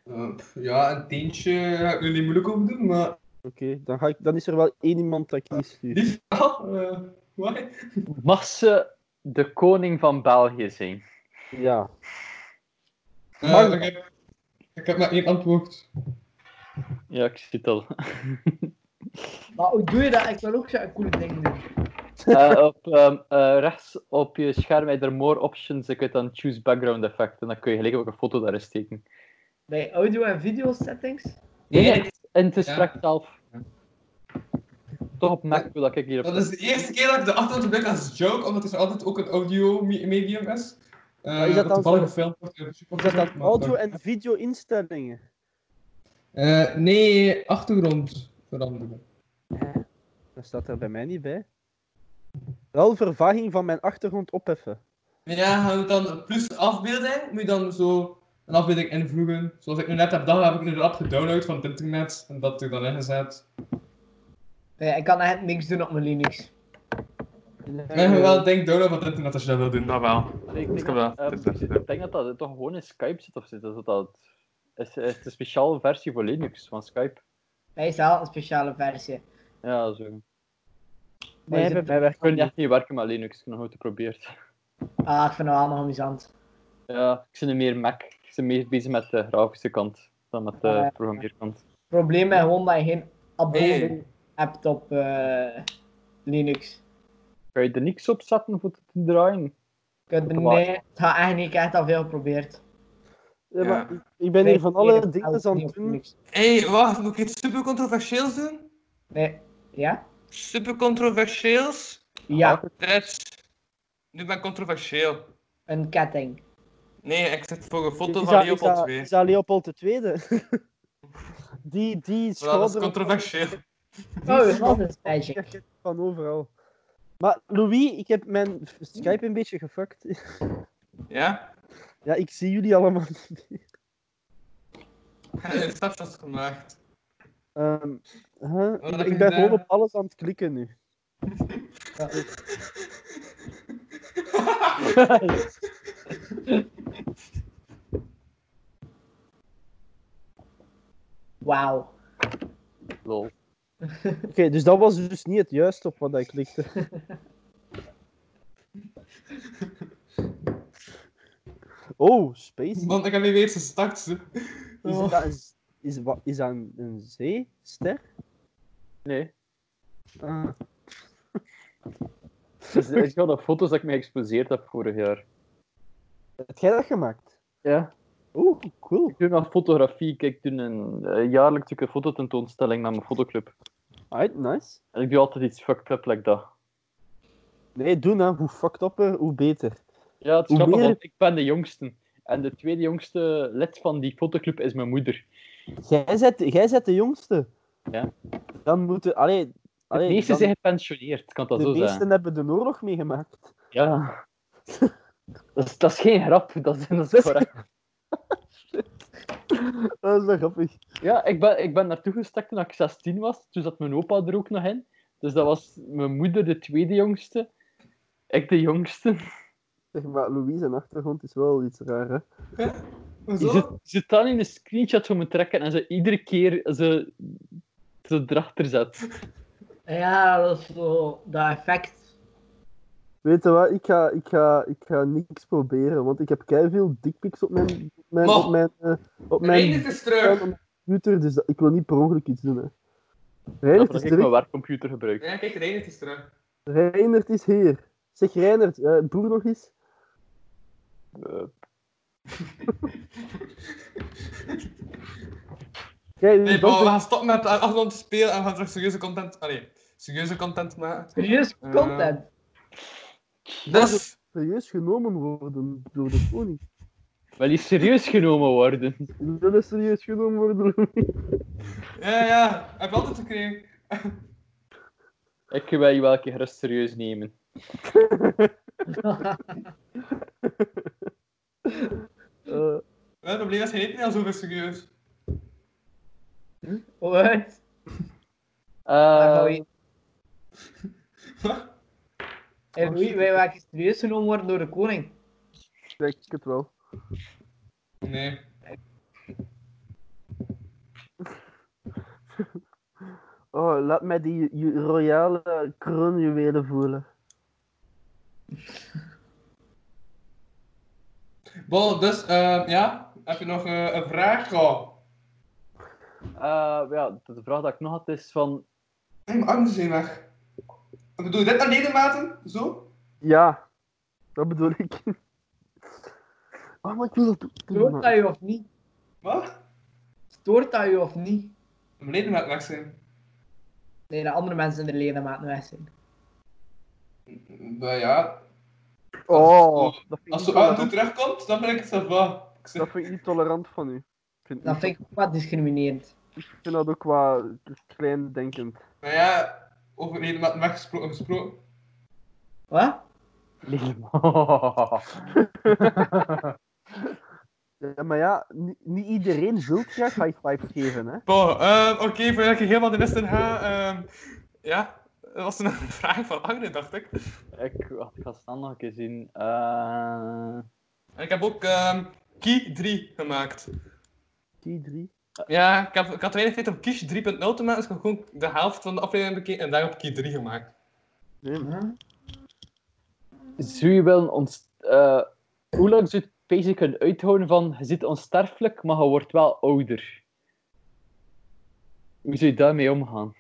[SPEAKER 4] Eh, pff, ja, een teentje ga ik er niet moeilijk over doen, maar...
[SPEAKER 2] Oké, dan dan, dan is er wel één iemand dat ik niet stuur.
[SPEAKER 4] Lief, wel, eh, why?
[SPEAKER 3] Mag ze de koning van België zijn?
[SPEAKER 2] Ja.
[SPEAKER 4] Eh,
[SPEAKER 2] Maar-
[SPEAKER 4] ik, heb, ik heb maar één antwoord.
[SPEAKER 3] Ja, ik zie het al.
[SPEAKER 5] Maar hoe doe je dat? Ik wil ook zo'n coole ding doen.
[SPEAKER 3] Eh, op, ehm, eh, rechts op je scherm heb je er more options. Ik weet dan choose background effect. En dan kun je gelijk ook een foto daar eens steken.
[SPEAKER 5] Bij audio en video settings.
[SPEAKER 3] Nee,
[SPEAKER 4] Nee,
[SPEAKER 3] nee, het- en het is
[SPEAKER 4] ja.
[SPEAKER 3] straks zelf. Toch op Mac wil dat ik hierop.
[SPEAKER 4] Dat is de eerste keer dat ik de achtergrond gebruik als joke, omdat het altijd ook een audio me- medium is. Eh,
[SPEAKER 2] Maar is dat
[SPEAKER 4] een
[SPEAKER 2] dan
[SPEAKER 4] toevallige
[SPEAKER 2] zo-
[SPEAKER 4] film. Of
[SPEAKER 2] Is dat dan audio- en video-instellingen?
[SPEAKER 4] Eh, nee, achtergrond veranderen.
[SPEAKER 2] Dat staat er bij mij niet bij. Wel vervaging van mijn achtergrond opheffen.
[SPEAKER 4] Ja, gaan we dan plus afbeelding, moet je dan zo een afbeelding invoegen. Zoals ik nu net heb gedaan, heb ik nu de app gedownload van het internet en dat er dan ingezet.
[SPEAKER 5] Nee, ik kan echt niks doen op mijn Linux.
[SPEAKER 4] Ik ben wel, denk download van het internet als je dat wil doen, dat wel.
[SPEAKER 3] Ik denk,
[SPEAKER 4] Ik heb
[SPEAKER 3] dat,
[SPEAKER 4] dat-
[SPEAKER 3] ehm,
[SPEAKER 4] dit is echt,
[SPEAKER 3] ik denk dat dat toch gewoon in Skype zit of zit. Dat dat is, is het een speciale versie voor Linux van Skype.
[SPEAKER 5] Hij is al een speciale versie.
[SPEAKER 3] Ja, zo. Ik
[SPEAKER 5] Maar
[SPEAKER 2] Nee,
[SPEAKER 5] is
[SPEAKER 2] bij
[SPEAKER 5] het-
[SPEAKER 2] mij werkt
[SPEAKER 3] kan echt niet werken met Linux. Ik heb nog nooit geprobeerd.
[SPEAKER 5] Ah, ik vind het allemaal amusant.
[SPEAKER 3] Ja, ik ben meer Mac. Ik ben meer bezig met de grafische kant dan met
[SPEAKER 5] Ah, ja.
[SPEAKER 3] de programmeerkant.
[SPEAKER 5] Het probleem is gewoon dat je geen abonnement
[SPEAKER 4] Nee.
[SPEAKER 5] hebt op eh, Linux.
[SPEAKER 3] Kan je er niks op zetten voor het te draaien?
[SPEAKER 5] Ik heb-
[SPEAKER 3] Waar-
[SPEAKER 5] Nee, het gaat eigenlijk niet. Ik heb echt al veel geprobeerd.
[SPEAKER 2] Ja, maar
[SPEAKER 4] Ja.
[SPEAKER 2] ik- ik ben
[SPEAKER 5] Nee,
[SPEAKER 2] hier van alle
[SPEAKER 5] nee, dat is
[SPEAKER 2] dingen aan
[SPEAKER 5] niet
[SPEAKER 2] het
[SPEAKER 5] op
[SPEAKER 2] doen.
[SPEAKER 5] Linux.
[SPEAKER 4] Hé, hey, wacht, moet ik iets super controversieels doen?
[SPEAKER 5] Nee. Ja?
[SPEAKER 4] Super controversieels?
[SPEAKER 2] Ah,
[SPEAKER 5] Ja,
[SPEAKER 4] Dit. Nu ben ik controversieel.
[SPEAKER 5] een ketting.
[SPEAKER 4] Nee, ik zit voor een foto
[SPEAKER 2] Is
[SPEAKER 4] van
[SPEAKER 2] dat, is,
[SPEAKER 4] Leopold
[SPEAKER 2] dat,
[SPEAKER 4] II.
[SPEAKER 2] is dat Leopold II? die, die
[SPEAKER 4] Maar Dat is
[SPEAKER 2] schouder...
[SPEAKER 4] controversieel.
[SPEAKER 5] Oh,
[SPEAKER 2] Die
[SPEAKER 5] dat is
[SPEAKER 2] Ik
[SPEAKER 5] magic.
[SPEAKER 2] krijg het van overal. Maar Louis, ik heb mijn Skype een beetje gefuckt.
[SPEAKER 4] Ja?
[SPEAKER 2] Ja, ik zie jullie allemaal niet meer.
[SPEAKER 4] Ik heb een stapshot gemaakt.
[SPEAKER 2] Ehm, huh?
[SPEAKER 4] heb
[SPEAKER 2] Ik-
[SPEAKER 4] je
[SPEAKER 2] Ik ben gewoon
[SPEAKER 4] gedaan?
[SPEAKER 2] op alles aan het klikken nu.
[SPEAKER 5] Wauw.
[SPEAKER 3] Lol.
[SPEAKER 2] Oké, dus dat was dus niet het juiste op wat ik klikte. Oh, space.
[SPEAKER 4] Want ik heb niet eens gestart. hè.
[SPEAKER 2] Is dat een, z- is, wa- is dat een, een zeester?
[SPEAKER 3] Nee.
[SPEAKER 2] Ah.
[SPEAKER 3] Dus, ik had nog foto's dat ik me geëxposeerd heb vorig jaar.
[SPEAKER 2] Heb jij dat gemaakt?
[SPEAKER 3] Ja.
[SPEAKER 2] Oeh, cool.
[SPEAKER 3] Ik doe nog fotografie. Kijk, ik doe een, eh, jaarlijks doe ik een fototentoonstelling naar mijn fotoclub.
[SPEAKER 2] Alright, nice.
[SPEAKER 3] En ik doe altijd iets fucked up like dat.
[SPEAKER 2] Nee, doen hè. Hoe fucked up, hoe beter.
[SPEAKER 3] Ja, het is
[SPEAKER 2] Hoe
[SPEAKER 3] grappig,
[SPEAKER 2] meer-
[SPEAKER 3] want ik ben de jongste. En de tweede jongste lid van die fotoclub is mijn moeder.
[SPEAKER 2] Jij zet, jij zet de jongste.
[SPEAKER 3] Ja.
[SPEAKER 2] Dan moeten... Allee, allee,
[SPEAKER 3] de meeste
[SPEAKER 2] dan-
[SPEAKER 3] zijn gepensioneerd, ik kan dat
[SPEAKER 2] de
[SPEAKER 3] zo
[SPEAKER 2] meesten
[SPEAKER 3] zeggen.
[SPEAKER 2] hebben de oorlog meegemaakt.
[SPEAKER 3] Ja. dat, is, dat is geen grap, dat is, dat is
[SPEAKER 2] Dat is-
[SPEAKER 3] correct.
[SPEAKER 2] Dat is wel grappig.
[SPEAKER 3] Ja, ik ben, ik ben naartoe gestakt toen ik 16 was. Toen zat mijn opa er ook nog in. Dus dat was mijn moeder de tweede jongste. Ik de jongste.
[SPEAKER 2] Zeg maar, Louise, zijn achtergrond is wel iets raar, hè.
[SPEAKER 3] Ze
[SPEAKER 4] Hoezo?
[SPEAKER 3] zit, zit dan in een screenshot van me trekken en ze iedere keer ze, ze erachter zet.
[SPEAKER 5] Ja, dat is zo, dat effect.
[SPEAKER 2] Weet je wat, ik ga, ik ga, ik ga niks proberen, want ik heb veel dickpics op mijn, mijn,
[SPEAKER 4] Mo.
[SPEAKER 2] op mijn, eh, op mijn,
[SPEAKER 4] Reinert is
[SPEAKER 2] op
[SPEAKER 4] terug.
[SPEAKER 2] mijn computer, dus dat- ik wil niet per ongeluk iets doen. Hè. Reinert,
[SPEAKER 3] Dat
[SPEAKER 2] is
[SPEAKER 3] ik mijn
[SPEAKER 2] terug.
[SPEAKER 3] werkcomputer gebruik.
[SPEAKER 4] Ja, kijk, Reinert is terug.
[SPEAKER 2] Reinert is hier. Zeg Reinert, eh, broer nog eens.
[SPEAKER 3] Eh,
[SPEAKER 2] Kijk,
[SPEAKER 4] Nee,
[SPEAKER 2] dat
[SPEAKER 4] Paul, we
[SPEAKER 2] is-
[SPEAKER 4] gaan stoppen met eh, afstand spelen en we gaan terug serieuze content... Allee, serieuze content maken.
[SPEAKER 5] Serieus
[SPEAKER 4] Eh.
[SPEAKER 5] content.
[SPEAKER 4] Dus,
[SPEAKER 2] serieus genomen worden door de koning.
[SPEAKER 3] Wel eens serieus genomen worden.
[SPEAKER 2] Die Willen serieus genomen worden door de koning.
[SPEAKER 4] ja, ja, heb je altijd gekregen.
[SPEAKER 3] Ik wil je wel een keer gerust serieus nemen.
[SPEAKER 2] Eh,
[SPEAKER 4] Ja, Het probleem is, hij neemt niet al zoveel serieus.
[SPEAKER 5] Wat? Daar gaan
[SPEAKER 3] Eh,
[SPEAKER 5] we-
[SPEAKER 2] oh,
[SPEAKER 5] En wie, wij waren serieus genomen worden door de koning.
[SPEAKER 2] kijk, ik het wel.
[SPEAKER 4] Nee.
[SPEAKER 2] Oh, laat mij die ju- royale kroonjuwelen voelen.
[SPEAKER 4] Bon, dus, eh, ja, heb je nog eh, een vraag? Oh.
[SPEAKER 3] eh, ja, de vraag die ik nog had is van...
[SPEAKER 4] Nee, mijn armen zijn weg. Ik bedoel, dit naar ledematen? Zo?
[SPEAKER 2] Ja, dat bedoel ik. Oh, maar ik wil dat doen.
[SPEAKER 5] Stoort
[SPEAKER 2] man.
[SPEAKER 5] dat je of niet?
[SPEAKER 4] Wat?
[SPEAKER 5] Stoort dat je of niet?
[SPEAKER 4] Mijn ledematen weg zijn.
[SPEAKER 5] Nee, de andere mensen in de ledematen weg zijn.
[SPEAKER 4] Nou ja,
[SPEAKER 2] Oh, dat vind,
[SPEAKER 4] als
[SPEAKER 2] ik niet
[SPEAKER 4] ze af en toe
[SPEAKER 2] tolerant,
[SPEAKER 4] terugkomt, dan ben ik het zelf wel. Ik zeg,
[SPEAKER 2] dat vind ik niet tolerant van u. Ik vind,
[SPEAKER 5] Dat vind ik ook wat discriminerend.
[SPEAKER 2] ik vind dat ook wel klein denkend.
[SPEAKER 4] nou ja, over ledematen weggesproken gesproken.
[SPEAKER 5] Wat?
[SPEAKER 2] Ja, maar ja, ni- niet iedereen wil graag high five geven, hè.
[SPEAKER 4] Bon, ehm, oké, voordat ik hier helemaal de mist in ga, ehm, ja, dat was een vraag van Agnes, dacht ik.
[SPEAKER 3] ik, wacht, ik ga snel nog een keer zien. Eh,
[SPEAKER 4] En ik heb ook ehm Key 3 gemaakt.
[SPEAKER 2] Die drie.
[SPEAKER 4] Ja, ik, heb, ik had weinig tijd om Kish 3.0 te maken, dus ik heb gewoon de helft van de aflevering bekeken en daarop Key 3 gemaakt.
[SPEAKER 3] zou je willen ons... eh, hoe lang zou het basic kunnen uithouden van je zit onsterfelijk, maar je wordt wel ouder? Hoe zou je daarmee omgaan?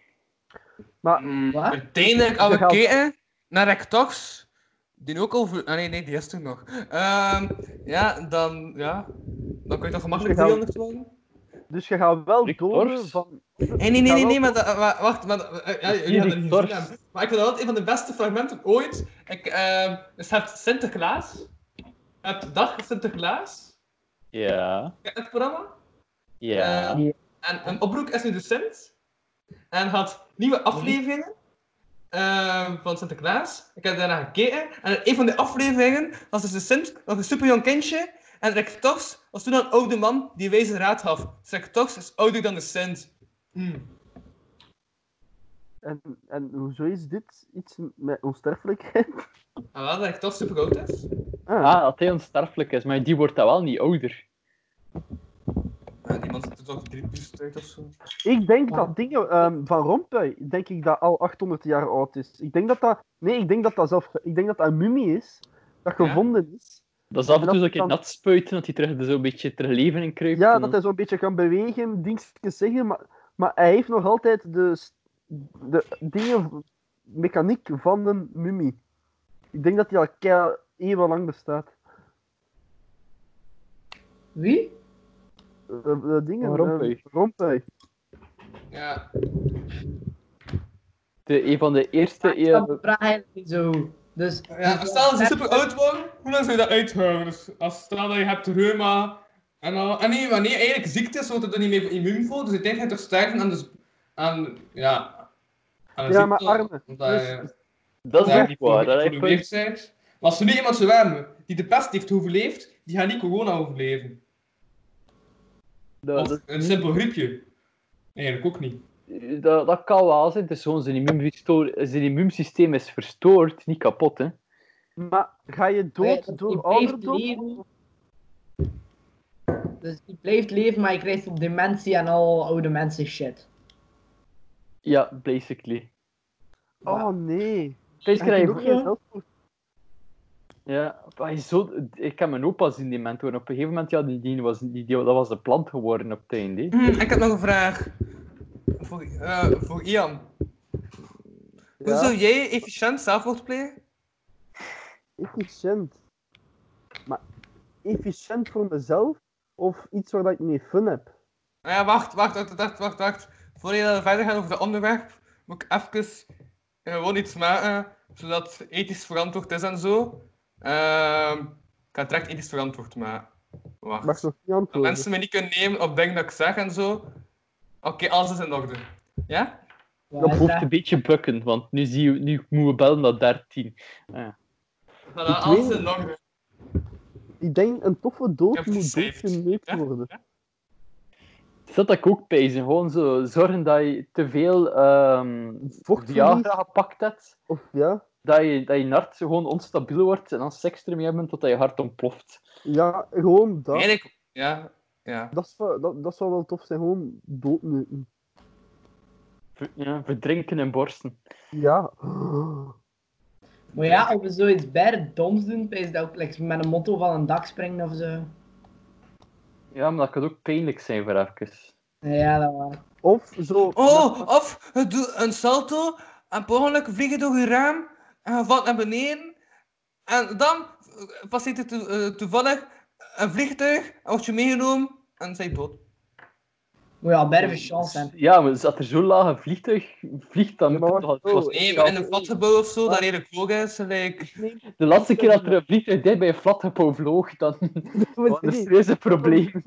[SPEAKER 5] Wat?
[SPEAKER 4] Uiteindelijk, als we
[SPEAKER 2] Verhaal.
[SPEAKER 4] kijken naar Rectox, die ook over... Ah, nee, nee, die is toen nog. Ehm, ja, dan, ja, dan kun je toch gemakkelijk
[SPEAKER 2] Verhaal.
[SPEAKER 4] 300 worden?
[SPEAKER 2] Dus je gaat wel
[SPEAKER 3] Rick
[SPEAKER 2] doden
[SPEAKER 3] Dorfs?
[SPEAKER 2] van...
[SPEAKER 4] Nee, nee, nee, nee, nee, maar, dat- maar wacht, maar, dat- eh, ja, jullie hebben het niet
[SPEAKER 3] Torfs.
[SPEAKER 4] gezien hebben. Maar ik vind dat altijd een van de beste fragmenten ooit. Ik, ehm, dus je hebt Sinterklaas, je hebt Dag Sinterklaas,
[SPEAKER 3] Ja,
[SPEAKER 4] Ken je het programma.
[SPEAKER 3] ja.
[SPEAKER 4] Eh, en een oproep is nu de Sint. En had nieuwe afleveringen eh, van Sinterklaas. Ik heb daarna gekeken. En in een van die afleveringen was dus de Sint nog een superjong kindje. En Rick Tox was toen een oude man die wijze raad gaf. Dus Rick Tox is ouder dan de Sint. Hm.
[SPEAKER 2] En, en hoezo is dit iets met onsterfelijkheid?
[SPEAKER 4] En Ah, wel dat Rick Tox super oud is.
[SPEAKER 2] Ah,
[SPEAKER 3] Ah, dat hij onsterfelijk is, maar die wordt dan wel niet ouder.
[SPEAKER 4] Ja, die man zit toch drie uur uit of zo.
[SPEAKER 2] Ik denk dat dingen ehm, van Rompuy, denk ik dat al 800 jaar oud is. Ik denk dat dat... Nee, ik denk dat dat zelf... Ik denk dat dat een mummie is, dat
[SPEAKER 4] Ja?
[SPEAKER 2] gevonden is.
[SPEAKER 3] Dat is af en
[SPEAKER 2] En
[SPEAKER 3] toe
[SPEAKER 2] dat
[SPEAKER 3] zo'n keer
[SPEAKER 2] dan-
[SPEAKER 3] nat spuiten, dat hij terug er zo'n beetje terug leven in kruipt.
[SPEAKER 2] Ja,
[SPEAKER 3] en
[SPEAKER 2] dat
[SPEAKER 3] dan-
[SPEAKER 2] hij zo'n beetje kan bewegen, dingetjes zeggen, maar, maar hij heeft nog altijd de, s- de dingen, mechaniek van een mummie. Ik denk dat hij al kei eeuwenlang bestaat.
[SPEAKER 5] Wie?
[SPEAKER 2] eh, eh, dingen.
[SPEAKER 3] Een rompuy.
[SPEAKER 2] eh, rompuy.
[SPEAKER 4] Ja.
[SPEAKER 3] De, een van de eerste...
[SPEAKER 5] Ah, Ik snap de vraag eigenlijk niet zo goed. Dus,
[SPEAKER 4] ja. Stel dat ze super oud worden, hoe lang zou je dat uithouden? Dus als stel dat je hebt reuma en al. En nee, wanneer je eigenlijk ziek is, wordt het er niet meer immuun voor. Dus uiteindelijk ga je toch sterven aan de. z- Aan, ja. Aan een
[SPEAKER 2] Ja, maar
[SPEAKER 4] ziekte,
[SPEAKER 2] armen.
[SPEAKER 4] omdat je-
[SPEAKER 3] dat is
[SPEAKER 4] Ja,
[SPEAKER 3] echt niet waar. Dat
[SPEAKER 4] die
[SPEAKER 3] is echt-
[SPEAKER 4] geprobeerd zijn. Maar als er nu iemand zou hebben die de pest heeft overleefd, die gaat niet corona overleven.
[SPEAKER 2] Dat,
[SPEAKER 4] Of
[SPEAKER 2] dat,
[SPEAKER 4] een simpel griepje. Eigenlijk ook niet.
[SPEAKER 3] dat, dat kan wel zijn. Het is gewoon zijn, immuunverstoor- zijn immuunsysteem is verstoord, niet kapot. Hè.
[SPEAKER 2] maar ga je dood door ouderdom?
[SPEAKER 5] leven. Dus die blijft leven, maar je krijgt op dementie en al oude mensen shit.
[SPEAKER 3] Ja, basically.
[SPEAKER 2] Oh nee.
[SPEAKER 3] Deze
[SPEAKER 2] Hij heeft
[SPEAKER 3] krijg
[SPEAKER 2] ook
[SPEAKER 3] je
[SPEAKER 2] geen geld voor.
[SPEAKER 3] Ja, maar zo, ik heb mijn opa zien dement worden. Op een gegeven moment, ja, die, die was, die, die- dat was de plant geworden op het einde. hè.
[SPEAKER 4] Hmm, ik heb nog een vraag. Voor, eh, voor Ian. Hoe zou jij efficiënt zelfmoord plegen?
[SPEAKER 2] Efficiënt. Maar efficiënt voor mezelf of iets waar dat ik mee fun heb?
[SPEAKER 4] Nou ja, wacht, wacht, wacht, wacht, wacht, wacht. Voordat we verder gaan over het onderwerp, moet ik even eh, gewoon iets maken, zodat het ethisch verantwoord is en zo. Ehm, ik ga het direct ethisch verantwoord maken. Wacht.
[SPEAKER 2] Mag ik nog niet
[SPEAKER 4] Dat
[SPEAKER 2] antwoorden.
[SPEAKER 4] mensen me niet kunnen nemen op dingen dat ik zeg en zo. Oké, alles is in orde. Ja?
[SPEAKER 5] Ja,
[SPEAKER 3] Dat
[SPEAKER 5] is
[SPEAKER 3] hoeft
[SPEAKER 5] echt-
[SPEAKER 3] een beetje bukken, want nu, zie je, nu moeten we bellen naar 13.
[SPEAKER 4] Voilà, alles
[SPEAKER 2] weet
[SPEAKER 4] is in orde.
[SPEAKER 2] Ik denk een toffe dood
[SPEAKER 4] Ik heb
[SPEAKER 2] moet
[SPEAKER 4] gesaved.
[SPEAKER 2] doodgeneukt
[SPEAKER 4] Ja?
[SPEAKER 2] worden.
[SPEAKER 3] Is dat dat ik ook bezig? Gewoon zo zorgen dat je te veel ehm Viagra gepakt hebt,
[SPEAKER 2] Of ja,
[SPEAKER 3] dat je, dat je hart gewoon onstabiel wordt en dan seks ermee hebben totdat je hart ontploft.
[SPEAKER 2] ja, gewoon dat.
[SPEAKER 4] Eigenlijk, ja. Ja.
[SPEAKER 2] Dat, zou, dat, dat zou wel tof zijn, gewoon doodneuken.
[SPEAKER 3] Ver- ja, verdrinken in borsten.
[SPEAKER 2] Ja.
[SPEAKER 5] Maar ja, als we zoiets bij doms doen, is dat ook like, met een motto van een dak springen of zo.
[SPEAKER 3] Ja, maar dat kan ook pijnlijk zijn voor even.
[SPEAKER 5] Ja, dat waar.
[SPEAKER 2] Of zo.
[SPEAKER 4] Oh, of je doet een salto en per ongeluk vlieg je door je raam en je valt naar beneden. En dan eh, passeert er toe- eh, toevallig een vliegtuig en wordt je meegenomen en zij dood.
[SPEAKER 5] Moet je al berven chance hebben.
[SPEAKER 3] Ja, maar zat er zo'n lage vliegtuig vliegt, dan
[SPEAKER 2] Ja,
[SPEAKER 3] moet
[SPEAKER 2] maar
[SPEAKER 3] het
[SPEAKER 2] wacht,
[SPEAKER 3] toch- het
[SPEAKER 2] oh,
[SPEAKER 3] was
[SPEAKER 4] Nee,
[SPEAKER 3] speciaal.
[SPEAKER 4] maar in een flatgebouw of zo, dat redelijk hoog is. Like...
[SPEAKER 3] De laatste keer dat er een vliegtuig dicht bij een flatgebouw vloog, dan was er
[SPEAKER 2] misschien,
[SPEAKER 3] serieus een probleem.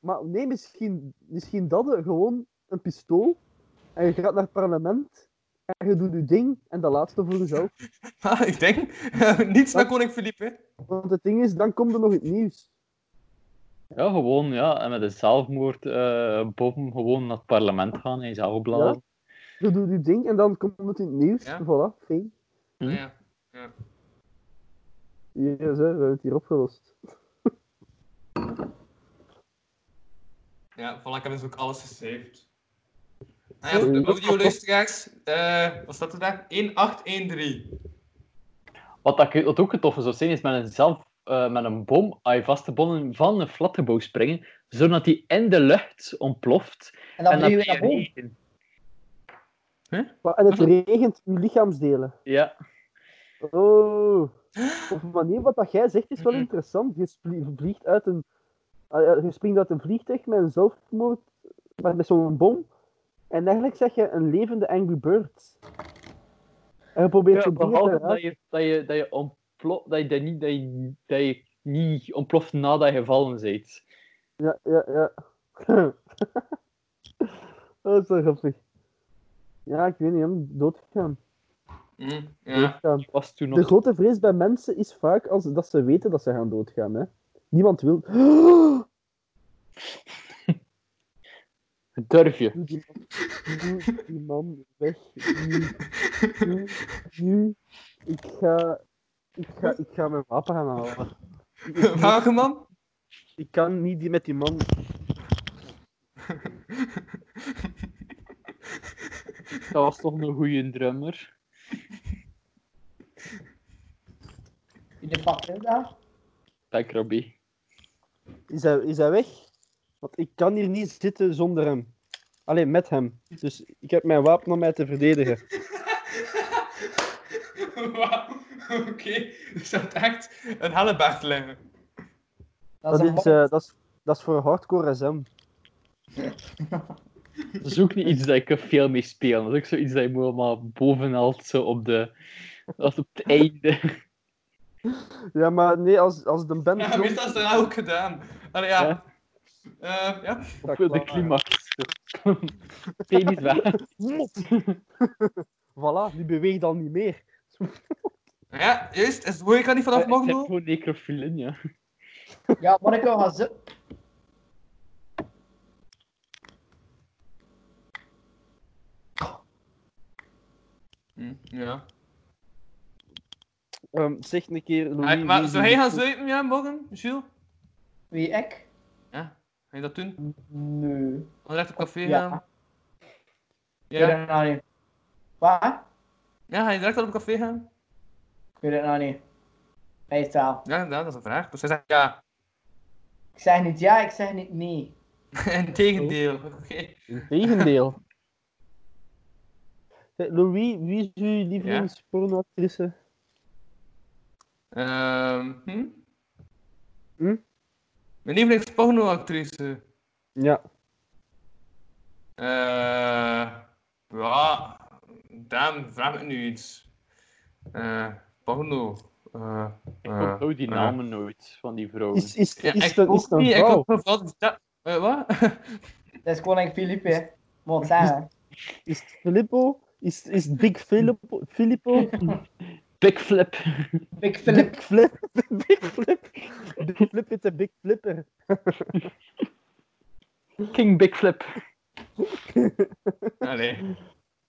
[SPEAKER 2] maar nee, misschien, misschien dat eh, gewoon een pistool. En je gaat naar het parlement. En je doet je ding. En dat laatste voor jezelf.
[SPEAKER 4] Ah, ik denk, niets met koning Filip, hè.
[SPEAKER 2] Want het ding is, dan komt er nog het nieuws.
[SPEAKER 3] Ja, gewoon, ja. En met een zelfmoordbom gewoon naar het parlement gaan en jezelf opblazen.
[SPEAKER 2] Je doet je ding en dan komt het in het nieuws.
[SPEAKER 4] Ja. Ah,
[SPEAKER 2] Voilà, fijn.
[SPEAKER 3] Hm?
[SPEAKER 4] Ja.
[SPEAKER 2] Hier is, hè, we hebben het hier opgelost.
[SPEAKER 4] Ja, voilà, ik heb dus ook alles gesaved. Ah ja,
[SPEAKER 2] Sorry.
[SPEAKER 4] voor de audioluisteraars, eh wat staat er daar? 1813.
[SPEAKER 3] Wat, dat, wat ook het toffe zou zijn, is met een, zelf, eh, met een bom aan je vaste bonnen van een flatgebouw springen, zodat die in de lucht ontploft.
[SPEAKER 5] En dan
[SPEAKER 3] en dat
[SPEAKER 5] blijven
[SPEAKER 3] die
[SPEAKER 5] we naar boven.
[SPEAKER 3] regen.
[SPEAKER 2] Maar- En het regent uw lichaamsdelen.
[SPEAKER 3] Ja.
[SPEAKER 2] Oh. Op een manier, wat dat jij zegt is wel interessant. Je, spli- vliegt uit een, ah ja, je springt uit een vliegtuig met een zelfmoord, maar met zo'n bom. En eigenlijk zeg je een levende Angry Bird. En je probeert
[SPEAKER 3] Ja,
[SPEAKER 2] zo dingen te
[SPEAKER 3] behalve dat
[SPEAKER 2] raken.
[SPEAKER 3] je, dat je, dat je ontploft, dat je, dat niet, dat je, dat je niet ontploft nadat je gevallen bent.
[SPEAKER 2] Ja, ja, ja. dat is wel grappig. Ja, ik weet niet, om doodgaan.
[SPEAKER 4] Hm, ja.
[SPEAKER 2] Doodgaan.
[SPEAKER 3] Ik was toen nog...
[SPEAKER 2] De grote vrees bij mensen is vaak als, dat ze weten dat ze gaan doodgaan. Hè. Niemand wil.
[SPEAKER 3] Durf je?
[SPEAKER 2] Doe die man, doe die man weg. Nu, nu, nu. Ik ga, ik ga, ik ga mijn wapen gaan halen.
[SPEAKER 4] Welke man?
[SPEAKER 2] Ik kan niet die met die man.
[SPEAKER 3] Dat was toch een goede drummer.
[SPEAKER 5] Wie de fuck is dat?
[SPEAKER 3] Dank Robbie.
[SPEAKER 2] Is hij, is hij weg? Want ik kan hier niet zitten zonder hem. Alleen met hem. Dus ik heb mijn wapen om mij te verdedigen.
[SPEAKER 4] Wauw, oké. Dus dat echt een hellebaard liggen.
[SPEAKER 2] Dat
[SPEAKER 5] een
[SPEAKER 2] is,
[SPEAKER 5] mop.
[SPEAKER 2] eh, dat, is, dat is voor hardcore SM.
[SPEAKER 3] Dat is ook niet iets dat ik er veel mee speel. Dat is ook zoiets dat je moet allemaal bovenal zo op de... Als op het einde.
[SPEAKER 2] Ja, maar nee, als, als de band
[SPEAKER 4] Ja,
[SPEAKER 2] zo-
[SPEAKER 4] meestal is dat ook gedaan. Allee, ja.
[SPEAKER 3] Ja.
[SPEAKER 4] Eh, ja.
[SPEAKER 3] Op de climax. Penis weg.
[SPEAKER 2] Voilà, die beweegt al niet meer.
[SPEAKER 4] ja, juist. Is, hoor ik dat niet vanaf
[SPEAKER 3] Eh, Ik
[SPEAKER 4] morgen
[SPEAKER 3] heb
[SPEAKER 4] doen?
[SPEAKER 3] gewoon necrofilin, ja.
[SPEAKER 5] Ja, Monica, ga zitten.
[SPEAKER 4] Hm, ja.
[SPEAKER 2] Ehm, zeg een keer, Louis...
[SPEAKER 4] Ah, maar
[SPEAKER 2] wie-
[SPEAKER 4] zou
[SPEAKER 2] wie-
[SPEAKER 4] hij gaan zuipen, ja, morgen, Jules?
[SPEAKER 5] Wie, ik?
[SPEAKER 4] Ga je dat doen?
[SPEAKER 5] Nee.
[SPEAKER 4] Onder het café
[SPEAKER 5] Ja.
[SPEAKER 4] gaan?
[SPEAKER 5] Ik weet
[SPEAKER 4] Ja.
[SPEAKER 5] het nou niet. Wat?
[SPEAKER 4] ja, ga je direct al op het café gaan?
[SPEAKER 5] Ik weet het nou niet. Meestal.
[SPEAKER 4] Ja, inderdaad, dat is een vraag. Dus hij zegt ja.
[SPEAKER 5] Ik zeg niet ja, ik zeg niet nee.
[SPEAKER 4] Integendeel.
[SPEAKER 2] Oh.
[SPEAKER 4] Oké.
[SPEAKER 2] Tegendeel. Zeg, Louis, wie is uw lievelingspornoactrice?
[SPEAKER 4] Ehm, hm?
[SPEAKER 2] Hm?
[SPEAKER 4] Mijn lievelingspornoactrice.
[SPEAKER 2] Ja.
[SPEAKER 4] Eh. ja, Daan, vraag me nu iets. Eh, porno. Eh,
[SPEAKER 3] Ik
[SPEAKER 4] eh,
[SPEAKER 3] onthoud die
[SPEAKER 4] eh.
[SPEAKER 3] namen nooit, van die vrouwen.
[SPEAKER 2] Is, is,
[SPEAKER 4] Ja,
[SPEAKER 2] is,
[SPEAKER 4] ik
[SPEAKER 2] het een-
[SPEAKER 4] ook
[SPEAKER 2] is het een
[SPEAKER 4] niet, ik
[SPEAKER 2] vrouw?
[SPEAKER 4] ook vooral die sta- eh, wat?
[SPEAKER 5] Dat is gewoon like Philippe, hè. Moet zeggen.
[SPEAKER 2] Is het Filippo? Is, is het Big Filippo? Filippo?
[SPEAKER 3] Big Flip.
[SPEAKER 5] Ik Philip.
[SPEAKER 2] Big Flip? Big Flip? Big Flip is een Big Flipper.
[SPEAKER 3] King Big Flip.
[SPEAKER 4] Allee.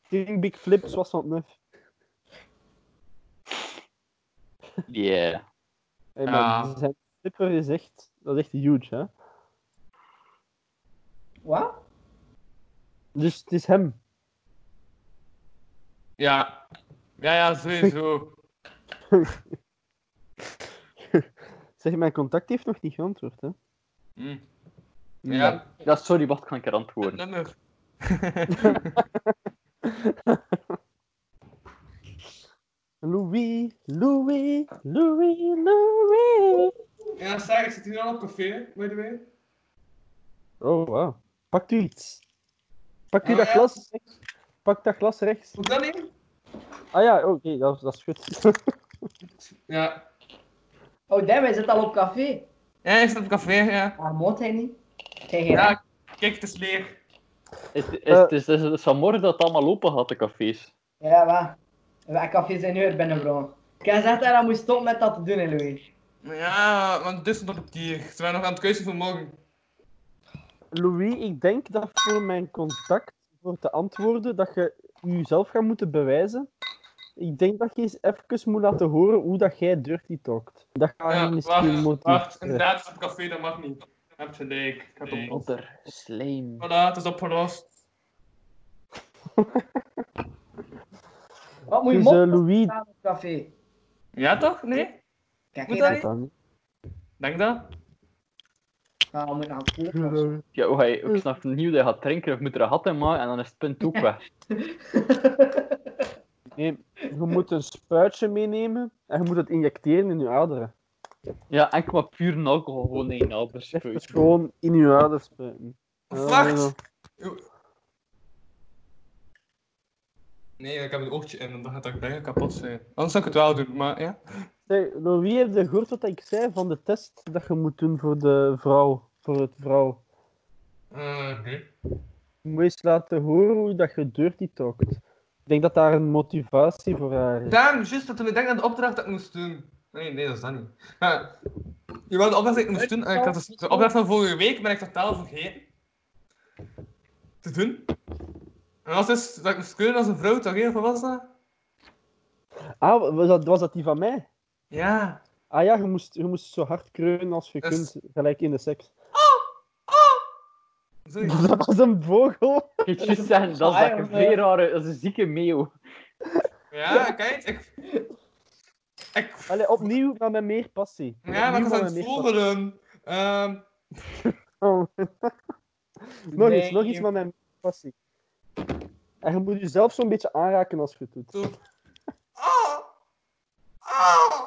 [SPEAKER 2] King Big Flip 69.
[SPEAKER 3] Yeah.
[SPEAKER 2] Hey man,
[SPEAKER 4] Ja.
[SPEAKER 2] zijn flipper is echt, dat is echt huge, hè?
[SPEAKER 5] Wat?
[SPEAKER 2] Dus het is hem.
[SPEAKER 4] Ja. Ja, ja, sowieso.
[SPEAKER 2] Zeg, mijn contact heeft nog niet geantwoord, hè?
[SPEAKER 4] Hm. Ja,
[SPEAKER 3] Ja, sorry, wacht, kan ik er antwoorden.
[SPEAKER 4] nummer.
[SPEAKER 2] Louis, Louis, Louis, Louis.
[SPEAKER 4] Ja, Sarah, ik zit hier al op café, by the way.
[SPEAKER 2] Oh, wow. Pakt u iets. Pakt u
[SPEAKER 4] Ah,
[SPEAKER 2] dat
[SPEAKER 4] ja.
[SPEAKER 2] glas rechts. Pak dat glas rechts.
[SPEAKER 4] Moet dat niet?
[SPEAKER 2] Ah ja, oké, dat, dat is goed.
[SPEAKER 4] Ja.
[SPEAKER 5] Oh, damn, hij zit al op café.
[SPEAKER 4] Ja, hij zit op café, ja.
[SPEAKER 5] Maar moet hij niet? Kijk, ja.
[SPEAKER 4] Ja, kijk, het is leeg.
[SPEAKER 3] Het is,
[SPEAKER 2] Eh.
[SPEAKER 3] het is, het is, het is vanmorgen dat het allemaal open had, de cafés.
[SPEAKER 5] Ja, wat? Welk café zijn nu er binnen, bro? Ik heb gezegd dat hij moet stoppen met dat te doen, hè, Louis.
[SPEAKER 4] Ja, want dus nog op hier. Ze waren nog aan het keuzen voor morgen.
[SPEAKER 2] Louis, ik denk dat voor mijn contact, voor te antwoorden, dat je jezelf gaat moeten bewijzen. Ik denk dat je eens even moet laten horen hoe dat jij dirty talkt. Dat ga je
[SPEAKER 4] Ja,
[SPEAKER 2] misschien
[SPEAKER 4] wacht,
[SPEAKER 2] moeten.
[SPEAKER 4] wacht, inderdaad, het is op café, dat mag niet. Je hebt gelijk. Ik had het op.
[SPEAKER 3] Otter, slijm.
[SPEAKER 4] Voilà, het is opgelost.
[SPEAKER 5] Wat moet je
[SPEAKER 2] Dus
[SPEAKER 5] mop
[SPEAKER 2] eh, Louis,
[SPEAKER 5] staan op café?
[SPEAKER 4] Ja toch? Nee?
[SPEAKER 5] Kijk,
[SPEAKER 4] Moet
[SPEAKER 5] kijk,
[SPEAKER 4] dat
[SPEAKER 5] dat...
[SPEAKER 2] dan.
[SPEAKER 4] Denk dat?
[SPEAKER 5] Ah, nou we moeten naar de
[SPEAKER 3] Ja, hoe hij,
[SPEAKER 2] Dus-
[SPEAKER 3] ik snap niet hoe hij gaat drinken, of moet er een gat in maken, en dan is het punt ook weg.
[SPEAKER 2] Nee, je moet een spuitje meenemen en je moet het injecteren in je aderen.
[SPEAKER 3] Ja, enkel maar puur alcohol gewoon in je naalders
[SPEAKER 2] Even
[SPEAKER 3] spuiten.
[SPEAKER 2] gewoon in je aderen spuiten. Ja, ja.
[SPEAKER 4] Wacht! Nee, ik heb een oogtje in, want dan gaat dat bijna kapot zijn. Anders zou ik het wel doen, maar ja.
[SPEAKER 2] Zeg, Louis, heb je gehoord wat ik zei van de test dat je moet doen voor de vrouw? Voor het vrouw.
[SPEAKER 4] Eh, nee.
[SPEAKER 2] Je moet eens laten horen hoe dat je dirty talkt. Ik denk dat daar een motivatie voor haar is.
[SPEAKER 4] Daarom, juist, dat toen ik denk aan de opdracht dat ik moest doen. Nee, nee, dat is dat niet. Ja, je wilde de opdracht dat ik moest doen, en ik had dus de opdracht van vorige week ben ik totaal vergeten. Te doen. En dat was dus dat ik moest kunnen als een vrouw, toch? hè? Wat was dat?
[SPEAKER 2] Ah, was dat, was dat die van mij?
[SPEAKER 4] Ja.
[SPEAKER 2] Ah ja, je moest, je moest zo hard kreunen als je
[SPEAKER 4] Dus-
[SPEAKER 2] kunt, gelijk in de seks.
[SPEAKER 4] Zoiets.
[SPEAKER 2] Dat was een vogel.
[SPEAKER 3] Ik moet juist zeggen, dat
[SPEAKER 2] Ah,
[SPEAKER 3] is dat een vrij rare, dat is een zieke meeuw.
[SPEAKER 4] Ja, kijk, ik... Ik
[SPEAKER 2] Allee, opnieuw, maar met meer passie.
[SPEAKER 4] Ja, maar
[SPEAKER 2] Opnieuw,
[SPEAKER 4] ik was
[SPEAKER 2] met
[SPEAKER 4] aan het
[SPEAKER 2] meer
[SPEAKER 4] volgen. Ehm,
[SPEAKER 2] passie. Oh. nog eens,
[SPEAKER 4] Nee.
[SPEAKER 2] nog iets, maar met meer passie. En je moet jezelf zo'n beetje aanraken als je het doet.
[SPEAKER 4] zo. Ah! Ah!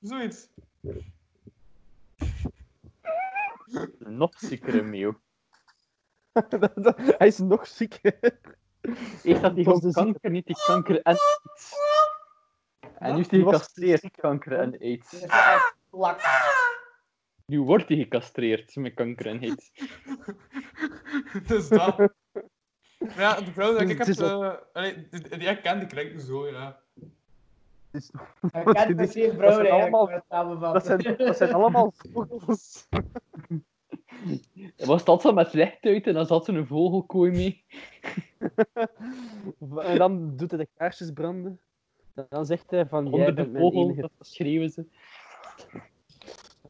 [SPEAKER 4] Zoiets.
[SPEAKER 3] een nog ziekere meeuw.
[SPEAKER 2] Hij is nog ziek.
[SPEAKER 3] Eerst had hij
[SPEAKER 2] Dat was
[SPEAKER 3] gewoon
[SPEAKER 2] de ziekte.
[SPEAKER 3] kanker, niet die kanker en AIDS. En nu is hij
[SPEAKER 2] Die was
[SPEAKER 3] gecastreerd, kanker en
[SPEAKER 5] Dit
[SPEAKER 3] AIDS.
[SPEAKER 5] is echt lak.
[SPEAKER 3] Nu wordt hij gecastreerd met kanker en AIDS.
[SPEAKER 4] dus dat. Maar Ja, de vrouw dat
[SPEAKER 2] Dus
[SPEAKER 4] ik heb...
[SPEAKER 2] het is
[SPEAKER 4] eh, allee, die, die ik ken, die klinkt zo, ja.
[SPEAKER 5] Ik ken
[SPEAKER 2] Dat
[SPEAKER 5] het
[SPEAKER 2] zijn
[SPEAKER 5] geen vrouw eigenlijk,
[SPEAKER 2] allemaal-
[SPEAKER 5] maar het samenvatten.
[SPEAKER 2] Dat zijn, dat zijn allemaal vogels.
[SPEAKER 3] Was dat zo met licht uit en dan zat er een vogelkooi mee?
[SPEAKER 2] En dan doet hij de kaarsjes branden. En dan zegt hij van, jij
[SPEAKER 3] Onder de
[SPEAKER 2] bent mijn
[SPEAKER 3] vogel,
[SPEAKER 2] enige.
[SPEAKER 3] dat schreeuwen ze.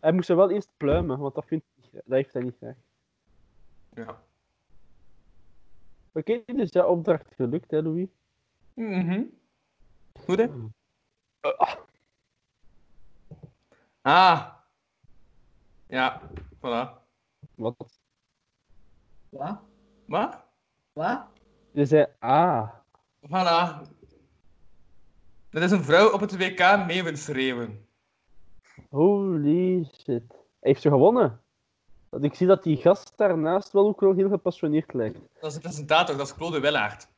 [SPEAKER 2] Hij moest er wel eerst pluimen, want dat, vindt, hij niet graag. dat heeft hij niet graag.
[SPEAKER 4] Ja.
[SPEAKER 2] Oké, dus jouw opdracht gelukt, hè, Louis?
[SPEAKER 4] Mhm. Goed, hè? Ah. Ja, voilà.
[SPEAKER 2] Wat?
[SPEAKER 5] Wat?
[SPEAKER 4] Wat?
[SPEAKER 5] Wat?
[SPEAKER 2] Je zei, ah.
[SPEAKER 4] Voilà. Dat is een vrouw op het WK meeuwen schreeuwen.
[SPEAKER 2] Holy shit. Hij heeft ze gewonnen. Want ik zie dat die gast daarnaast wel ook wel heel gepassioneerd lijkt.
[SPEAKER 4] Dat is de presentator, dat is Claude Wellaert.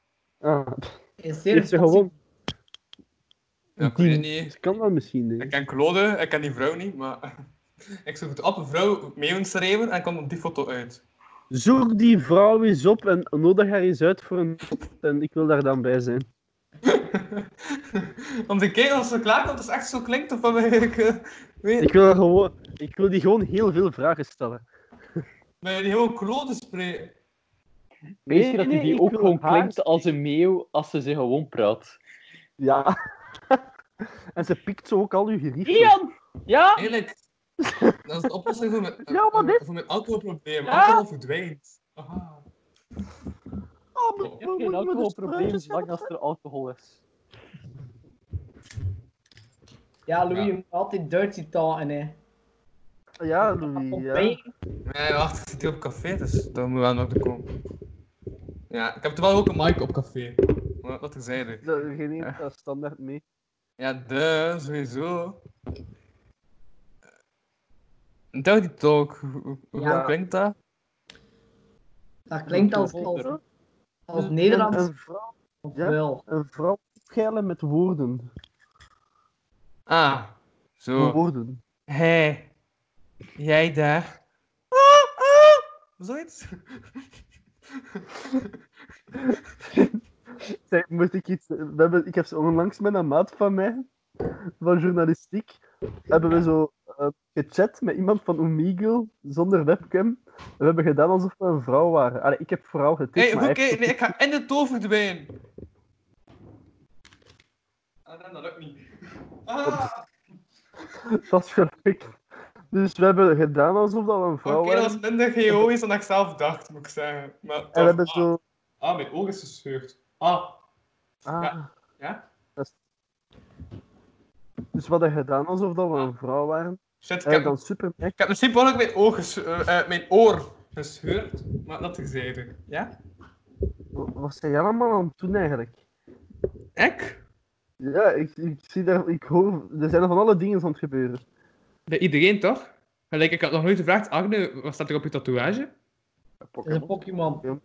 [SPEAKER 2] Ah,
[SPEAKER 5] Is
[SPEAKER 2] die heeft ze gewonnen.
[SPEAKER 4] Ja, ik weet het niet.
[SPEAKER 2] Dat kan wel misschien,
[SPEAKER 4] Ik
[SPEAKER 2] hè.
[SPEAKER 4] ken Claude, ik ken die vrouw niet, maar... Ik zoek het op, een vrouw meeuwen schreeuwen en komt op die foto uit.
[SPEAKER 2] Zoek die vrouw eens op en nodig haar eens uit voor een... En ik wil daar dan bij zijn.
[SPEAKER 4] Om te kijken of ze klaar komt, als het echt zo klinkt, of wat ik... eh, weet
[SPEAKER 2] Ik wil, haar gewoon, ik wil die gewoon heel veel vragen stellen.
[SPEAKER 4] Ben je die gewoon Claude spreken?
[SPEAKER 3] Weet
[SPEAKER 2] Nee,
[SPEAKER 3] je dat
[SPEAKER 2] nee,
[SPEAKER 3] hij die
[SPEAKER 2] ik
[SPEAKER 3] ook
[SPEAKER 2] wil
[SPEAKER 3] gewoon
[SPEAKER 2] haar
[SPEAKER 3] klinkt als een meeuw als ze ze gewoon praat?
[SPEAKER 2] Ja. en ze pikt zo ook al uw gerief.
[SPEAKER 3] Ian! Ja?
[SPEAKER 4] Eerlijk, dat is de oplossing voor mijn,
[SPEAKER 2] Ja, maar dit-
[SPEAKER 4] voor mijn alcoholprobleem.
[SPEAKER 3] Ja.
[SPEAKER 4] Alcohol verdwijnt. Aha.
[SPEAKER 2] Oh, maar-
[SPEAKER 4] Ik heb
[SPEAKER 3] Je nou hebt
[SPEAKER 2] maar- maar-
[SPEAKER 3] geen
[SPEAKER 2] maar de
[SPEAKER 3] alcoholprobleem
[SPEAKER 2] spruitjes
[SPEAKER 3] zolang
[SPEAKER 2] gaan-
[SPEAKER 3] als er alcohol is.
[SPEAKER 5] Ja, Louis,
[SPEAKER 4] Ja.
[SPEAKER 5] je moet altijd dirty taunten, hè.
[SPEAKER 2] Ja, Louis, ja.
[SPEAKER 5] Pompey,
[SPEAKER 4] Nee, wacht, ik zit hier op café, dus daar moet wel nog te komen. Ja, ik heb toch wel ook een mic op café. Wat, wat terzijde.
[SPEAKER 2] Dat geen één gaat standaard mee.
[SPEAKER 4] Ja, dus, sowieso. Dirty Talk, hoe, hoe- hoe
[SPEAKER 5] Ja.
[SPEAKER 4] klinkt dat?
[SPEAKER 5] Dat klinkt als, als, als Nederlands.
[SPEAKER 2] Een, een vrouw,
[SPEAKER 5] of
[SPEAKER 2] ja.
[SPEAKER 5] wel.
[SPEAKER 2] een vrouw opgeilen met woorden.
[SPEAKER 4] Ah, zo.
[SPEAKER 2] Woorden.
[SPEAKER 4] Hey, jij daar. Zoiets?
[SPEAKER 2] Zeg, moet ik iets... We hebben, ik heb ze onlangs met een maat van mij, van journalistiek, hebben we zo eh, gechat met iemand van Omegle, zonder webcam. En we hebben gedaan alsof we een vrouw waren. Allee, ik heb vooral getikt,
[SPEAKER 4] Hé,
[SPEAKER 2] maar
[SPEAKER 4] oké,
[SPEAKER 2] hij heeft-
[SPEAKER 4] nee, ik ga in de toon verdwijnen. Ah, dan, dat lukt niet. Ah,
[SPEAKER 2] Dat is gelukt. Dus we hebben gedaan alsof dat we een
[SPEAKER 4] oké,
[SPEAKER 2] vrouw
[SPEAKER 4] dat
[SPEAKER 2] waren.
[SPEAKER 4] was minder geoïs dan ik zelf dacht, moet ik zeggen. Maar toch,
[SPEAKER 2] En we hebben
[SPEAKER 4] ah,
[SPEAKER 2] zo...
[SPEAKER 4] ah, mijn oog is gescheurd. Ah,
[SPEAKER 2] Ah,
[SPEAKER 4] ja?
[SPEAKER 2] dat is- Dus we hadden gedaan alsof dat we een vrouw waren.
[SPEAKER 4] Shit, Ah. Dus
[SPEAKER 2] En
[SPEAKER 4] ik heb,
[SPEAKER 2] dan super...
[SPEAKER 4] ik heb misschien per ongeluk mijn, oog ges- eh, eh, mijn oor gescheurd, maar dat terzijde. Ja?
[SPEAKER 2] Wat zijn jij allemaal aan het doen eigenlijk?
[SPEAKER 4] Ik?
[SPEAKER 2] Ja, ik, ik zie daar... Ik hoor... Er zijn van alle dingen aan het gebeuren.
[SPEAKER 4] Bij iedereen toch? Gelijk, ik had nog nooit gevraagd, Agne, wat staat er op je tatoeage?
[SPEAKER 5] Dat is een Pokémon.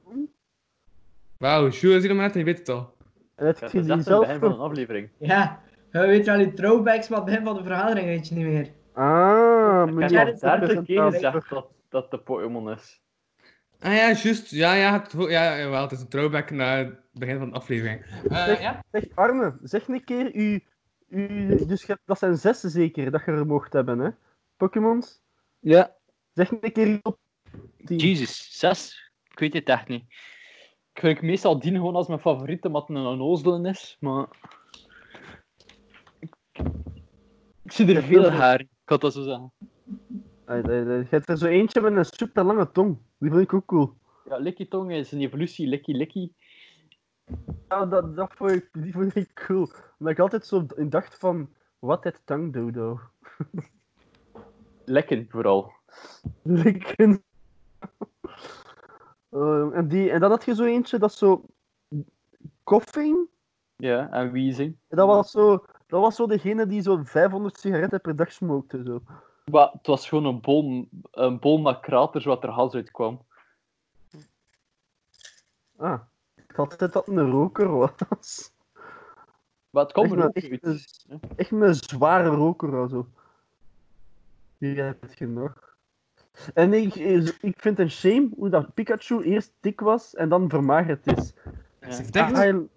[SPEAKER 4] Wauw, Jules, zie je maar net en je weet het al.
[SPEAKER 2] En het
[SPEAKER 3] Ja, dat
[SPEAKER 2] ik zie
[SPEAKER 3] is
[SPEAKER 2] die
[SPEAKER 3] echt een
[SPEAKER 2] zelf...
[SPEAKER 3] begin van een aflevering.
[SPEAKER 5] Ja. We weten al die throwbacks, maar het begin van de vergadering weet je niet meer.
[SPEAKER 2] Ah,
[SPEAKER 3] Ik
[SPEAKER 2] meneer.
[SPEAKER 5] Ja,
[SPEAKER 3] heb
[SPEAKER 5] dat
[SPEAKER 3] al
[SPEAKER 5] is
[SPEAKER 3] dertig keer
[SPEAKER 2] presentatie.
[SPEAKER 3] gezegd dat, dat de Pokémon is.
[SPEAKER 4] Ah ja, juist. Ja, ja, het, vo- ja, jawel, het is een throwback naar het begin van de aflevering. Eh ja?
[SPEAKER 2] Zeg, Arne, zeg een keer u... u dus je hebt- dat zijn zes zeker dat je er mocht hebben, hè? Pokémons?
[SPEAKER 3] Ja.
[SPEAKER 2] Zeg een keer op... Die...
[SPEAKER 3] Jesus, zes? Ik weet het echt niet. Ik vind meestal Dien gewoon als mijn favoriete, omdat het een onnozelen is, maar... Ik zie er veel haar, in. ik had dat zo zeggen.
[SPEAKER 2] Ai, ai, ai. Je hebt er zo eentje met een super lange tong. Die vind ik ook cool.
[SPEAKER 3] Ja, Licky Tong is een evolutie, Licky Licky.
[SPEAKER 2] Ja, dat, dat vond ik, die vond ik cool. Omdat ik altijd zo in dacht van... Wat het tangdodo?
[SPEAKER 3] Lekken vooral.
[SPEAKER 2] Dus Likken. Ehm, en, die, en dan had je zo eentje, dat zo... Koffing?
[SPEAKER 3] Ja, en Weezing.
[SPEAKER 2] En Dat was zo... Dat was zo degene die zo'n 500 sigaretten per dag smokte. Zo.
[SPEAKER 3] Maar het was gewoon een bol, een bol met kraters wat er hals uit kwam.
[SPEAKER 2] Ah, ik had dit dat een roker was.
[SPEAKER 3] Maar het kwam
[SPEAKER 2] Echt
[SPEAKER 3] er ook
[SPEAKER 2] wel, echt
[SPEAKER 3] uit.
[SPEAKER 2] een- Echt een zware roker of zo. Hier heb je het genoeg. En ik, ik vind het een shame hoe dat Pikachu eerst dik was en dan vermagerd is.
[SPEAKER 3] Ja.
[SPEAKER 4] Zeg,
[SPEAKER 7] Echt?
[SPEAKER 2] Hij-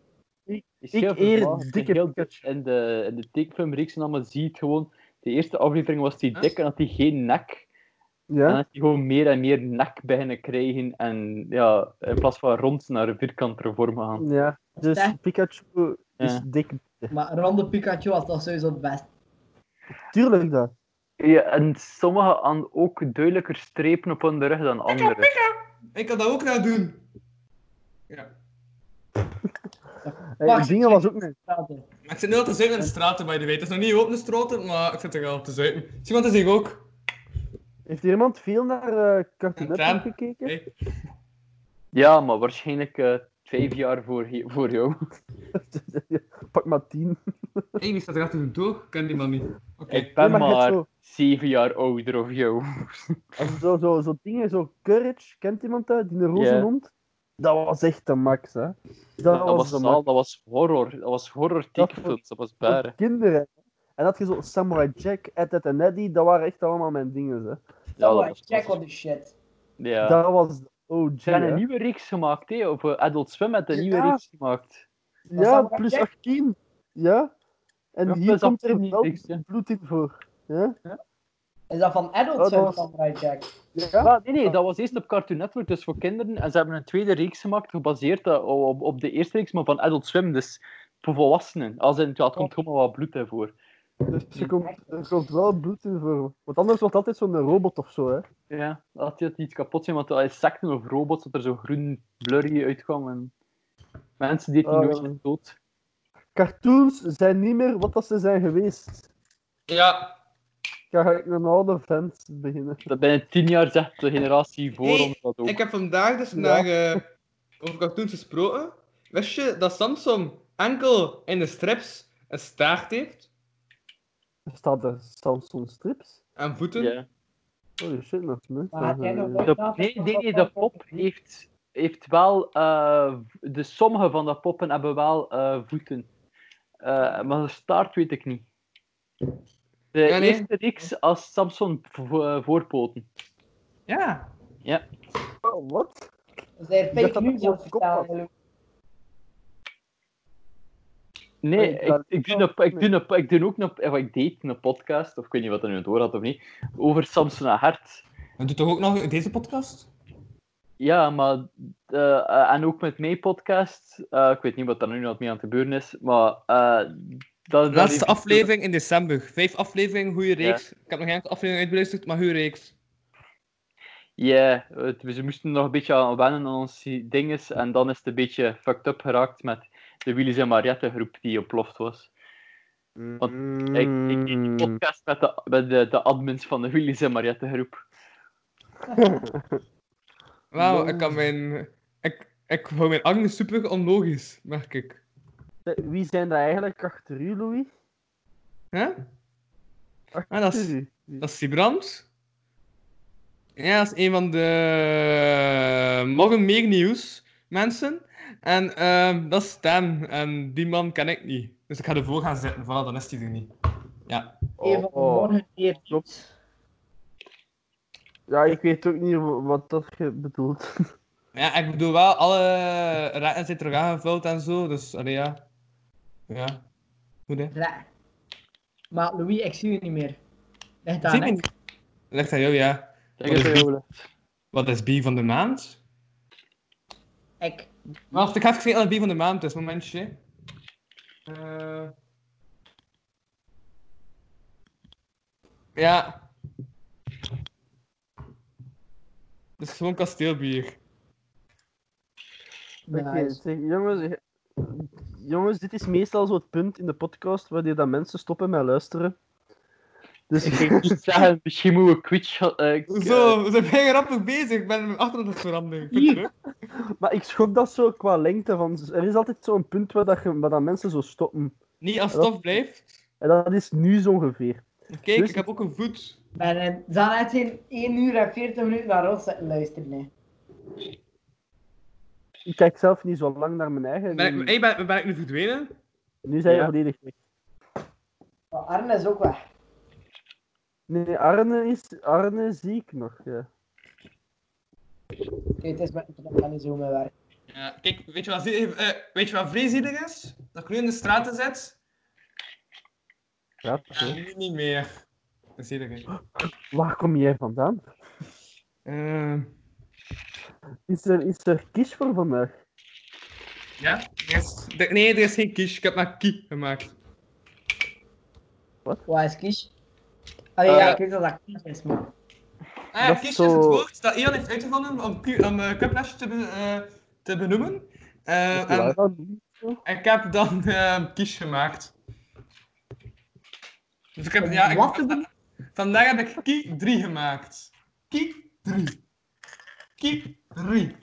[SPEAKER 3] Is
[SPEAKER 2] Ik
[SPEAKER 3] heel
[SPEAKER 2] eer
[SPEAKER 3] verbaasd.
[SPEAKER 2] dikke
[SPEAKER 3] En heel-
[SPEAKER 2] Pikachu.
[SPEAKER 3] In de, in de tekenfilmreeks en allemaal zie je het gewoon. De eerste aflevering was hij dik en had hij geen nek. En
[SPEAKER 2] ja?
[SPEAKER 3] had hij gewoon meer en meer nek beginnen krijgen. En ja, in plaats van rond naar een vierkantere vorm gaan.
[SPEAKER 2] ja, dus
[SPEAKER 5] Zeg.
[SPEAKER 2] Pikachu is
[SPEAKER 3] Ja.
[SPEAKER 2] dik.
[SPEAKER 5] Maar ronde Pikachu was toch sowieso het best.
[SPEAKER 2] Tuurlijk dat.
[SPEAKER 3] Ja, en sommige hadden ook duidelijker strepen op hun rug dan
[SPEAKER 4] Pika,
[SPEAKER 3] anderen.
[SPEAKER 4] pika! Ik kan dat ook nou doen. Ja.
[SPEAKER 2] Hey,
[SPEAKER 5] Wacht.
[SPEAKER 2] Eh, Dingen was ook een...
[SPEAKER 5] Praten.
[SPEAKER 4] Maar ik zit nu al te zuipen in de straten, by the way. Het is nog niet open de straten, maar ik zit er al te zuipen. Simon is hier ook.
[SPEAKER 2] Heeft hier iemand veel naar eh Cartoon Network
[SPEAKER 4] Een traan.
[SPEAKER 2] gekeken?
[SPEAKER 4] Hey.
[SPEAKER 3] Ja, maar waarschijnlijk eh, vijf jaar voor, je- voor jou.
[SPEAKER 2] Pak maar tien.
[SPEAKER 4] Hey, wie staat er achter de deur? Ik ken die man niet. Oké.
[SPEAKER 3] Ik ben
[SPEAKER 2] Nee, maar je hebt
[SPEAKER 3] maar
[SPEAKER 2] zo-
[SPEAKER 3] zeven jaar ouder of jou.
[SPEAKER 2] Als zo, zo, zo dingen, zo Courage, kent iemand dat? Die een roze
[SPEAKER 3] Ja.
[SPEAKER 2] hond? Dat was echt de max, hè. Dat,
[SPEAKER 3] Dat, was
[SPEAKER 2] de
[SPEAKER 3] zaal,
[SPEAKER 2] max.
[SPEAKER 3] dat was horror. Dat was horror tekenfilms. Dat was
[SPEAKER 2] Voor
[SPEAKER 3] baren.
[SPEAKER 2] kinderen. En dat je zo Samurai Jack, Ed, Ed en Eddy, dat waren echt allemaal mijn dingen, hè.
[SPEAKER 3] Ja,
[SPEAKER 5] Oh,
[SPEAKER 3] dat
[SPEAKER 5] maar
[SPEAKER 3] was-
[SPEAKER 5] check what the shit.
[SPEAKER 3] Ja.
[SPEAKER 2] Dat was de OG,
[SPEAKER 3] Ze hebben
[SPEAKER 2] hè.
[SPEAKER 3] een nieuwe reeks gemaakt, hè? Of eh, Adult Swim heeft een nieuwe
[SPEAKER 2] Ja.
[SPEAKER 3] reeks gemaakt.
[SPEAKER 5] Was
[SPEAKER 2] Ja,
[SPEAKER 5] Samurai
[SPEAKER 2] plus
[SPEAKER 5] Jack?
[SPEAKER 2] 18. Ja. En
[SPEAKER 3] Ja,
[SPEAKER 2] hier
[SPEAKER 3] plus
[SPEAKER 2] komt
[SPEAKER 3] 18
[SPEAKER 2] er
[SPEAKER 3] niet
[SPEAKER 2] wel
[SPEAKER 3] niks, hè.
[SPEAKER 2] bloed in voor. Ja?
[SPEAKER 5] Is dat van
[SPEAKER 2] Oh,
[SPEAKER 5] adults
[SPEAKER 2] dat
[SPEAKER 5] van
[SPEAKER 2] was-
[SPEAKER 5] Samurai Jack?
[SPEAKER 2] Ja?
[SPEAKER 3] Ah, nee, nee, dat was eerst op Cartoon Network, dus voor kinderen. En ze hebben een tweede reeks gemaakt, gebaseerd eh, op, op de eerste reeks, maar van Adult Swim, dus voor volwassenen. Als in, ja, het komt gewoon maar wat bloed ervoor.
[SPEAKER 2] Dus er komt, er komt wel bloed in voor. Want anders wordt altijd zo'n robot of zo, hè.
[SPEAKER 3] Ja, dat had iets kapot zijn, want dat insecten of robots, dat er zo groen blurry uitkwam. En mensen die het
[SPEAKER 2] Ah,
[SPEAKER 3] nooit
[SPEAKER 2] ja.
[SPEAKER 3] zijn dood.
[SPEAKER 2] Cartoons zijn niet meer wat dat ze zijn geweest.
[SPEAKER 4] Ja.
[SPEAKER 2] Ga ik een oude fans beginnen.
[SPEAKER 3] Dat binnen tien jaar zegt de generatie voor
[SPEAKER 4] Hey,
[SPEAKER 3] ons dat ook.
[SPEAKER 4] Ik heb vandaag dus naar, eh, over cartoons gesproken. Wist je dat Samsung enkel in de strips een staart heeft?
[SPEAKER 2] Staat er Samsung strips?
[SPEAKER 4] En voeten?
[SPEAKER 3] Ja.
[SPEAKER 2] Holy shit, dat is net.
[SPEAKER 5] Maar had jij nog
[SPEAKER 2] Eh,
[SPEAKER 5] nooit
[SPEAKER 3] De,
[SPEAKER 5] nagedacht
[SPEAKER 3] nee, nee,
[SPEAKER 5] over
[SPEAKER 3] nee,
[SPEAKER 5] wat
[SPEAKER 3] de
[SPEAKER 5] dat
[SPEAKER 3] pop heeft, heeft wel. eh, de sommige van de poppen hebben wel eh, voeten. Eh, maar de staart weet ik niet. De
[SPEAKER 4] Ja, nee.
[SPEAKER 3] eerste reeks als Samson vo- eh, voorpoten.
[SPEAKER 4] Ja.
[SPEAKER 2] oh, Wat?
[SPEAKER 5] Is hij
[SPEAKER 2] dacht
[SPEAKER 5] fake
[SPEAKER 2] dat
[SPEAKER 5] news
[SPEAKER 2] dat
[SPEAKER 5] aan het
[SPEAKER 2] een kop
[SPEAKER 5] vertalen?
[SPEAKER 2] was.
[SPEAKER 5] Lou?
[SPEAKER 3] Nee,
[SPEAKER 2] Nee,
[SPEAKER 3] ik,
[SPEAKER 2] dat-
[SPEAKER 3] ik, doe een, ik, doe een, ik doe ook een, of ik deed een podcast, of ik weet niet wat er nu door had of niet, over Samson en Hart.
[SPEAKER 4] En doet toch ook nog deze podcast?
[SPEAKER 3] Ja, maar eh, eh, en ook met mijn podcast. eh, ik weet niet wat er nu nog mee aan het gebeuren is, maar eh, dat, dat
[SPEAKER 4] Laatste
[SPEAKER 3] heeft-
[SPEAKER 4] aflevering in december. Vijf afleveringen, goede reeks. Ik heb nog geen aflevering uitbeluisterd, maar goede reeks.
[SPEAKER 3] Ja, het- we ze moesten nog een beetje aan wennen aan onze dinges en dan is het een beetje fucked up geraakt met de Willys en Mariette groep die oploft was. Ik, ik deed
[SPEAKER 2] Hmm.
[SPEAKER 3] die
[SPEAKER 4] Mm.
[SPEAKER 3] podcast met de, met de, de admins van de Willys en Mariette groep.
[SPEAKER 4] Wauw, ik kan mijn... Ik, ik hou mijn armen super onlogisch, merk ik.
[SPEAKER 2] Eh, Wie zijn dat eigenlijk achter u, Louis?
[SPEAKER 4] Hè? Ah, dat is...
[SPEAKER 2] U.
[SPEAKER 4] Dat is Sibrand. Ja, dat is een van de morgen meer nieuws mensen. En ehm, dat is Stan. En die man ken ik niet. Dus ik ga ervoor gaan zitten. Voilà, dan is hij er niet. Ja.
[SPEAKER 5] Even
[SPEAKER 2] Oh, oh.
[SPEAKER 5] morgen weer iets.
[SPEAKER 2] Ja, ik weet ook niet wa- wat dat je bedoelt.
[SPEAKER 4] Ja, ik bedoel wel, alle rekken zijn terug aangevuld en zo. Dus, allee, ja. Ja. Goed, hè.
[SPEAKER 5] Ra- Maar Louis, ik zie je niet meer. Ligt
[SPEAKER 4] Zie
[SPEAKER 5] aan,
[SPEAKER 4] je
[SPEAKER 5] hè?
[SPEAKER 4] niet? Ligt aan jou, ja.
[SPEAKER 3] Zeg eens,
[SPEAKER 4] Wat is-
[SPEAKER 3] Jole.
[SPEAKER 4] Wat is bier van de maand?
[SPEAKER 5] Ik.
[SPEAKER 4] Wacht, ik ga even kijken wat bier van de maand is. Momentje. Eh. Ja. Het is gewoon kasteelbier.
[SPEAKER 2] Oké,
[SPEAKER 5] Nice.
[SPEAKER 2] zeg, jongens, eh, jongens, dit is meestal zo het punt in de podcast wanneer dat mensen stoppen met luisteren. Dus
[SPEAKER 3] Ik ging niet zeggen, misschien moeten we Twitch... eh, ik, eh,
[SPEAKER 4] Zo, we zijn bijna grappig bezig. Ik ben mijn achtergrond veranderd. Vind je het leuk?
[SPEAKER 2] Maar ik schok dat zo qua lengte. Van, er is altijd zo'n punt waar, dat je, waar dat mensen zo stoppen.
[SPEAKER 4] Niet als stof blijft.
[SPEAKER 2] En dat is nu zo ongeveer.
[SPEAKER 4] Kijk,
[SPEAKER 2] Dus-
[SPEAKER 4] ik heb ook een voet.
[SPEAKER 5] Maar eh, ze hadden net geen 1 uur en 40 minuten naar ons zitten luisteren. hè.
[SPEAKER 2] Ik kijk zelf niet zo lang naar mijn eigen.
[SPEAKER 8] Ben ik,
[SPEAKER 2] Nu,
[SPEAKER 8] hey, ben, ben ik nu verdwenen?
[SPEAKER 2] nu zijn
[SPEAKER 3] Ja.
[SPEAKER 2] je volledig weg.
[SPEAKER 5] Maar Arne is ook weg.
[SPEAKER 2] Nee, Arne, is, Arne zie ik nog. Ja.
[SPEAKER 5] Oké, het is maar ik kan niet zo mee werken.
[SPEAKER 4] Ja, kijk, weet je wat, vre- eh, weet je wat vreselijk is? Dat ik nu in de straten zit
[SPEAKER 2] Ja,
[SPEAKER 4] en nu niet meer. Dat is zielig, hè.
[SPEAKER 2] Waar kom jij vandaan?
[SPEAKER 4] Eh,
[SPEAKER 2] Is er, is er kies voor vandaag?
[SPEAKER 4] ja, er is- er- nee, er is geen kies. Ik heb maar kie gemaakt.
[SPEAKER 5] Wat is kies? Allee,
[SPEAKER 4] Eh.
[SPEAKER 5] ja, ik weet dat dat kies is, maar...
[SPEAKER 4] Ah,
[SPEAKER 2] Dat
[SPEAKER 4] ja,
[SPEAKER 2] is
[SPEAKER 4] kies is
[SPEAKER 2] zo-
[SPEAKER 4] het woord dat Ian heeft uitgevonden om, Q- om eh, Quiplash te, be- eh, te benoemen. Eh,
[SPEAKER 2] Is
[SPEAKER 4] en
[SPEAKER 2] waar dan?
[SPEAKER 4] Ik heb dan ehm, kies gemaakt. Dus ik heb, ja, ik-
[SPEAKER 5] Wat te doen?
[SPEAKER 4] vandaag heb ik kie 3 gemaakt. Kie 3. Kie 3.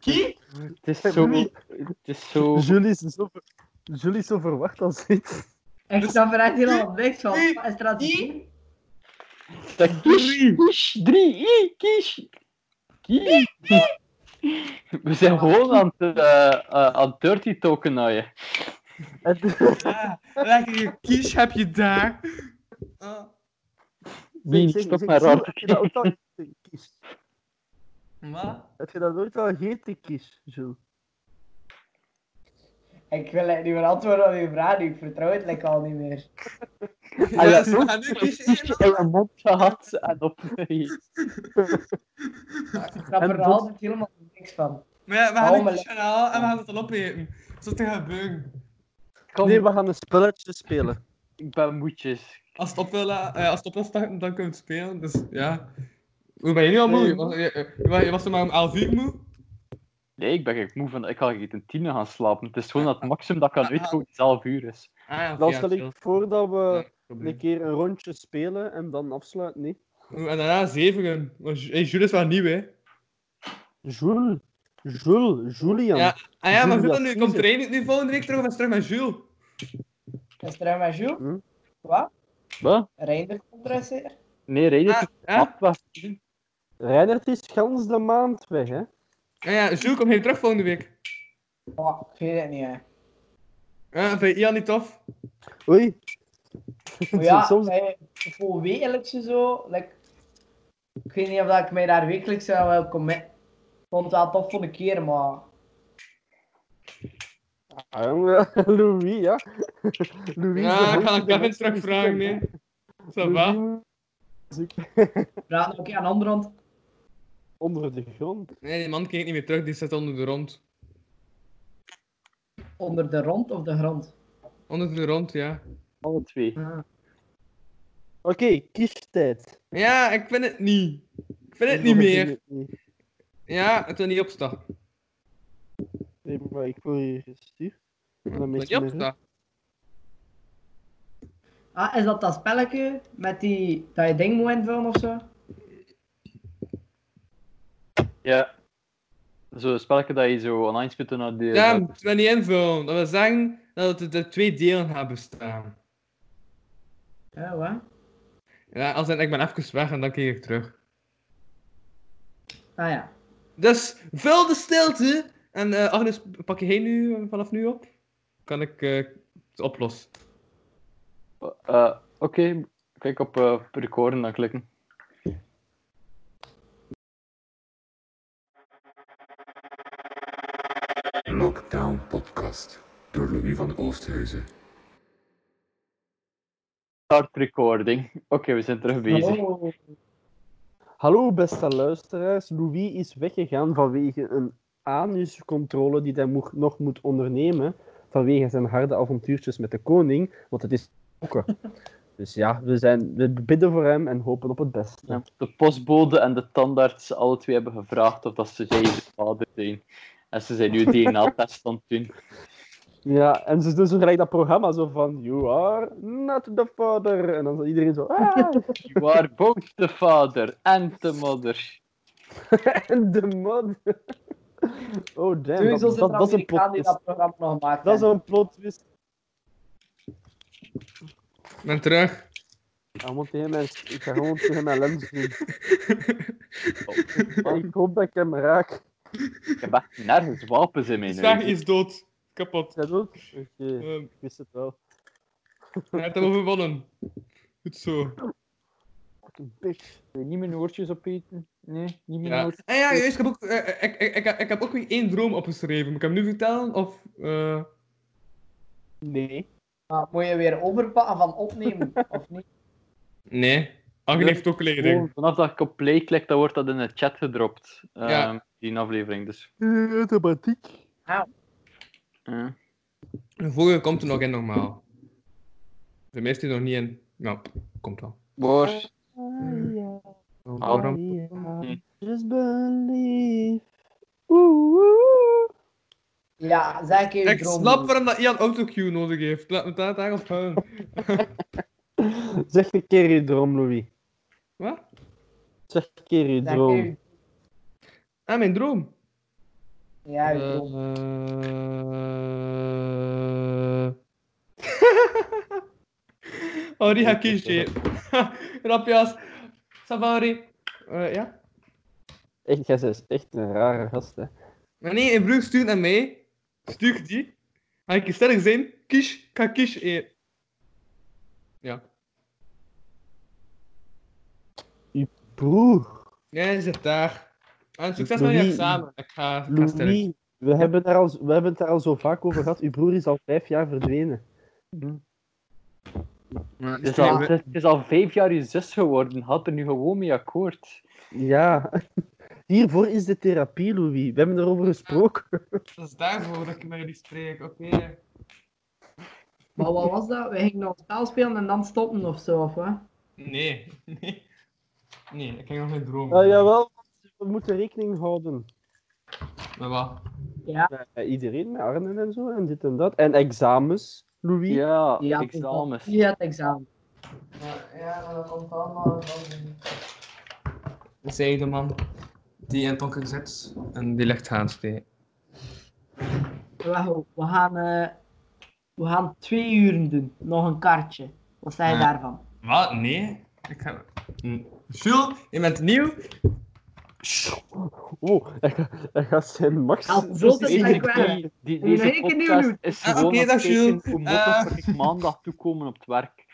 [SPEAKER 4] Kie?
[SPEAKER 3] Het is zo... Het is zo...
[SPEAKER 2] Julie is zo, ver- Julie is zo verward als ik.
[SPEAKER 5] Ik snap er echt helemaal niks van.
[SPEAKER 4] Die-
[SPEAKER 5] Wat is er aan het
[SPEAKER 4] die-
[SPEAKER 5] doen?
[SPEAKER 3] Dat kies, kies, drie, i, kies. Kies. We zijn gewoon aan het, eh, eh, aan het dirty token naar je.
[SPEAKER 2] En,
[SPEAKER 4] Ja, lekker kies heb je daar. Ah.
[SPEAKER 3] Wie
[SPEAKER 2] Zeg- zeg-
[SPEAKER 3] stopt
[SPEAKER 2] zeg,
[SPEAKER 3] maar
[SPEAKER 2] Jules,
[SPEAKER 3] rond.
[SPEAKER 2] Heb je dat ook al gegeten, kies?
[SPEAKER 4] wat?
[SPEAKER 2] Heb je dat nooit al gegeten, kies, Jules?
[SPEAKER 5] Ik wil eigenlijk niet meer antwoorden op je vraag, nu. ik vertrouw het lekker al niet meer.
[SPEAKER 3] Hij
[SPEAKER 4] Ah, Ja,
[SPEAKER 3] had
[SPEAKER 4] zo
[SPEAKER 3] ook
[SPEAKER 4] gaan nu kies
[SPEAKER 3] kies in mijn mond gehad en op...
[SPEAKER 5] Ik snap
[SPEAKER 2] En
[SPEAKER 5] er nog
[SPEAKER 2] dat-
[SPEAKER 5] altijd helemaal niks van.
[SPEAKER 4] Maar ja, we gaan
[SPEAKER 5] Oh,
[SPEAKER 4] een kies gaan halen en we gaan het dan opeten. Zo te gebeuren.
[SPEAKER 3] Kom,
[SPEAKER 2] Nee, we gaan een spelletje spelen.
[SPEAKER 3] ik ben moedjes.
[SPEAKER 4] Als het op wil, la- eh, als het op wil starten, dan kunnen we het spelen. Dus ja. Hoe ben je nu al moe? Je was, je, eh, je was- je was er maar om 11 uur moe.
[SPEAKER 3] Nee, ik ben echt moe van... Ik ga hier ten tienen gaan slapen. Het is gewoon dat het maximum dat ik kan uitkomen 11 uur is.
[SPEAKER 4] Ah ja, oké,
[SPEAKER 2] Dan
[SPEAKER 4] ja,
[SPEAKER 2] stel
[SPEAKER 4] chill.
[SPEAKER 2] ik voor eh, dat
[SPEAKER 4] Ja,
[SPEAKER 2] we
[SPEAKER 4] probleem.
[SPEAKER 2] een keer een rondje spelen en dan afsluiten. Nee.
[SPEAKER 4] Oeh, En daarna zeveren. Want Ju- hey, Jules is wel nieuw, hè? Ah
[SPEAKER 2] Jules, Jules, Julian.
[SPEAKER 4] Ja, Ah ja, maar
[SPEAKER 2] Jules,
[SPEAKER 4] goed
[SPEAKER 2] ja,
[SPEAKER 4] dan nu.
[SPEAKER 2] kiezen.
[SPEAKER 4] Komt er één nu volgende week terug of is het terug met Jules?
[SPEAKER 5] Is er een met Jules?
[SPEAKER 2] Hm?
[SPEAKER 5] Wat?
[SPEAKER 3] Wat?
[SPEAKER 5] Reinder komt er eens hier?
[SPEAKER 3] Nee, reden
[SPEAKER 4] Ah,
[SPEAKER 3] het
[SPEAKER 4] ja?
[SPEAKER 3] was...
[SPEAKER 2] Reinert is gans de maand weg, hè?
[SPEAKER 4] Ah ja, Jules komt hier terug volgende week.
[SPEAKER 5] Oh, ik weet het niet, hè.
[SPEAKER 4] Ja, Ah, vind je Ian niet tof?
[SPEAKER 2] Oei.
[SPEAKER 5] Maar ja,
[SPEAKER 2] Soms-
[SPEAKER 5] eh, voor wekelijks en zo, like, ik weet niet of dat ik mij daar wekelijks aan wil committen. Ik vond het wel tof voor een keer, maar
[SPEAKER 2] Ah, jongen, Louis, ja. Louis is
[SPEAKER 4] Ja,
[SPEAKER 2] de
[SPEAKER 4] Ah, ik ga
[SPEAKER 2] hond
[SPEAKER 4] dan
[SPEAKER 2] die
[SPEAKER 4] Kevin
[SPEAKER 2] de
[SPEAKER 4] terugvragen, nee. Ça
[SPEAKER 2] Louis
[SPEAKER 4] va?
[SPEAKER 2] moet zoeken
[SPEAKER 5] praat nog een keer aan de andere hand.
[SPEAKER 2] Onder de grond.
[SPEAKER 4] Nee, die man kijkt niet meer terug, die zit onder de rond.
[SPEAKER 5] Onder de rond of de grond?
[SPEAKER 4] Onder de rond, ja.
[SPEAKER 3] Alle twee.
[SPEAKER 5] Ah,
[SPEAKER 2] Oké, kiestijd.
[SPEAKER 4] Ja, ik vind het niet. Ik vind het Eh, niet meer. Ja, het wil niet opstaan.
[SPEAKER 2] Nee, maar ik word hier gestuurd.
[SPEAKER 4] Het
[SPEAKER 2] Dan
[SPEAKER 4] wil
[SPEAKER 2] mis
[SPEAKER 4] niet
[SPEAKER 2] je me, hè?
[SPEAKER 4] opstaan.
[SPEAKER 5] Ah, is dat dat spelletje met die, dat je ding moet invullen of zo?
[SPEAKER 3] Ja. Zo'n spelletje dat je zo online speelt en dat die...
[SPEAKER 4] Ja, het wil niet invullen. Dat wil zeggen dat het uit twee delen gaat bestaan.
[SPEAKER 5] Ja, wat?
[SPEAKER 4] Ja, als in, ik ben even weg en dan keer ik terug.
[SPEAKER 5] Ah ja.
[SPEAKER 4] Dus vul de stilte. En eh, Agnes, pak je heen nu eh, vanaf nu op? Kan ik eh, het oplossen?
[SPEAKER 3] Eh, Oké, klik op eh, recorden dan klikken.
[SPEAKER 9] Lockdown Podcast door Louis van Oosthuizen.
[SPEAKER 3] Start recording. Oké, we zijn terug bezig.
[SPEAKER 5] Oh,
[SPEAKER 2] Hallo, beste luisteraars. Louis is weggegaan vanwege een anuscontrole die hij moeg- nog moet ondernemen. Vanwege zijn harde avontuurtjes met de koning, want het is gokken. Dus ja, we, zijn, we bidden voor hem en hopen op het beste.
[SPEAKER 3] De postbode en de tandarts, alle twee hebben gevraagd of dat ze zijn vader zijn. En ze zijn nu DNA-test aan het doen.
[SPEAKER 2] Ja, en ze doen zo gelijk dat programma zo van You are not the father. En dan zo iedereen zo. Ah,
[SPEAKER 3] You are both the father and the mother.
[SPEAKER 2] en de man. Oh damn, dat,
[SPEAKER 5] sowieso
[SPEAKER 2] dat,
[SPEAKER 5] zit er
[SPEAKER 2] dat is een plot
[SPEAKER 5] Amerikaan die
[SPEAKER 2] twist.
[SPEAKER 5] dat programma nog gemaakt
[SPEAKER 2] Dat is
[SPEAKER 5] heeft.
[SPEAKER 2] een plot twist.
[SPEAKER 4] Ik ben terug.
[SPEAKER 2] Ik ga gewoon tegen mijn, ik ga gewoon tegen mijn lens doen. Ik hoop dat ik hem raak.
[SPEAKER 3] Ik heb echt nergens wapens in mijn
[SPEAKER 4] Zwaar
[SPEAKER 3] neus.
[SPEAKER 4] is dood. Kapot.
[SPEAKER 2] Is dat ook? Oké,
[SPEAKER 4] Ehm,
[SPEAKER 2] ik wist het wel.
[SPEAKER 4] hij heeft hem overwonnen. Goed zo.
[SPEAKER 2] Fucking bitch.
[SPEAKER 3] Wil je Niet mijn oortjes opeten. Nee, niet mijn
[SPEAKER 4] Ja.
[SPEAKER 3] oortjes.
[SPEAKER 4] En ja, juist, ik, heb ook, eh, eh, ik, ik, ik, ik heb ook weer één droom opgeschreven. Moet ik hem nu vertellen? Of, eh,
[SPEAKER 2] Nee.
[SPEAKER 5] Maar moet je weer overpakken van opnemen, of niet?
[SPEAKER 4] Nee. Angen
[SPEAKER 3] Nee.
[SPEAKER 4] heeft ook kleding.
[SPEAKER 3] Gewoon Vanaf dat ik op play klik, dan wordt dat in de chat gedropt. ehm,
[SPEAKER 4] Ja.
[SPEAKER 3] Die aflevering, dus.
[SPEAKER 2] Automatiek.
[SPEAKER 3] eh.
[SPEAKER 4] De vorige komt er nog in, normaal. De meeste nog niet in. Nou, pff, komt wel.
[SPEAKER 3] Worst.
[SPEAKER 4] Waarom?
[SPEAKER 2] Just believe.
[SPEAKER 5] Ja, zeg ik even
[SPEAKER 4] Ik snap waarom dat Ian autocue nodig heeft. Laat me dat eigenlijk houden.
[SPEAKER 2] Zeg een keer je droom, Louis.
[SPEAKER 4] Wat?
[SPEAKER 2] Zeg een keer je droom.
[SPEAKER 4] Ah, mijn droom.
[SPEAKER 5] Ja, je droom.
[SPEAKER 4] Eh. Henri Hakishi. Rapjas. Savari. Eh ja.
[SPEAKER 2] Echt, jij is echt een rare gast, hè.
[SPEAKER 4] Maar nee, een broer stuurt naar mij. Stuur die. Ga ik sterk zijn? Kies, ka kies eer. Ja.
[SPEAKER 2] Broer,
[SPEAKER 4] Ja, is het daar. En succes met je
[SPEAKER 2] Louis-
[SPEAKER 4] examen. Ik ga, ik ga sterk.
[SPEAKER 2] Louis, we hebben, daar al, we hebben het daar al zo vaak over gehad. Uw broer is al vijf jaar verdwenen.
[SPEAKER 7] Maar
[SPEAKER 3] Het is,
[SPEAKER 4] dus
[SPEAKER 7] nee,
[SPEAKER 3] al,
[SPEAKER 7] we-
[SPEAKER 3] het is- het is al vijf jaar je zus geworden. Had er nu gewoon mee akkoord.
[SPEAKER 2] Ja. Hiervoor is de therapie, Louis. We hebben erover gesproken.
[SPEAKER 4] Dat is daarvoor dat ik met jullie spreek. Oké. Okay.
[SPEAKER 5] Maar wat was dat? Wij gingen nog een spel spelen en dan stoppen of zo, of wat?
[SPEAKER 4] Nee. Nee. Nee, ik ging nog mijn droom.
[SPEAKER 2] Ja, Ah, jawel, we moeten rekening houden.
[SPEAKER 4] Maar wat?
[SPEAKER 2] Bij iedereen, met Arnen en zo, en dit en dat. En examens, Louis.
[SPEAKER 3] Ja,
[SPEAKER 5] Ja,
[SPEAKER 3] examens.
[SPEAKER 5] Ja, het examen. Ja, dat komt allemaal van.
[SPEAKER 4] Zij de man die in het donker zit en die legt gaan steken.
[SPEAKER 5] We, we, gaan, eh, we gaan twee uren doen. Nog een kaartje. Wat zei je
[SPEAKER 4] Ja.
[SPEAKER 5] daarvan?
[SPEAKER 4] Wat? Nee. Ik ga... Hm. Jules, je bent nieuw.
[SPEAKER 2] Oh, hij, gaat- hij gaat zijn max.
[SPEAKER 5] Al zult het zijn kwijt.
[SPEAKER 3] Die, die,
[SPEAKER 5] Moet je nog
[SPEAKER 3] deze
[SPEAKER 5] één keer nieuw
[SPEAKER 3] podcast
[SPEAKER 5] doen?
[SPEAKER 3] is
[SPEAKER 4] Ah,
[SPEAKER 3] gewoon
[SPEAKER 4] oké,
[SPEAKER 3] een
[SPEAKER 4] dag,
[SPEAKER 3] teken
[SPEAKER 4] Jules.
[SPEAKER 3] hoe
[SPEAKER 4] Eh.
[SPEAKER 3] makkelijk ik maandag toekomen op het werk.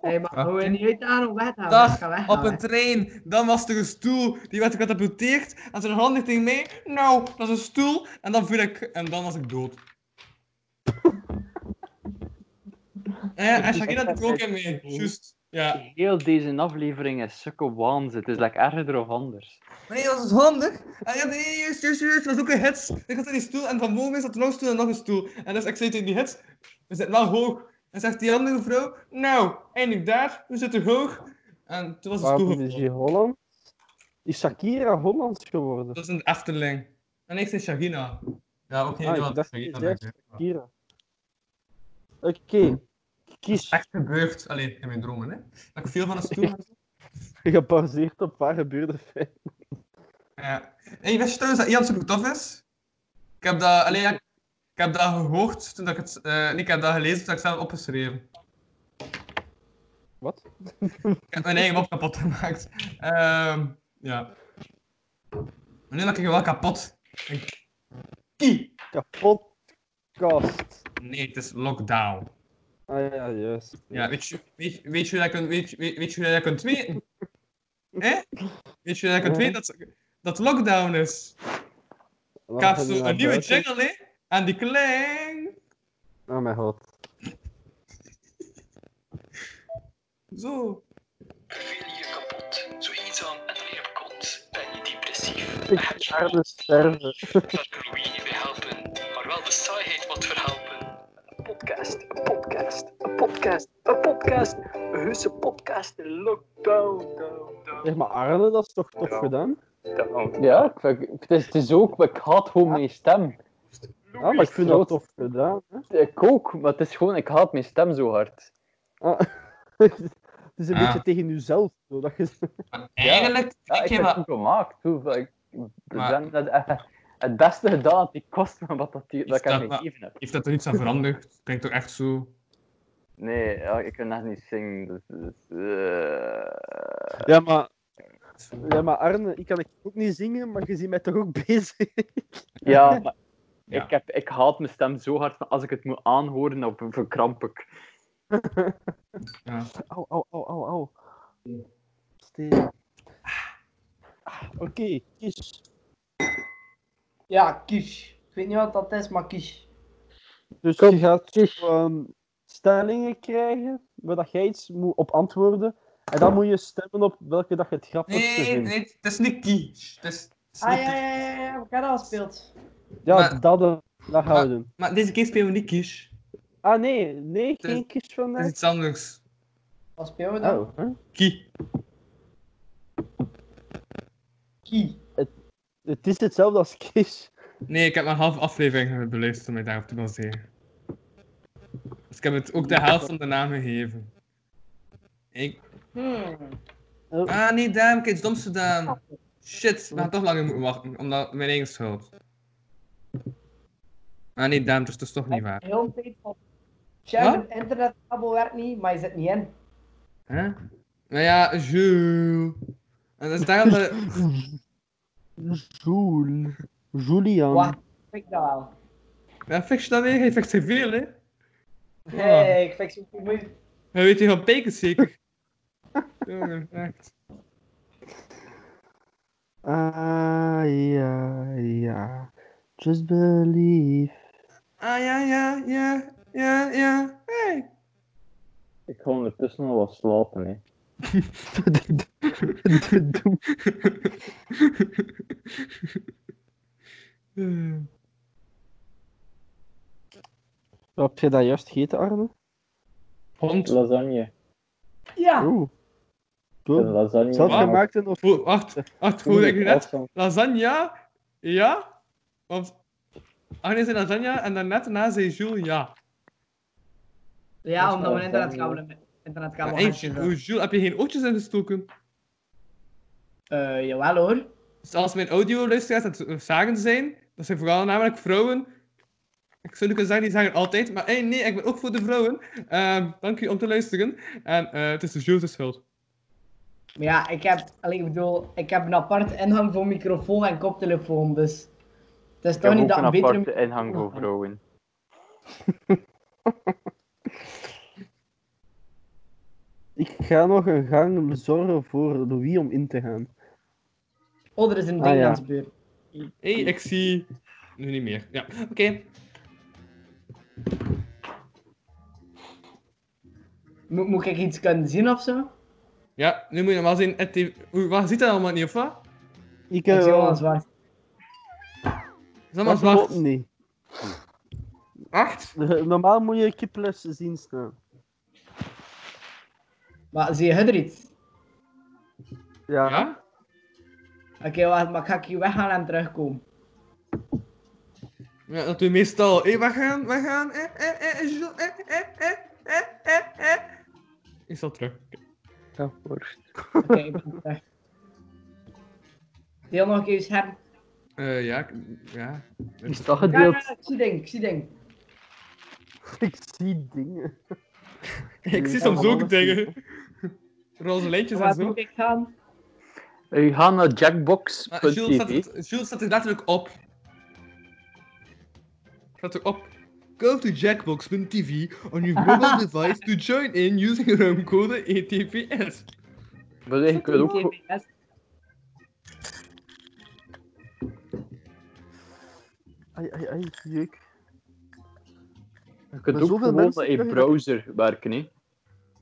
[SPEAKER 5] Hey, maar we gaan niet uit aan om weg te gaan.
[SPEAKER 4] Ah. Dag,
[SPEAKER 5] Ik ga weggaan,
[SPEAKER 4] Op een trein, dan was er een stoel, die werd gecatapulteerd en zijn handig tegen mij. Nou, dat is een stoel. En dan viel ik, en dan was ik dood. Eh, en Shakira had er ook in mee, juist. Ja.
[SPEAKER 3] Heel deze aflevering is zulke waanzin. Het is lekker erger of anders.
[SPEAKER 4] Maar nee, dat was handig. En Ah, ja, nee, juist, juist, juist, dat was ook een hits. Ik had in die stoel en van boven zat er nog een stoel en nog een stoel. En dus ik zei tegen die hits, we zitten wel hoog. En zegt die andere vrouw, nou, eindelijk daar, we zitten hoog. En toen was de stoel
[SPEAKER 2] Waarom is
[SPEAKER 4] gevallen.
[SPEAKER 2] hij Holland? Is Shakira Hollands geworden?
[SPEAKER 4] Dat is een Efteling. En ik zei Shagina. Ja, ook
[SPEAKER 2] Ah,
[SPEAKER 4] niet
[SPEAKER 2] ik
[SPEAKER 4] wat
[SPEAKER 2] dacht
[SPEAKER 4] Shagina
[SPEAKER 2] dat
[SPEAKER 4] denk
[SPEAKER 2] je
[SPEAKER 4] ik. Maar
[SPEAKER 2] Shakira. Oké, kies.
[SPEAKER 4] Echt gebeurd, alleen in mijn dromen, hè? Dat ik veel van een stoel.
[SPEAKER 2] Gebaseerd op waar gebeurde feiten.
[SPEAKER 4] ja. En je wist je trouwens dat Ian super tof is? Ik heb dat, alleen, ik ik heb dat gehoord toen dat ik het. eh, nee, ik heb dat gelezen toen ik het zelf opgeschreven.
[SPEAKER 2] Wat?
[SPEAKER 4] Ik heb mijn eigen mop kapot gemaakt. Ehm, ja. Maar nu maak ik je wel kapot. Ik- Kie!
[SPEAKER 2] Kapotkast.
[SPEAKER 4] Nee, het is lockdown.
[SPEAKER 2] Ah ja, juist.
[SPEAKER 4] Ja, weet je, weet, weet je hoe dat kunt, weet, je- weet, weet je hoe dat kunt weten? Hè? Weet je hoe dat kunt weten dat, dat lockdown is? Ik heb zo een nieuwe jingle, hè? En die klinkt
[SPEAKER 2] Oh mijn god.
[SPEAKER 4] zo.
[SPEAKER 6] Wil je kapot? Zo eenzaam en alleen op kot? Ben je depressief?
[SPEAKER 2] Aarde sterven.
[SPEAKER 6] Daar kan Louis je bij helpen, maar wel de saaiheid wat verhelpen. Een podcast, een podcast, een podcast, een podcast, een heuse podcast, lockdown, down, down,
[SPEAKER 2] Zeg maar, Arne, dat is toch tof gedaan?
[SPEAKER 6] down.
[SPEAKER 3] Ja, ik vind- het, is, het is ook, ik haat gewoon mijn stem.
[SPEAKER 2] Ja, Ah, maar ik vind dat tof gedaan. hè.
[SPEAKER 3] Ik ook, maar het is gewoon, ik haat mijn stem zo hard.
[SPEAKER 2] Ah. Het is een
[SPEAKER 4] Ah.
[SPEAKER 2] beetje tegen jezelf. Zo, dat je...
[SPEAKER 4] Eigenlijk,
[SPEAKER 3] Ja, ik
[SPEAKER 4] ik
[SPEAKER 3] heb
[SPEAKER 4] heb
[SPEAKER 3] het
[SPEAKER 4] dat...
[SPEAKER 3] goed gemaakt. Hoe, ik,
[SPEAKER 4] Maar-
[SPEAKER 3] zijn dat, eh, het beste gedaan dat die kost me wat dat, die, dat ik
[SPEAKER 4] Is
[SPEAKER 3] hem
[SPEAKER 4] dat-
[SPEAKER 3] gegeven heb.
[SPEAKER 4] Heeft dat er iets aan veranderd? Klinkt toch echt zo?
[SPEAKER 3] Nee, ja, ik kan net niet zingen. Dus, dus, eh.
[SPEAKER 2] Ja, maar... Ja, maar Arne, ik kan ook niet zingen, maar je ziet mij toch ook bezig.
[SPEAKER 3] Ja, maar
[SPEAKER 4] Ja.
[SPEAKER 3] Ik, heb, ik haat mijn stem zo hard, dat als ik het moet aanhoren, dan verkramp ik.
[SPEAKER 2] Au, au, au, au, au. Steen. Ah, Oké, kies.
[SPEAKER 5] Ja, kies. Ik weet niet wat dat is, maar kies.
[SPEAKER 2] Dus
[SPEAKER 8] Kom,
[SPEAKER 2] je gaat
[SPEAKER 8] kies.
[SPEAKER 2] ehm, stellingen krijgen, waar dat jij iets moet op antwoorden. En dan moet je stemmen op welke dat je het grappigste
[SPEAKER 4] Nee,
[SPEAKER 2] vindt.
[SPEAKER 4] nee, het is niet kies. Het is, het is
[SPEAKER 5] Ah
[SPEAKER 4] niet
[SPEAKER 5] ja,
[SPEAKER 4] kies.
[SPEAKER 5] ja, ja, ja, we hebben al gespeeld.
[SPEAKER 2] Ja,
[SPEAKER 4] Maar-
[SPEAKER 2] dat, eh, dat gaan we
[SPEAKER 4] Maar-
[SPEAKER 2] doen.
[SPEAKER 4] Maar deze keer spelen we niet kies.
[SPEAKER 2] Ah nee, nee, geen kies
[SPEAKER 4] Het is
[SPEAKER 2] vandaag.
[SPEAKER 4] iets anders.
[SPEAKER 5] Wat spelen we dan?
[SPEAKER 2] Oh, hè?
[SPEAKER 4] Kie.
[SPEAKER 5] Kie.
[SPEAKER 2] het is hetzelfde als kies.
[SPEAKER 4] Nee, ik heb maar een halve aflevering beluisterd om mij daarop te baseren. Dus ik heb het ook de helft van de naam gegeven. Ik...
[SPEAKER 5] Hmm.
[SPEAKER 4] Ah nee, daar heb ik iets doms gedaan. Shit, we gaan toch langer moeten wachten, omdat mijn eigen schuld. Ah nee, Daan, dat is toch niet waar.
[SPEAKER 5] Heel de tijd van. Chef,
[SPEAKER 4] Wat?
[SPEAKER 5] het internetkabel werkt niet, maar je zit niet in.
[SPEAKER 4] Hè? Nou ja, Jules. En dat is daarom dat...
[SPEAKER 2] Joel.
[SPEAKER 3] Ehm.
[SPEAKER 2] Julian.
[SPEAKER 5] Wacht, fik dat wel.
[SPEAKER 4] Ja, fix je dat weer? Hij fixt veel, hè? Oh,
[SPEAKER 5] Nee, ik fix het moeilijk.
[SPEAKER 4] Hij weet je van pekens zeker? Jongen, echt.
[SPEAKER 2] Ah ja, ja. Just believe.
[SPEAKER 4] Ah ja, ja, ja, ja, ja. Hey.
[SPEAKER 3] Ik ga ondertussen al wat slapen, hè.
[SPEAKER 4] Eh,
[SPEAKER 2] Wat heb je dat juist gegeten, Arne?
[SPEAKER 4] Hond.
[SPEAKER 3] Lasagne.
[SPEAKER 5] Ja,
[SPEAKER 2] Ah. Oeh.
[SPEAKER 3] Een
[SPEAKER 2] Doe.
[SPEAKER 3] lasagne.
[SPEAKER 2] Zelfgemaakt en of...
[SPEAKER 4] Hoe- Wacht, wacht, hoe denk je net? Lasagne? Ja? Want Agnes zei lasagne en daarnet daarna zei Jules ja.
[SPEAKER 5] ja omdat we een
[SPEAKER 3] Dat is wel
[SPEAKER 5] internetkabel internetkabel
[SPEAKER 4] Hey,
[SPEAKER 5] hebben.
[SPEAKER 4] Jules, heb je geen ootjes ingestoken?
[SPEAKER 5] Eh, jawel hoor.
[SPEAKER 4] Dus als mijn audioluisteraars aan het zagen zijn, dat zijn vooral namelijk vrouwen. Ik zou nu kunnen zeggen, die zagen altijd, maar hey, nee, ik ben ook voor de vrouwen. Ehm, dank u om te luisteren. En eh, het is de Jules' schuld.
[SPEAKER 5] Maar ja, ik heb, allee, ik bedoel, ik heb een aparte ingang voor microfoon en koptelefoon, dus... Het is
[SPEAKER 3] Ik
[SPEAKER 5] toch
[SPEAKER 3] heb
[SPEAKER 5] niet
[SPEAKER 3] ook
[SPEAKER 5] dat
[SPEAKER 3] een
[SPEAKER 5] een betere...
[SPEAKER 3] aparte inhang voor vrouwen.
[SPEAKER 2] Ik ga nog een gang zorgen voor Louis om in te gaan.
[SPEAKER 5] Oh, er is een
[SPEAKER 2] Ah,
[SPEAKER 5] ding
[SPEAKER 2] ja.
[SPEAKER 5] aan het gebeuren.
[SPEAKER 4] Hé, hey, ik zie... Nu niet meer. Ja, oké.
[SPEAKER 5] Moet, moet ik iets kunnen zien of zo?
[SPEAKER 4] Ja, nu moet je normaal zien. Het heeft- Oei, Wat ziet dat allemaal niet, of
[SPEAKER 2] Ik
[SPEAKER 4] wat?
[SPEAKER 2] eh,
[SPEAKER 5] Ik
[SPEAKER 2] heb
[SPEAKER 5] zie wel
[SPEAKER 2] wel
[SPEAKER 5] een zwart.
[SPEAKER 4] Het is allemaal
[SPEAKER 2] klopt
[SPEAKER 4] zwart.
[SPEAKER 2] niet.
[SPEAKER 4] Echt?
[SPEAKER 2] Normaal moet je kiples zien staan.
[SPEAKER 5] Maar zie je er iets?
[SPEAKER 2] Ja.
[SPEAKER 4] Ja?
[SPEAKER 5] Oké, wacht, maar ga ik hier weggaan en terugkomen?
[SPEAKER 4] Ja, dat doe je meestal. Hé, we gaan, we gaan. Eh, eh, eh, Jules, eh, eh, eh, eh, eh, eh. Is dat terug?
[SPEAKER 8] Dat wordt.
[SPEAKER 5] Oké, ik ben terug. Deel nog een keer je scherm.
[SPEAKER 4] Eh, ja, ik- ja.
[SPEAKER 8] Is dat
[SPEAKER 5] Ja,
[SPEAKER 8] gedeeld?
[SPEAKER 5] ja, ik zie ding, ik zie ding.
[SPEAKER 2] Ik zie dingen.
[SPEAKER 4] Ik zie
[SPEAKER 2] Ja,
[SPEAKER 4] soms
[SPEAKER 2] maar
[SPEAKER 4] ook
[SPEAKER 2] dat
[SPEAKER 4] dingen. Roze lijntjes en
[SPEAKER 5] Waar
[SPEAKER 4] zo.
[SPEAKER 5] moet ik gaan?
[SPEAKER 3] U gaat naar
[SPEAKER 4] Maar Ah, Jules staat,
[SPEAKER 3] jackbox.tv.
[SPEAKER 4] Jules staat er letterlijk op. Staat er op. Go to jackbox.tv on your mobile device to join in using room code E ETPS.
[SPEAKER 3] Maar je kunt ook...
[SPEAKER 5] TBS.
[SPEAKER 2] Ai, ai, ai, jeuk.
[SPEAKER 3] Je kunt
[SPEAKER 2] Maar
[SPEAKER 3] ook
[SPEAKER 2] zoveel
[SPEAKER 3] gewoon
[SPEAKER 2] mensen
[SPEAKER 3] met een
[SPEAKER 2] kunnen-
[SPEAKER 3] browser werken, hè.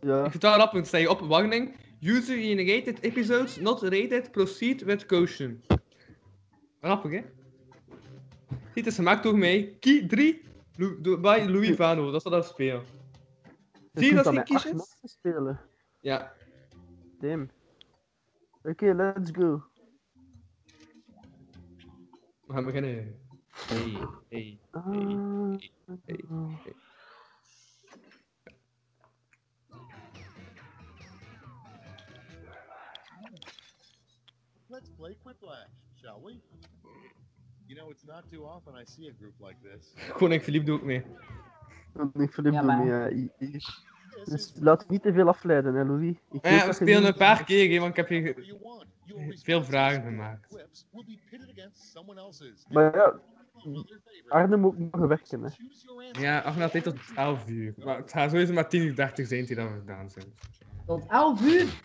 [SPEAKER 2] Ja.
[SPEAKER 4] Ik vertaal rap, want sta je op warning. User generated episodes not rated, proceed with caution. Grappig, hè? Dit is gemaakt door mij. Key 3 Lou- door- by Louis Vano, dat staat dat spelen. Zie je dat
[SPEAKER 2] ze
[SPEAKER 4] ze kiesjes?
[SPEAKER 2] spelen.
[SPEAKER 4] Ja.
[SPEAKER 2] Damn. Oké, let's go.
[SPEAKER 4] We gaan beginnen. Hey, hey.
[SPEAKER 2] Ah.
[SPEAKER 4] hey,
[SPEAKER 10] Let's play Quiplash, shall we? You know, it's not too often I see a group like this.
[SPEAKER 4] Eh, Koning Philippe doet ook mee.
[SPEAKER 2] Ik Philip
[SPEAKER 5] Ja,
[SPEAKER 2] doen,
[SPEAKER 5] maar-
[SPEAKER 2] ja. i- i- Dus laat je niet te veel afleiden, hè, Louis. Ik
[SPEAKER 4] Maar
[SPEAKER 2] weet
[SPEAKER 4] ja,
[SPEAKER 2] dat
[SPEAKER 4] we
[SPEAKER 2] je
[SPEAKER 4] spelen
[SPEAKER 2] niet-
[SPEAKER 4] een paar keer, hè, want ik heb hier veel vragen gemaakt.
[SPEAKER 2] Maar ja, Arne moet ook nog werken, hè.
[SPEAKER 4] Ja, Agna deed tot 11 uur. Maar het gaat sowieso maar 10 uur 30 zijn die dan gedaan zijn.
[SPEAKER 5] Tot 11 uur.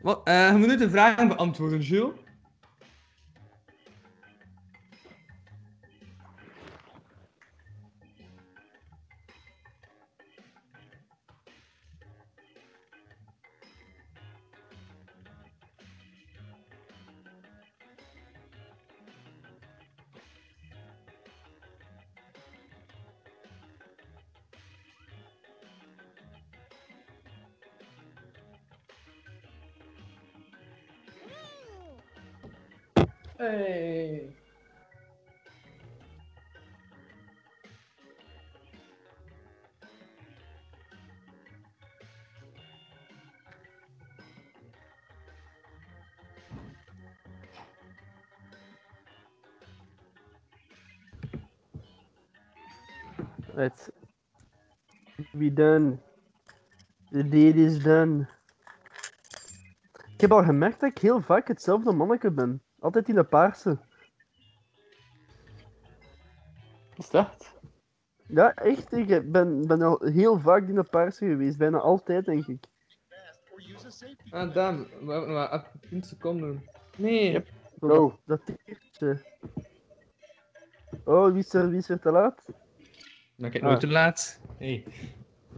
[SPEAKER 4] Wat, eh, je moet nu de vragen beantwoorden, Jules.
[SPEAKER 5] Hey.
[SPEAKER 2] Right. We done. The deed is done. Ik heb al gemerkt dat ik heel vaak hetzelfde manneke ben. Altijd in de paarse.
[SPEAKER 3] Is dat?
[SPEAKER 2] Ja, echt. Ik ben, ben al heel vaak in de paarse geweest. Bijna altijd, denk ik.
[SPEAKER 4] Ah, damn. We hebben nog maar 10 seconden. Nee.
[SPEAKER 2] Zo, dat- Dat tiertje. Oh, wie is er, wie is er te laat?
[SPEAKER 4] Dan Nou, kijk
[SPEAKER 2] Ah.
[SPEAKER 4] nooit te laat. Hey.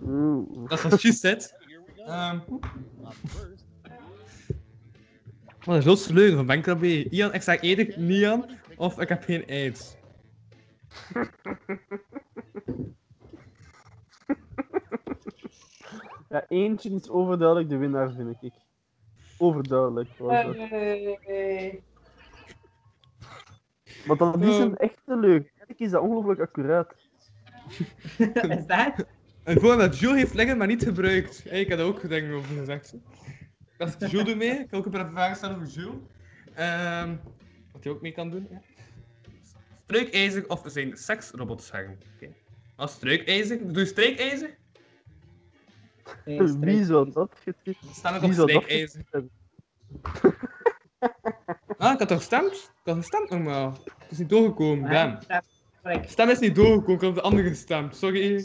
[SPEAKER 2] Oeh.
[SPEAKER 4] Dat is wat je zegt. Ehm. Wat een grootste leugen van Bankrab B. Ian, ik sta eerder Nian of ik heb geen AIDS.
[SPEAKER 2] Ja, eentje is overduidelijk de winnaar, vind ik. Overduidelijk. Was dat.
[SPEAKER 5] Hey.
[SPEAKER 2] Want dat is een echte leuk. Eigenlijk is dat ongelooflijk accuraat.
[SPEAKER 5] Is dat?
[SPEAKER 4] Een gewoon dat Jules heeft liggen, maar niet gebruikt. Hey, ik had er ook dingen over gezegd. Dat is Jules ermee. Ik wil ook een paar vragen stellen over Jules. Ehm, wat hij ook mee kan doen. Ja. Struikijzer of er zijn seksrobots zeggen. Oké. Als struikijzer, doe je strijkijzer?
[SPEAKER 5] Nee, is
[SPEAKER 2] Wie zou dat getikt
[SPEAKER 4] Stem ik
[SPEAKER 2] Wie
[SPEAKER 4] op
[SPEAKER 2] zou dat
[SPEAKER 4] strijkijzer.
[SPEAKER 2] hebben?
[SPEAKER 4] Ah, ik had toch gestemd? Ik had gestemd normaal. Het is niet doorgekomen, damn.
[SPEAKER 5] correct.
[SPEAKER 4] Stem is niet doorgekomen, ik had op de andere gestemd. Sorry.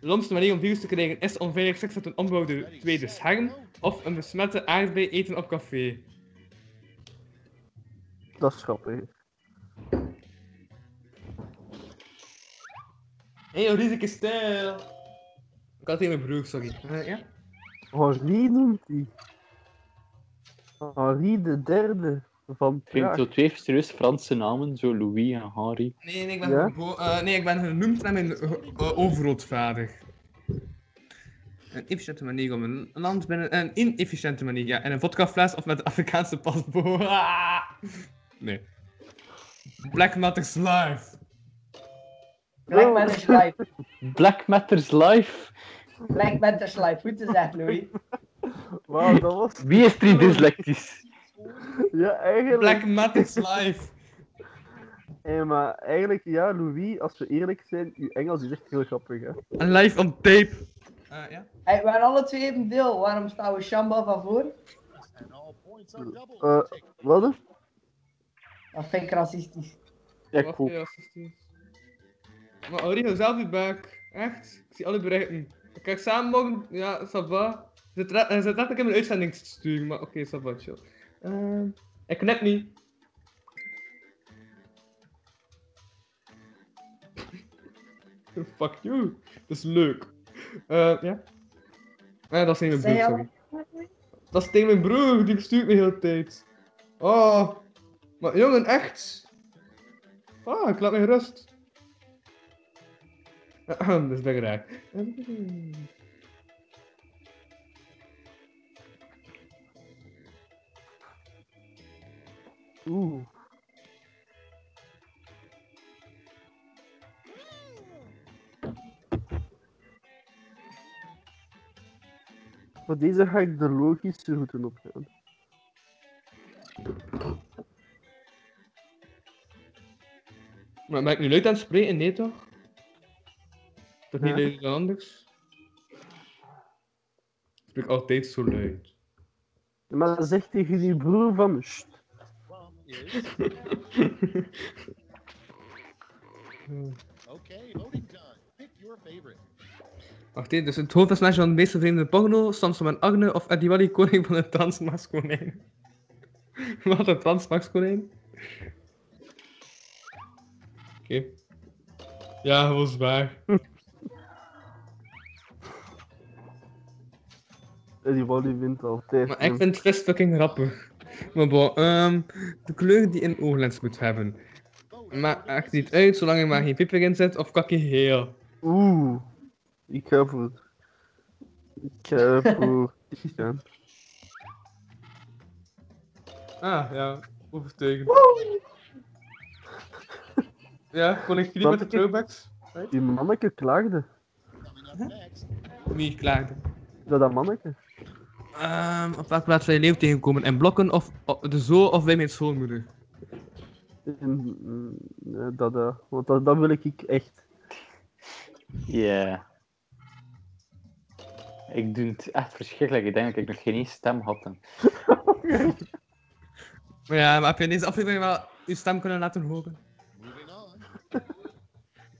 [SPEAKER 4] De lomste manier om virus te krijgen is onveilig seks met een onbouwde tweede scherm of een besmette aardbei eten op café.
[SPEAKER 2] Dat is grappig.
[SPEAKER 4] Hé, hey, Ulrike stijl! Ik had het in mijn broek, sorry. Eh, ja?
[SPEAKER 2] Henri noemt hij. Henri de derde van
[SPEAKER 3] Ik vind
[SPEAKER 2] Praag.
[SPEAKER 3] zo twee serieus Franse namen, zo Louis en Henri.
[SPEAKER 4] Nee, nee, ik ben,
[SPEAKER 2] Ja?
[SPEAKER 4] gebo- eh, nee, ik ben genoemd naar mijn eh, eh, overgrootvader. Een efficiënte manier om een land binnen... Een inefficiënte manier, ja. En een vodkafles of met een Afrikaanse paspoort. Ah! Nee. Black Matter's Life.
[SPEAKER 5] Black Matters Life.
[SPEAKER 3] Black Matters Life.
[SPEAKER 5] Black Matters Life. Goed gezegd, Louis.
[SPEAKER 2] Wauw, dat was...
[SPEAKER 3] Wie is er hier dyslectisch?
[SPEAKER 2] Ja, eigenlijk...
[SPEAKER 4] Black Matter's Life.
[SPEAKER 2] Hey, maar eigenlijk, ja, Louis, als we eerlijk zijn, uw Engels is echt heel grappig, hè.
[SPEAKER 4] Een live on tape. Eh, ja?
[SPEAKER 5] Hey, we hebben alle twee even deel. Waarom staan we Shamba van voor?
[SPEAKER 2] Eh, wat?
[SPEAKER 5] Dat vind ik racistisch.
[SPEAKER 3] Ja,
[SPEAKER 4] Wacht,
[SPEAKER 3] cool.
[SPEAKER 4] ja, racistisch. Maar Aurelio, zelf je buik. Echt? Ik zie alle berichten. Ik krijg samen morgen... Ja, ça va. Zit ra- eh, zit letterlijk in mijn uitzending te sturen, maar oké, ça va, chill. Ehm, ik knip niet. Fuck you. Dat is leuk. Eh, ja. Eh, dat is tegen mijn
[SPEAKER 5] Zeg
[SPEAKER 4] broer,
[SPEAKER 5] al-
[SPEAKER 4] sorry. Dat is tegen mijn broer, die bestuurt me de hele tijd. Oh. Maar jongen, echt? Ah, ik laat mij rust. dat is ben ik raar.
[SPEAKER 2] Oeh. Voor deze ga ik de logische route opgaan.
[SPEAKER 4] Maar ben ik nu luid aan het spreken? Nee toch? Toch niet luider dan anders? Ik spreek altijd zo luid.
[SPEAKER 2] Maar zeg tegen die broer van... "Sst."
[SPEAKER 10] Okay, voting time. Pick your favorite.
[SPEAKER 4] Wacht hé, dus het hoofdpersonage van de meeste vreemde porno, Samson en Agne of Adiwali, koning van het transmaxkonijn. Wat een transmaxkonijn? Oké. Ja, dat was waar.
[SPEAKER 2] En Eh, die Wally wint altijd.
[SPEAKER 4] Maar ik vind vis fucking grappig. Maar bon, ehm, de kleur die een ooglens moet hebben. Maakt echt niet uit, zolang je maar geen peper in zet of kakje heel.
[SPEAKER 2] Oeh. Ik ga voor... Ik ga voor... Christian.
[SPEAKER 4] Ah, ja, overtuigend. Ja, kon ik jullie met de throwbacks?
[SPEAKER 2] Die manneke klaagde.
[SPEAKER 4] Wie klaagde?
[SPEAKER 2] Dat dat manneke.
[SPEAKER 4] Ehm, op welke plaats zou je leeuw tegenkomen? In blokken of op de zoo of bij mijn schoonmoeder?
[SPEAKER 2] En, mm, eh, dat, eh, want dat, dat wil ik ik echt.
[SPEAKER 3] Ja. Ik doe het echt verschrikkelijk. Ik denk dat ik nog geen eens stem had.
[SPEAKER 4] Maar ja, maar heb je in deze aflevering wel je stem kunnen laten horen?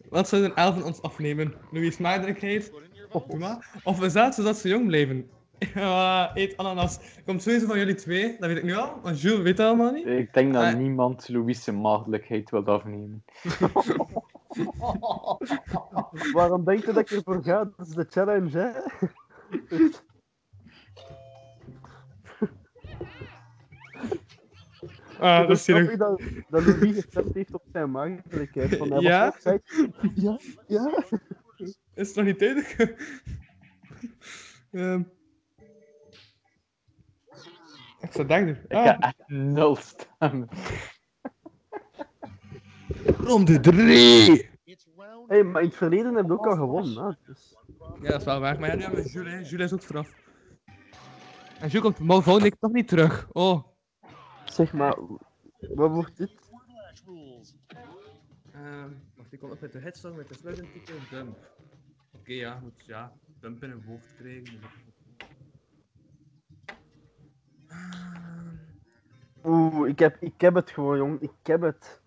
[SPEAKER 4] Wat zouden elfen ons afnemen? Louis Maagdelijkheid? Optima? Of we zaten zodat ze jong blijven? Ja, eet ananas. Komt sowieso van jullie twee, dat weet ik nu al, want Jules weet dat allemaal niet.
[SPEAKER 3] Ik denk dat
[SPEAKER 4] Eh.
[SPEAKER 3] niemand Louis' maagdelijkheid wil afnemen.
[SPEAKER 2] Waarom denk je dat ik ervoor ga? Dat is de challenge, hè?
[SPEAKER 4] Ah,
[SPEAKER 2] Het
[SPEAKER 4] dat is
[SPEAKER 2] grappig
[SPEAKER 4] hier.
[SPEAKER 2] dat, dat Louis gestemd heeft op zijn maagdelijkheid. Van, hij was
[SPEAKER 4] Ja?
[SPEAKER 2] altijd- Ja? Ja?
[SPEAKER 4] Is het nog niet tijdig? Ehm. Ik zou denken.
[SPEAKER 3] Ik heb echt nul stemmen.
[SPEAKER 4] Ronde 3!
[SPEAKER 2] Hé, maar in het verleden heb je ook al gewonnen, hè? Dus...
[SPEAKER 4] Ja, dat is wel waar. Maar ja, nu hebben we Jules. hè. Jules is ook straf. En Jules komt mo- volgende week toch niet terug. Oh.
[SPEAKER 2] Zeg maar, wat wordt dit?
[SPEAKER 4] Ehm, wacht, ik kom op met de headstone met de sluitentitel dump. Oké, ja, moet ja, dump in een hoofd krijgen. Ehm,
[SPEAKER 2] Oeh, ik heb, ik heb het gewoon, jong. Ik heb het.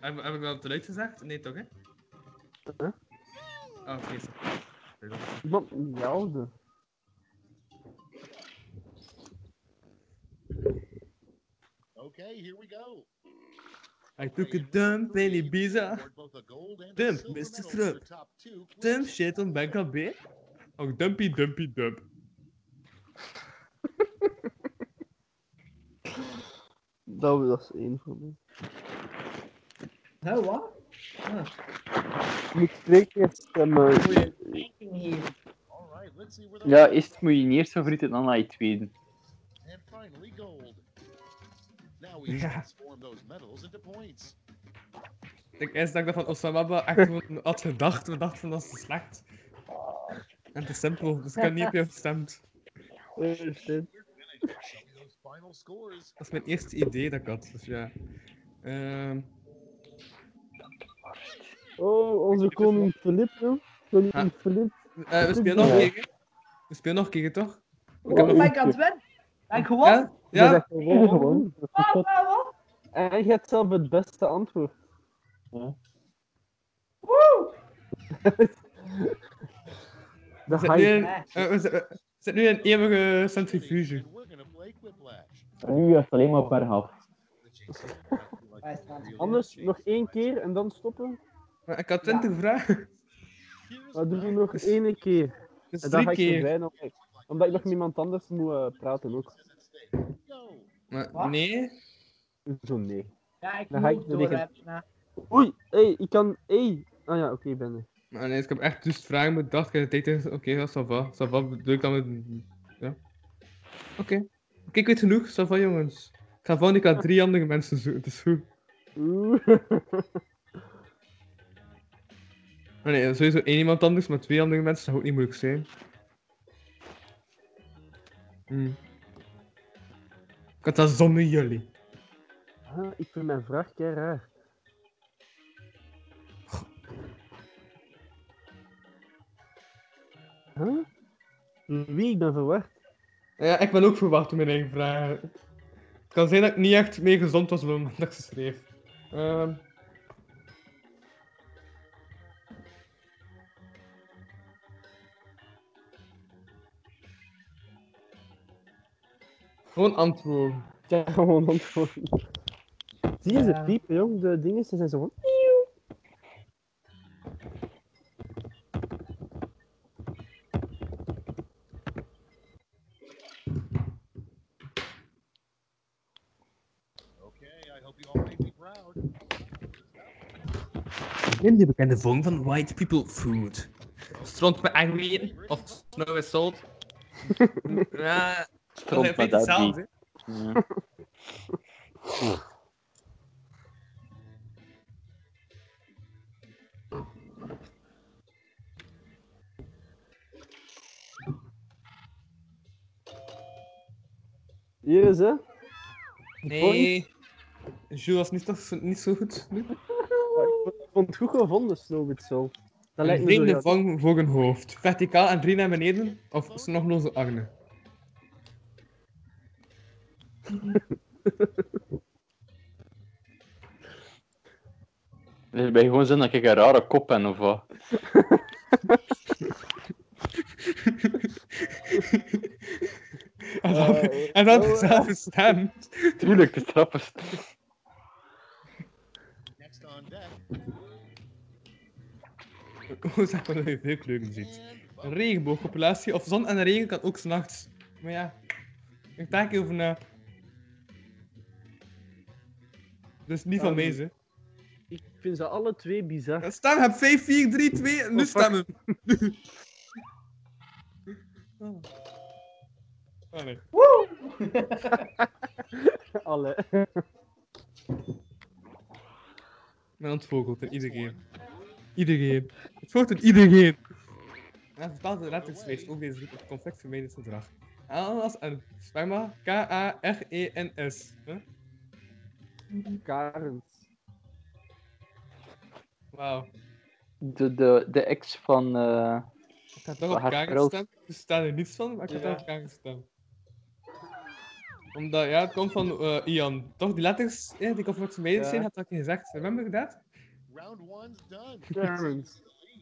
[SPEAKER 4] Heb, heb ik dat eruit gezegd? Nee, toch, hè?
[SPEAKER 2] Huh?
[SPEAKER 4] Oh, oké.
[SPEAKER 2] Iemand miauwde.
[SPEAKER 10] Okay, here we go.
[SPEAKER 4] I took a dump in Ibiza.
[SPEAKER 10] Both a gold and a
[SPEAKER 4] Dump, Mr.
[SPEAKER 10] silver medal for
[SPEAKER 4] Trump.
[SPEAKER 10] the top two.
[SPEAKER 4] Dump shit on BKB. Ook Oh, dumpy dumpy dump.
[SPEAKER 2] Dat was één van mij.
[SPEAKER 5] Hé, wat?
[SPEAKER 2] Je moet twee keer stemmen.
[SPEAKER 5] Ranking hier.
[SPEAKER 10] All right, let's see where the
[SPEAKER 3] Ja, eerst moet je niet eerst favoriet en dan naar je tweede.
[SPEAKER 10] and finally gold. Now we transform those medals into points.
[SPEAKER 4] Ik eerst dacht dat van Osamaba echt gewoon had gedacht. We dachten van dat is slecht. En te simpel, dus ik heb niet op jou gestemd.
[SPEAKER 2] Oh shit.
[SPEAKER 10] Those final scores.
[SPEAKER 4] Dat is mijn eerste idee dat ik had, dus ja. Ehm,
[SPEAKER 2] Oh, onze koning Filip, jong. Koning
[SPEAKER 4] Ja.
[SPEAKER 2] Filip.
[SPEAKER 4] eh, we spelen nog een keer. hè? We spelen nog een keer, toch? Ik heb
[SPEAKER 5] Oh,
[SPEAKER 4] nog-
[SPEAKER 5] maar ik had winnen. Ben ik gewonnen?
[SPEAKER 4] Ja? Ja?
[SPEAKER 2] gewoon gewoon.
[SPEAKER 5] Wat, wat, wat?
[SPEAKER 2] En je hebt zelf het beste antwoord.
[SPEAKER 5] Woe!
[SPEAKER 2] De
[SPEAKER 4] We zitten nu
[SPEAKER 2] hype.
[SPEAKER 4] in, eh, we zitten- we zitten nu in een eeuwige centrifuge.
[SPEAKER 10] And we're gonna play Quiplash.
[SPEAKER 3] Nu is alleen maar per half.
[SPEAKER 5] Wij staan zo.
[SPEAKER 2] Anders nog één keer en dan stoppen.
[SPEAKER 4] Maar ik had 20 vragen.
[SPEAKER 2] Maar doen we nog één keer.
[SPEAKER 4] Dus
[SPEAKER 2] En dan
[SPEAKER 4] drie
[SPEAKER 2] ga ik
[SPEAKER 4] keer.
[SPEAKER 2] verdwijnen. Omdat ik, omdat ik nog met iemand anders moet eh, praten ook.
[SPEAKER 4] Maar,
[SPEAKER 5] Wat?
[SPEAKER 4] nee.
[SPEAKER 2] Zo nee.
[SPEAKER 5] Ja, ik
[SPEAKER 2] Dan
[SPEAKER 5] moet
[SPEAKER 2] ga ik
[SPEAKER 5] ook door
[SPEAKER 2] Nou, liggen.
[SPEAKER 5] hebben. hè.
[SPEAKER 2] Oei, hé, ik kan. Hé. Ah ja, oké, ik ben er.
[SPEAKER 4] Maar nee, dus ik heb echt dus vragen bedacht. Ik heb de tijd Oké, ja, ça va. Ça va, bedoel ik dan met... Ja. Oké. Oké, ik weet genoeg. Ça va, jongens. Ik ga volgende keer drie andere mensen zoeken, het is goed.
[SPEAKER 2] Oeh.
[SPEAKER 4] Maar Ah, nee, sowieso één iemand anders, maar twee andere mensen zou ook niet moeilijk zijn. Hm. Ik had dat zonder jullie.
[SPEAKER 2] Ah, ik vind mijn vraag kei raar. Huh? Wie? Ik ben verward.
[SPEAKER 4] Ja, ik ben ook verwacht door mijn eigen vragen. Het kan zijn dat ik niet echt meer gezond was op het moment dat ik ze schreef. Ehm. Gewoon antwoorden.
[SPEAKER 2] Ja, gewoon antwoorden. Zie je ze piepen, jong? De dingen ze zijn zo van...
[SPEAKER 11] In de bekende vorm van white people food.
[SPEAKER 12] Stront met agwien of snow is salt. ja,
[SPEAKER 11] Stront
[SPEAKER 12] dat is
[SPEAKER 11] met
[SPEAKER 12] niet hetzelfde.
[SPEAKER 11] agwien. Ja.
[SPEAKER 2] Hier is hè?
[SPEAKER 4] Nee. Jules was niet, toch, niet zo goed nu.
[SPEAKER 2] Ik vond het goed gevonden, Snowbit zo. Dat lijkt
[SPEAKER 4] een
[SPEAKER 2] me zo...
[SPEAKER 4] vreemde
[SPEAKER 2] ja.
[SPEAKER 4] vang voor een hoofd. Verticaal en drie naar beneden of snogloze armen.
[SPEAKER 3] Dus bij gewoon zin dat ik een rare kop ben of wat.
[SPEAKER 2] Oh.
[SPEAKER 4] En dan,
[SPEAKER 2] Eh,
[SPEAKER 4] en dan dezelfde stem.
[SPEAKER 3] Tuurlijk, de trappers.
[SPEAKER 4] Hoe zeg maar dat je veel kleuren ziet. Een regenboogpopulatie of zon en regen kan ook s'nachts. Maar ja, ik denk hier over eh, na. Dus niet van
[SPEAKER 2] Ehm,
[SPEAKER 4] deze.
[SPEAKER 2] Ik vind ze alle twee bizar.
[SPEAKER 4] Stem, heb 5, 4, 3, 2, nu stemmen. Oh, nee.
[SPEAKER 2] Woe! alle.
[SPEAKER 4] Men ontvogelt er iedereen. Iedereen. Het voort in iedereen. En vertaalt de letterlijksweest ook deze route op complex vermijdend gedrag. Ananas en sperma. K-A-R-E-N-S. E Huh?
[SPEAKER 2] Karens.
[SPEAKER 4] Wauw.
[SPEAKER 3] De, de, de ex van. eh
[SPEAKER 4] Ik had toch op K gestemd. Ik sta er niets van, maar ik had toch op K gestemd. Omdat, ja, het komt van eh, Ian. Toch, die letters eh, die complex vermijdend
[SPEAKER 10] Ja.
[SPEAKER 4] zijn, had ik je gezegd. Remember dat?
[SPEAKER 10] Round one's done.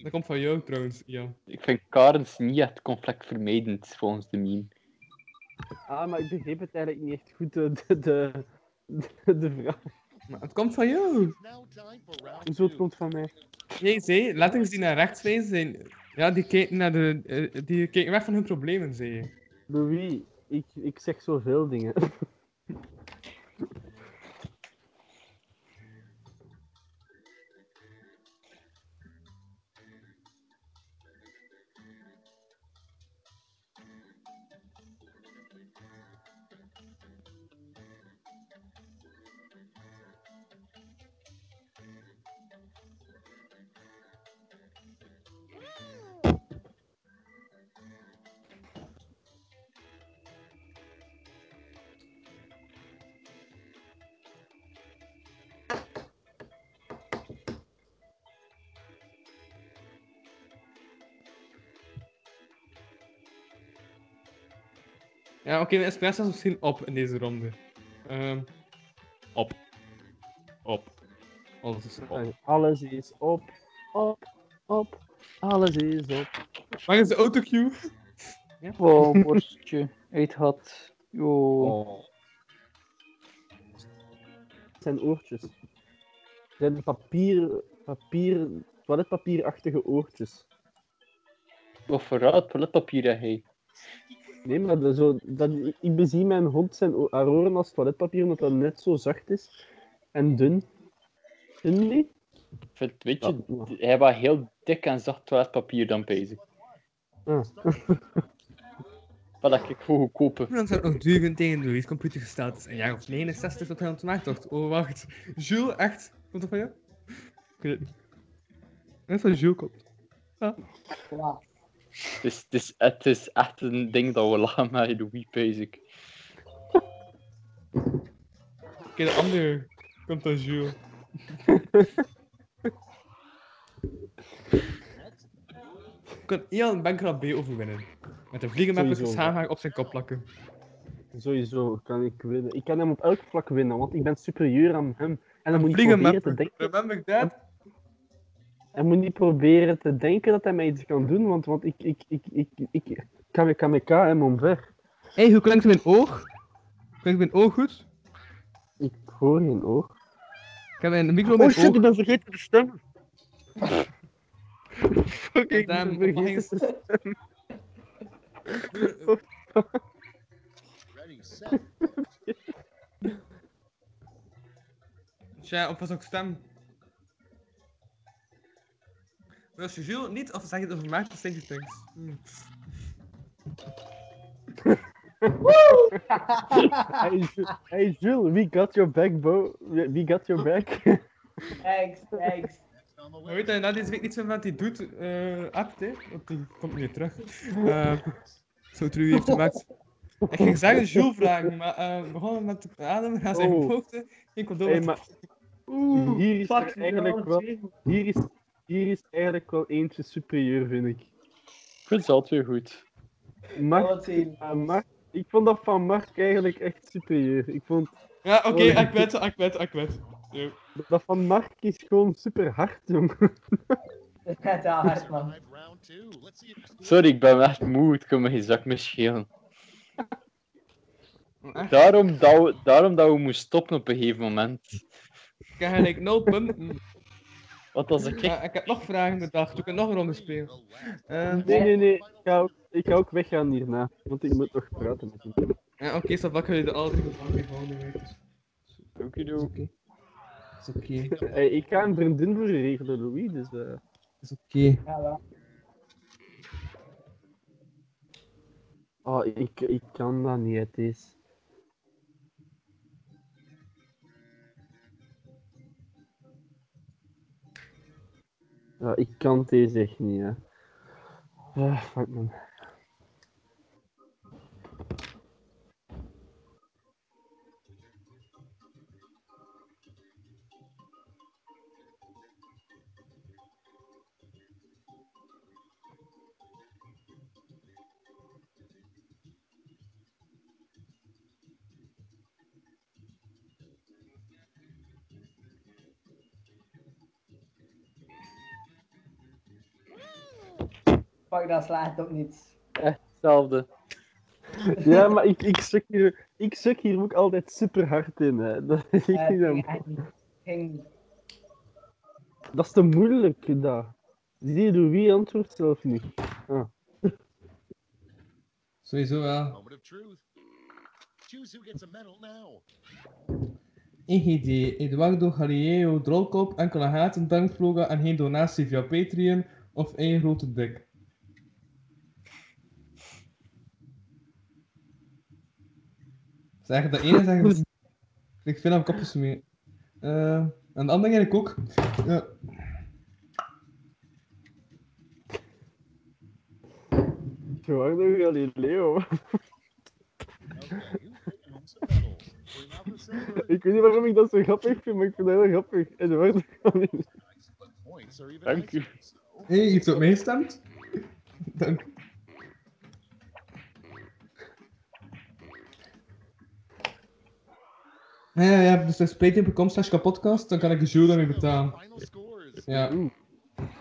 [SPEAKER 4] Dat komt van jou trouwens, Ian.
[SPEAKER 3] Ik vind Karens niet echt conflict vermijdend volgens de meme.
[SPEAKER 2] Ah, maar ik begreep het eigenlijk niet echt goed, eh, de, de, de, de, de vraag.
[SPEAKER 4] Maar het komt van jou.
[SPEAKER 2] Hoezo, het komt van mij?
[SPEAKER 4] Nee, zei, letters die naar rechts wijzen zijn. Ja, die kijken, naar de, eh, die kijken weg van hun problemen, zei je.
[SPEAKER 2] Louis, ik, ik zeg zoveel dingen.
[SPEAKER 4] Ja, oké, mijn inspiratie was misschien op in deze ronde. Ehm, op. Op. Alles is op.
[SPEAKER 2] Alles is op, op, op. Alles is op.
[SPEAKER 4] Waar is de autocue?
[SPEAKER 3] Ja. Oh, borstje. Eet had.
[SPEAKER 2] Oh. Het zijn oortjes. Het zijn papier, papier, toiletpapierachtige oortjes.
[SPEAKER 3] Of vooruit toiletpapier dat hij.
[SPEAKER 2] Nee, maar dat zo, dat, ik bezie mijn hond zijn o- haar oren als toiletpapier, omdat dat net zo zacht is en dun. Dun niet?
[SPEAKER 3] Vind- Weet je, hij was heel dik en zacht toiletpapier dan bezig.
[SPEAKER 2] Ah.
[SPEAKER 3] Wat ik voor goedkope.
[SPEAKER 4] Hoe lang zou het nog duren tegen Louis computer gesteld is? Een jaar of 69 dat hij aan het maken tocht. Oh, wacht. Jules, echt? Komt dat van jou? Ik weet het niet. Net van Jules komt. Ah.
[SPEAKER 3] Het is, het, is, het is echt een ding dat we lachen met de Wii bezig.
[SPEAKER 4] Oké, de andere komt van Jules. kan Ian Bankrat B overwinnen. Met een vliegenmapper
[SPEAKER 2] Sowieso.
[SPEAKER 4] samenhang op zijn kop plakken.
[SPEAKER 2] Sowieso kan ik winnen. Ik kan hem op elk vlak winnen, want ik ben superieur aan hem. En dan moet niet proberen te
[SPEAKER 4] Vliegenmapper.
[SPEAKER 2] denken.
[SPEAKER 4] Remember that?
[SPEAKER 2] Hij moet niet proberen te denken dat hij mij iets kan doen, want, want ik, ik, ik, ik, ik, ik kan met KMK hem omver.
[SPEAKER 4] Hé, hey, hoe klinkt mijn oog? Klinkt mijn oog goed?
[SPEAKER 2] Ik hoor geen oog.
[SPEAKER 4] Ik heb mijn micro
[SPEAKER 2] Oh
[SPEAKER 4] mijn
[SPEAKER 2] shit,
[SPEAKER 4] oog.
[SPEAKER 2] Oh, ik ben vergeten te stemmen.
[SPEAKER 4] Oké, ik ben vergeten.
[SPEAKER 10] Ready, set.
[SPEAKER 4] Tja, op was ook stem. Wil je Jules niet of zeg je het over Maarten Stinky Things? Hmm.
[SPEAKER 2] hey, Ju- hey Jules, we got your back, bro. We we got your back.
[SPEAKER 5] Thanks, thanks.
[SPEAKER 4] Maar weet dat je na deze week niet zo wat hij doet, eh apt, hè? Want die komt niet terug. Eh, Zo truie heeft gemaakt. Ik ging zeggen Jules vragen, maar eh, we begonnen met ademen, gaan zijn
[SPEAKER 2] Oh.
[SPEAKER 4] hoogte. Ik kon door.
[SPEAKER 2] Hey, maar hier is
[SPEAKER 5] fuck
[SPEAKER 2] er eigenlijk wel... Hier is, hier is eigenlijk wel eentje superieur, vind ik.
[SPEAKER 3] Ik vind ze altijd weer goed.
[SPEAKER 2] Mark, eh, Mark, ik vond dat van Mark eigenlijk echt superieur. Ik vond...
[SPEAKER 4] Ja, oké,
[SPEAKER 2] Oh,
[SPEAKER 4] ik weet, ik weet, ik weet. Yo.
[SPEAKER 2] Dat van Mark is gewoon super hard, jongen.
[SPEAKER 5] Net al hard, man.
[SPEAKER 3] Sorry, ik ben echt moe. Het kan me geen zak meer schelen. Daarom dat, we, daarom dat we moesten stoppen op een gegeven moment.
[SPEAKER 4] Ik heb gelijk nul punten. Hmm.
[SPEAKER 3] Want als ik...
[SPEAKER 4] Ja, ik heb nog vragen bedacht, ik kan nog een ronde spelen. Eh,
[SPEAKER 2] Nee, nee, nee. Ik ga ook, ik ga ook weggaan hierna, want ik moet nog praten met hem.
[SPEAKER 4] Ja, oké, zo pakken jullie de alle drie van de volgende week.
[SPEAKER 3] Okidoki.
[SPEAKER 4] Is oké.
[SPEAKER 2] Hey, ik ga een vriendin voor je regelen, Louis, dus... eh
[SPEAKER 4] Is oké. Ah,
[SPEAKER 2] Oh, ik, ik kan dat niet, het is... Ja, ik kan deze echt niet, hè. Ah, fuck man.
[SPEAKER 5] Fuck, dat slaat ook niet.
[SPEAKER 3] Echt hetzelfde.
[SPEAKER 2] Ja, maar ik, ik, suk hier, ik suk hier ook altijd super hard in, hè. Dat, ik
[SPEAKER 5] Eh,
[SPEAKER 2] niet
[SPEAKER 5] ging
[SPEAKER 2] aan-
[SPEAKER 5] echt niet. Ging niet.
[SPEAKER 2] dat is te moeilijk, dat. Zie, Louis antwoordt zelf niet. Ah.
[SPEAKER 4] Sowieso wel.
[SPEAKER 10] Moment of truth. Choose who gets a medal now.
[SPEAKER 4] EGD, Eduardo Galileo, Drolkop, enkele haten, dankvloga en geen donatie via Patreon of één grote dik. Zeg, dat ene zeg ik Ik vind hem kopjes mee. Eh, en de andere eigenlijk ook. Eh, Ja.
[SPEAKER 2] Eduardo Galileo.
[SPEAKER 10] Bring out the silver.
[SPEAKER 2] ik weet niet waarom ik dat zo grappig vind, maar ik vind dat heel grappig. Eduardo Galileo.
[SPEAKER 10] Points are even
[SPEAKER 4] Dank
[SPEAKER 10] u.
[SPEAKER 4] Hé, hey, iets op meestemt? Dank. Ja, ja, ja, dus dat is patreon.com slash kapodcast, dan kan ik de Jules daarmee betalen. Ja.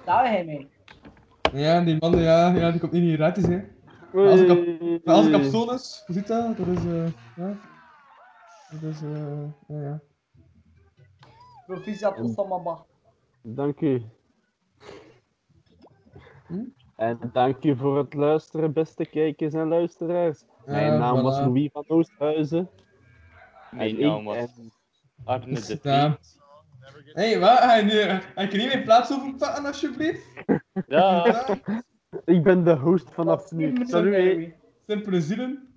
[SPEAKER 5] Daar ben je mee.
[SPEAKER 4] ja, die man, ja, ja, die komt niet gratis, hè. Maar als ik op, maar als ik op zon is, hoe zit dat? Dat is, eh, ja. Dat is, eh, ja, ja.
[SPEAKER 5] Proficiat tot mama.
[SPEAKER 2] Dank u.
[SPEAKER 4] Hm?
[SPEAKER 2] En dank u voor het luisteren, beste kijkers en luisteraars. Mijn
[SPEAKER 4] Ja,
[SPEAKER 2] naam was
[SPEAKER 4] Eh, voilà.
[SPEAKER 2] Louis van Oosthuizen.
[SPEAKER 3] Mijn
[SPEAKER 2] En
[SPEAKER 4] nou,
[SPEAKER 2] ik-
[SPEAKER 3] naam was Arne de
[SPEAKER 4] Dus, eh, Hé, hey, wat? Ga je nu, ga ik er niet meer plaats over pakken, alsjeblieft?
[SPEAKER 2] Ah.
[SPEAKER 3] Ja.
[SPEAKER 2] Ik ben de host vanaf nu. Salut. hè.
[SPEAKER 4] Simpele zielen.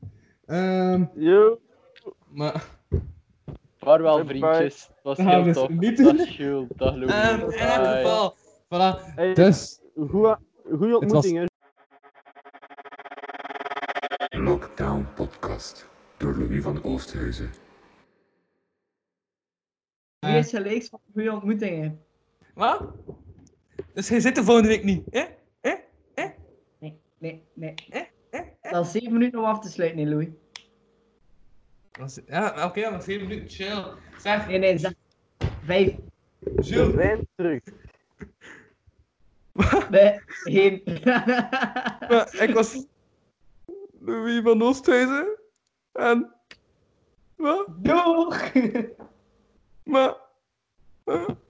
[SPEAKER 4] Ehm,
[SPEAKER 2] Yo.
[SPEAKER 4] maar...
[SPEAKER 3] Vaarwel vriendjes. Het was
[SPEAKER 4] Dat
[SPEAKER 3] heel
[SPEAKER 4] gaan we dus
[SPEAKER 3] tof.
[SPEAKER 4] niet doen.
[SPEAKER 3] Dag Jules, dag Louis.
[SPEAKER 4] Ehm, in elk
[SPEAKER 3] Bye.
[SPEAKER 4] geval, voilà.
[SPEAKER 2] Hey,
[SPEAKER 4] Dus,
[SPEAKER 2] goeie, goeie
[SPEAKER 4] Het was-
[SPEAKER 2] ontmoeting, hè.
[SPEAKER 9] Lockdown Podcast door Louis van Oosthuizen.
[SPEAKER 4] Eh.
[SPEAKER 5] Wie is gelijk van goede ontmoetingen?
[SPEAKER 4] Wat? Dus jij zit er volgende week niet, hè?
[SPEAKER 5] Nee, nee. Dat is zeven minuten om af te sluiten, nee, Louis.
[SPEAKER 4] Ja, oké, dan nog 7 minuten. Chill. Zeg.
[SPEAKER 5] Nee, nee, zeg. Vijf.
[SPEAKER 4] Jules.
[SPEAKER 2] Wijn terug.
[SPEAKER 5] Nee, geen.
[SPEAKER 13] Maar ik was Louis van Oosthuizen. En... Wat?
[SPEAKER 5] Doeg!
[SPEAKER 13] Maar... maar-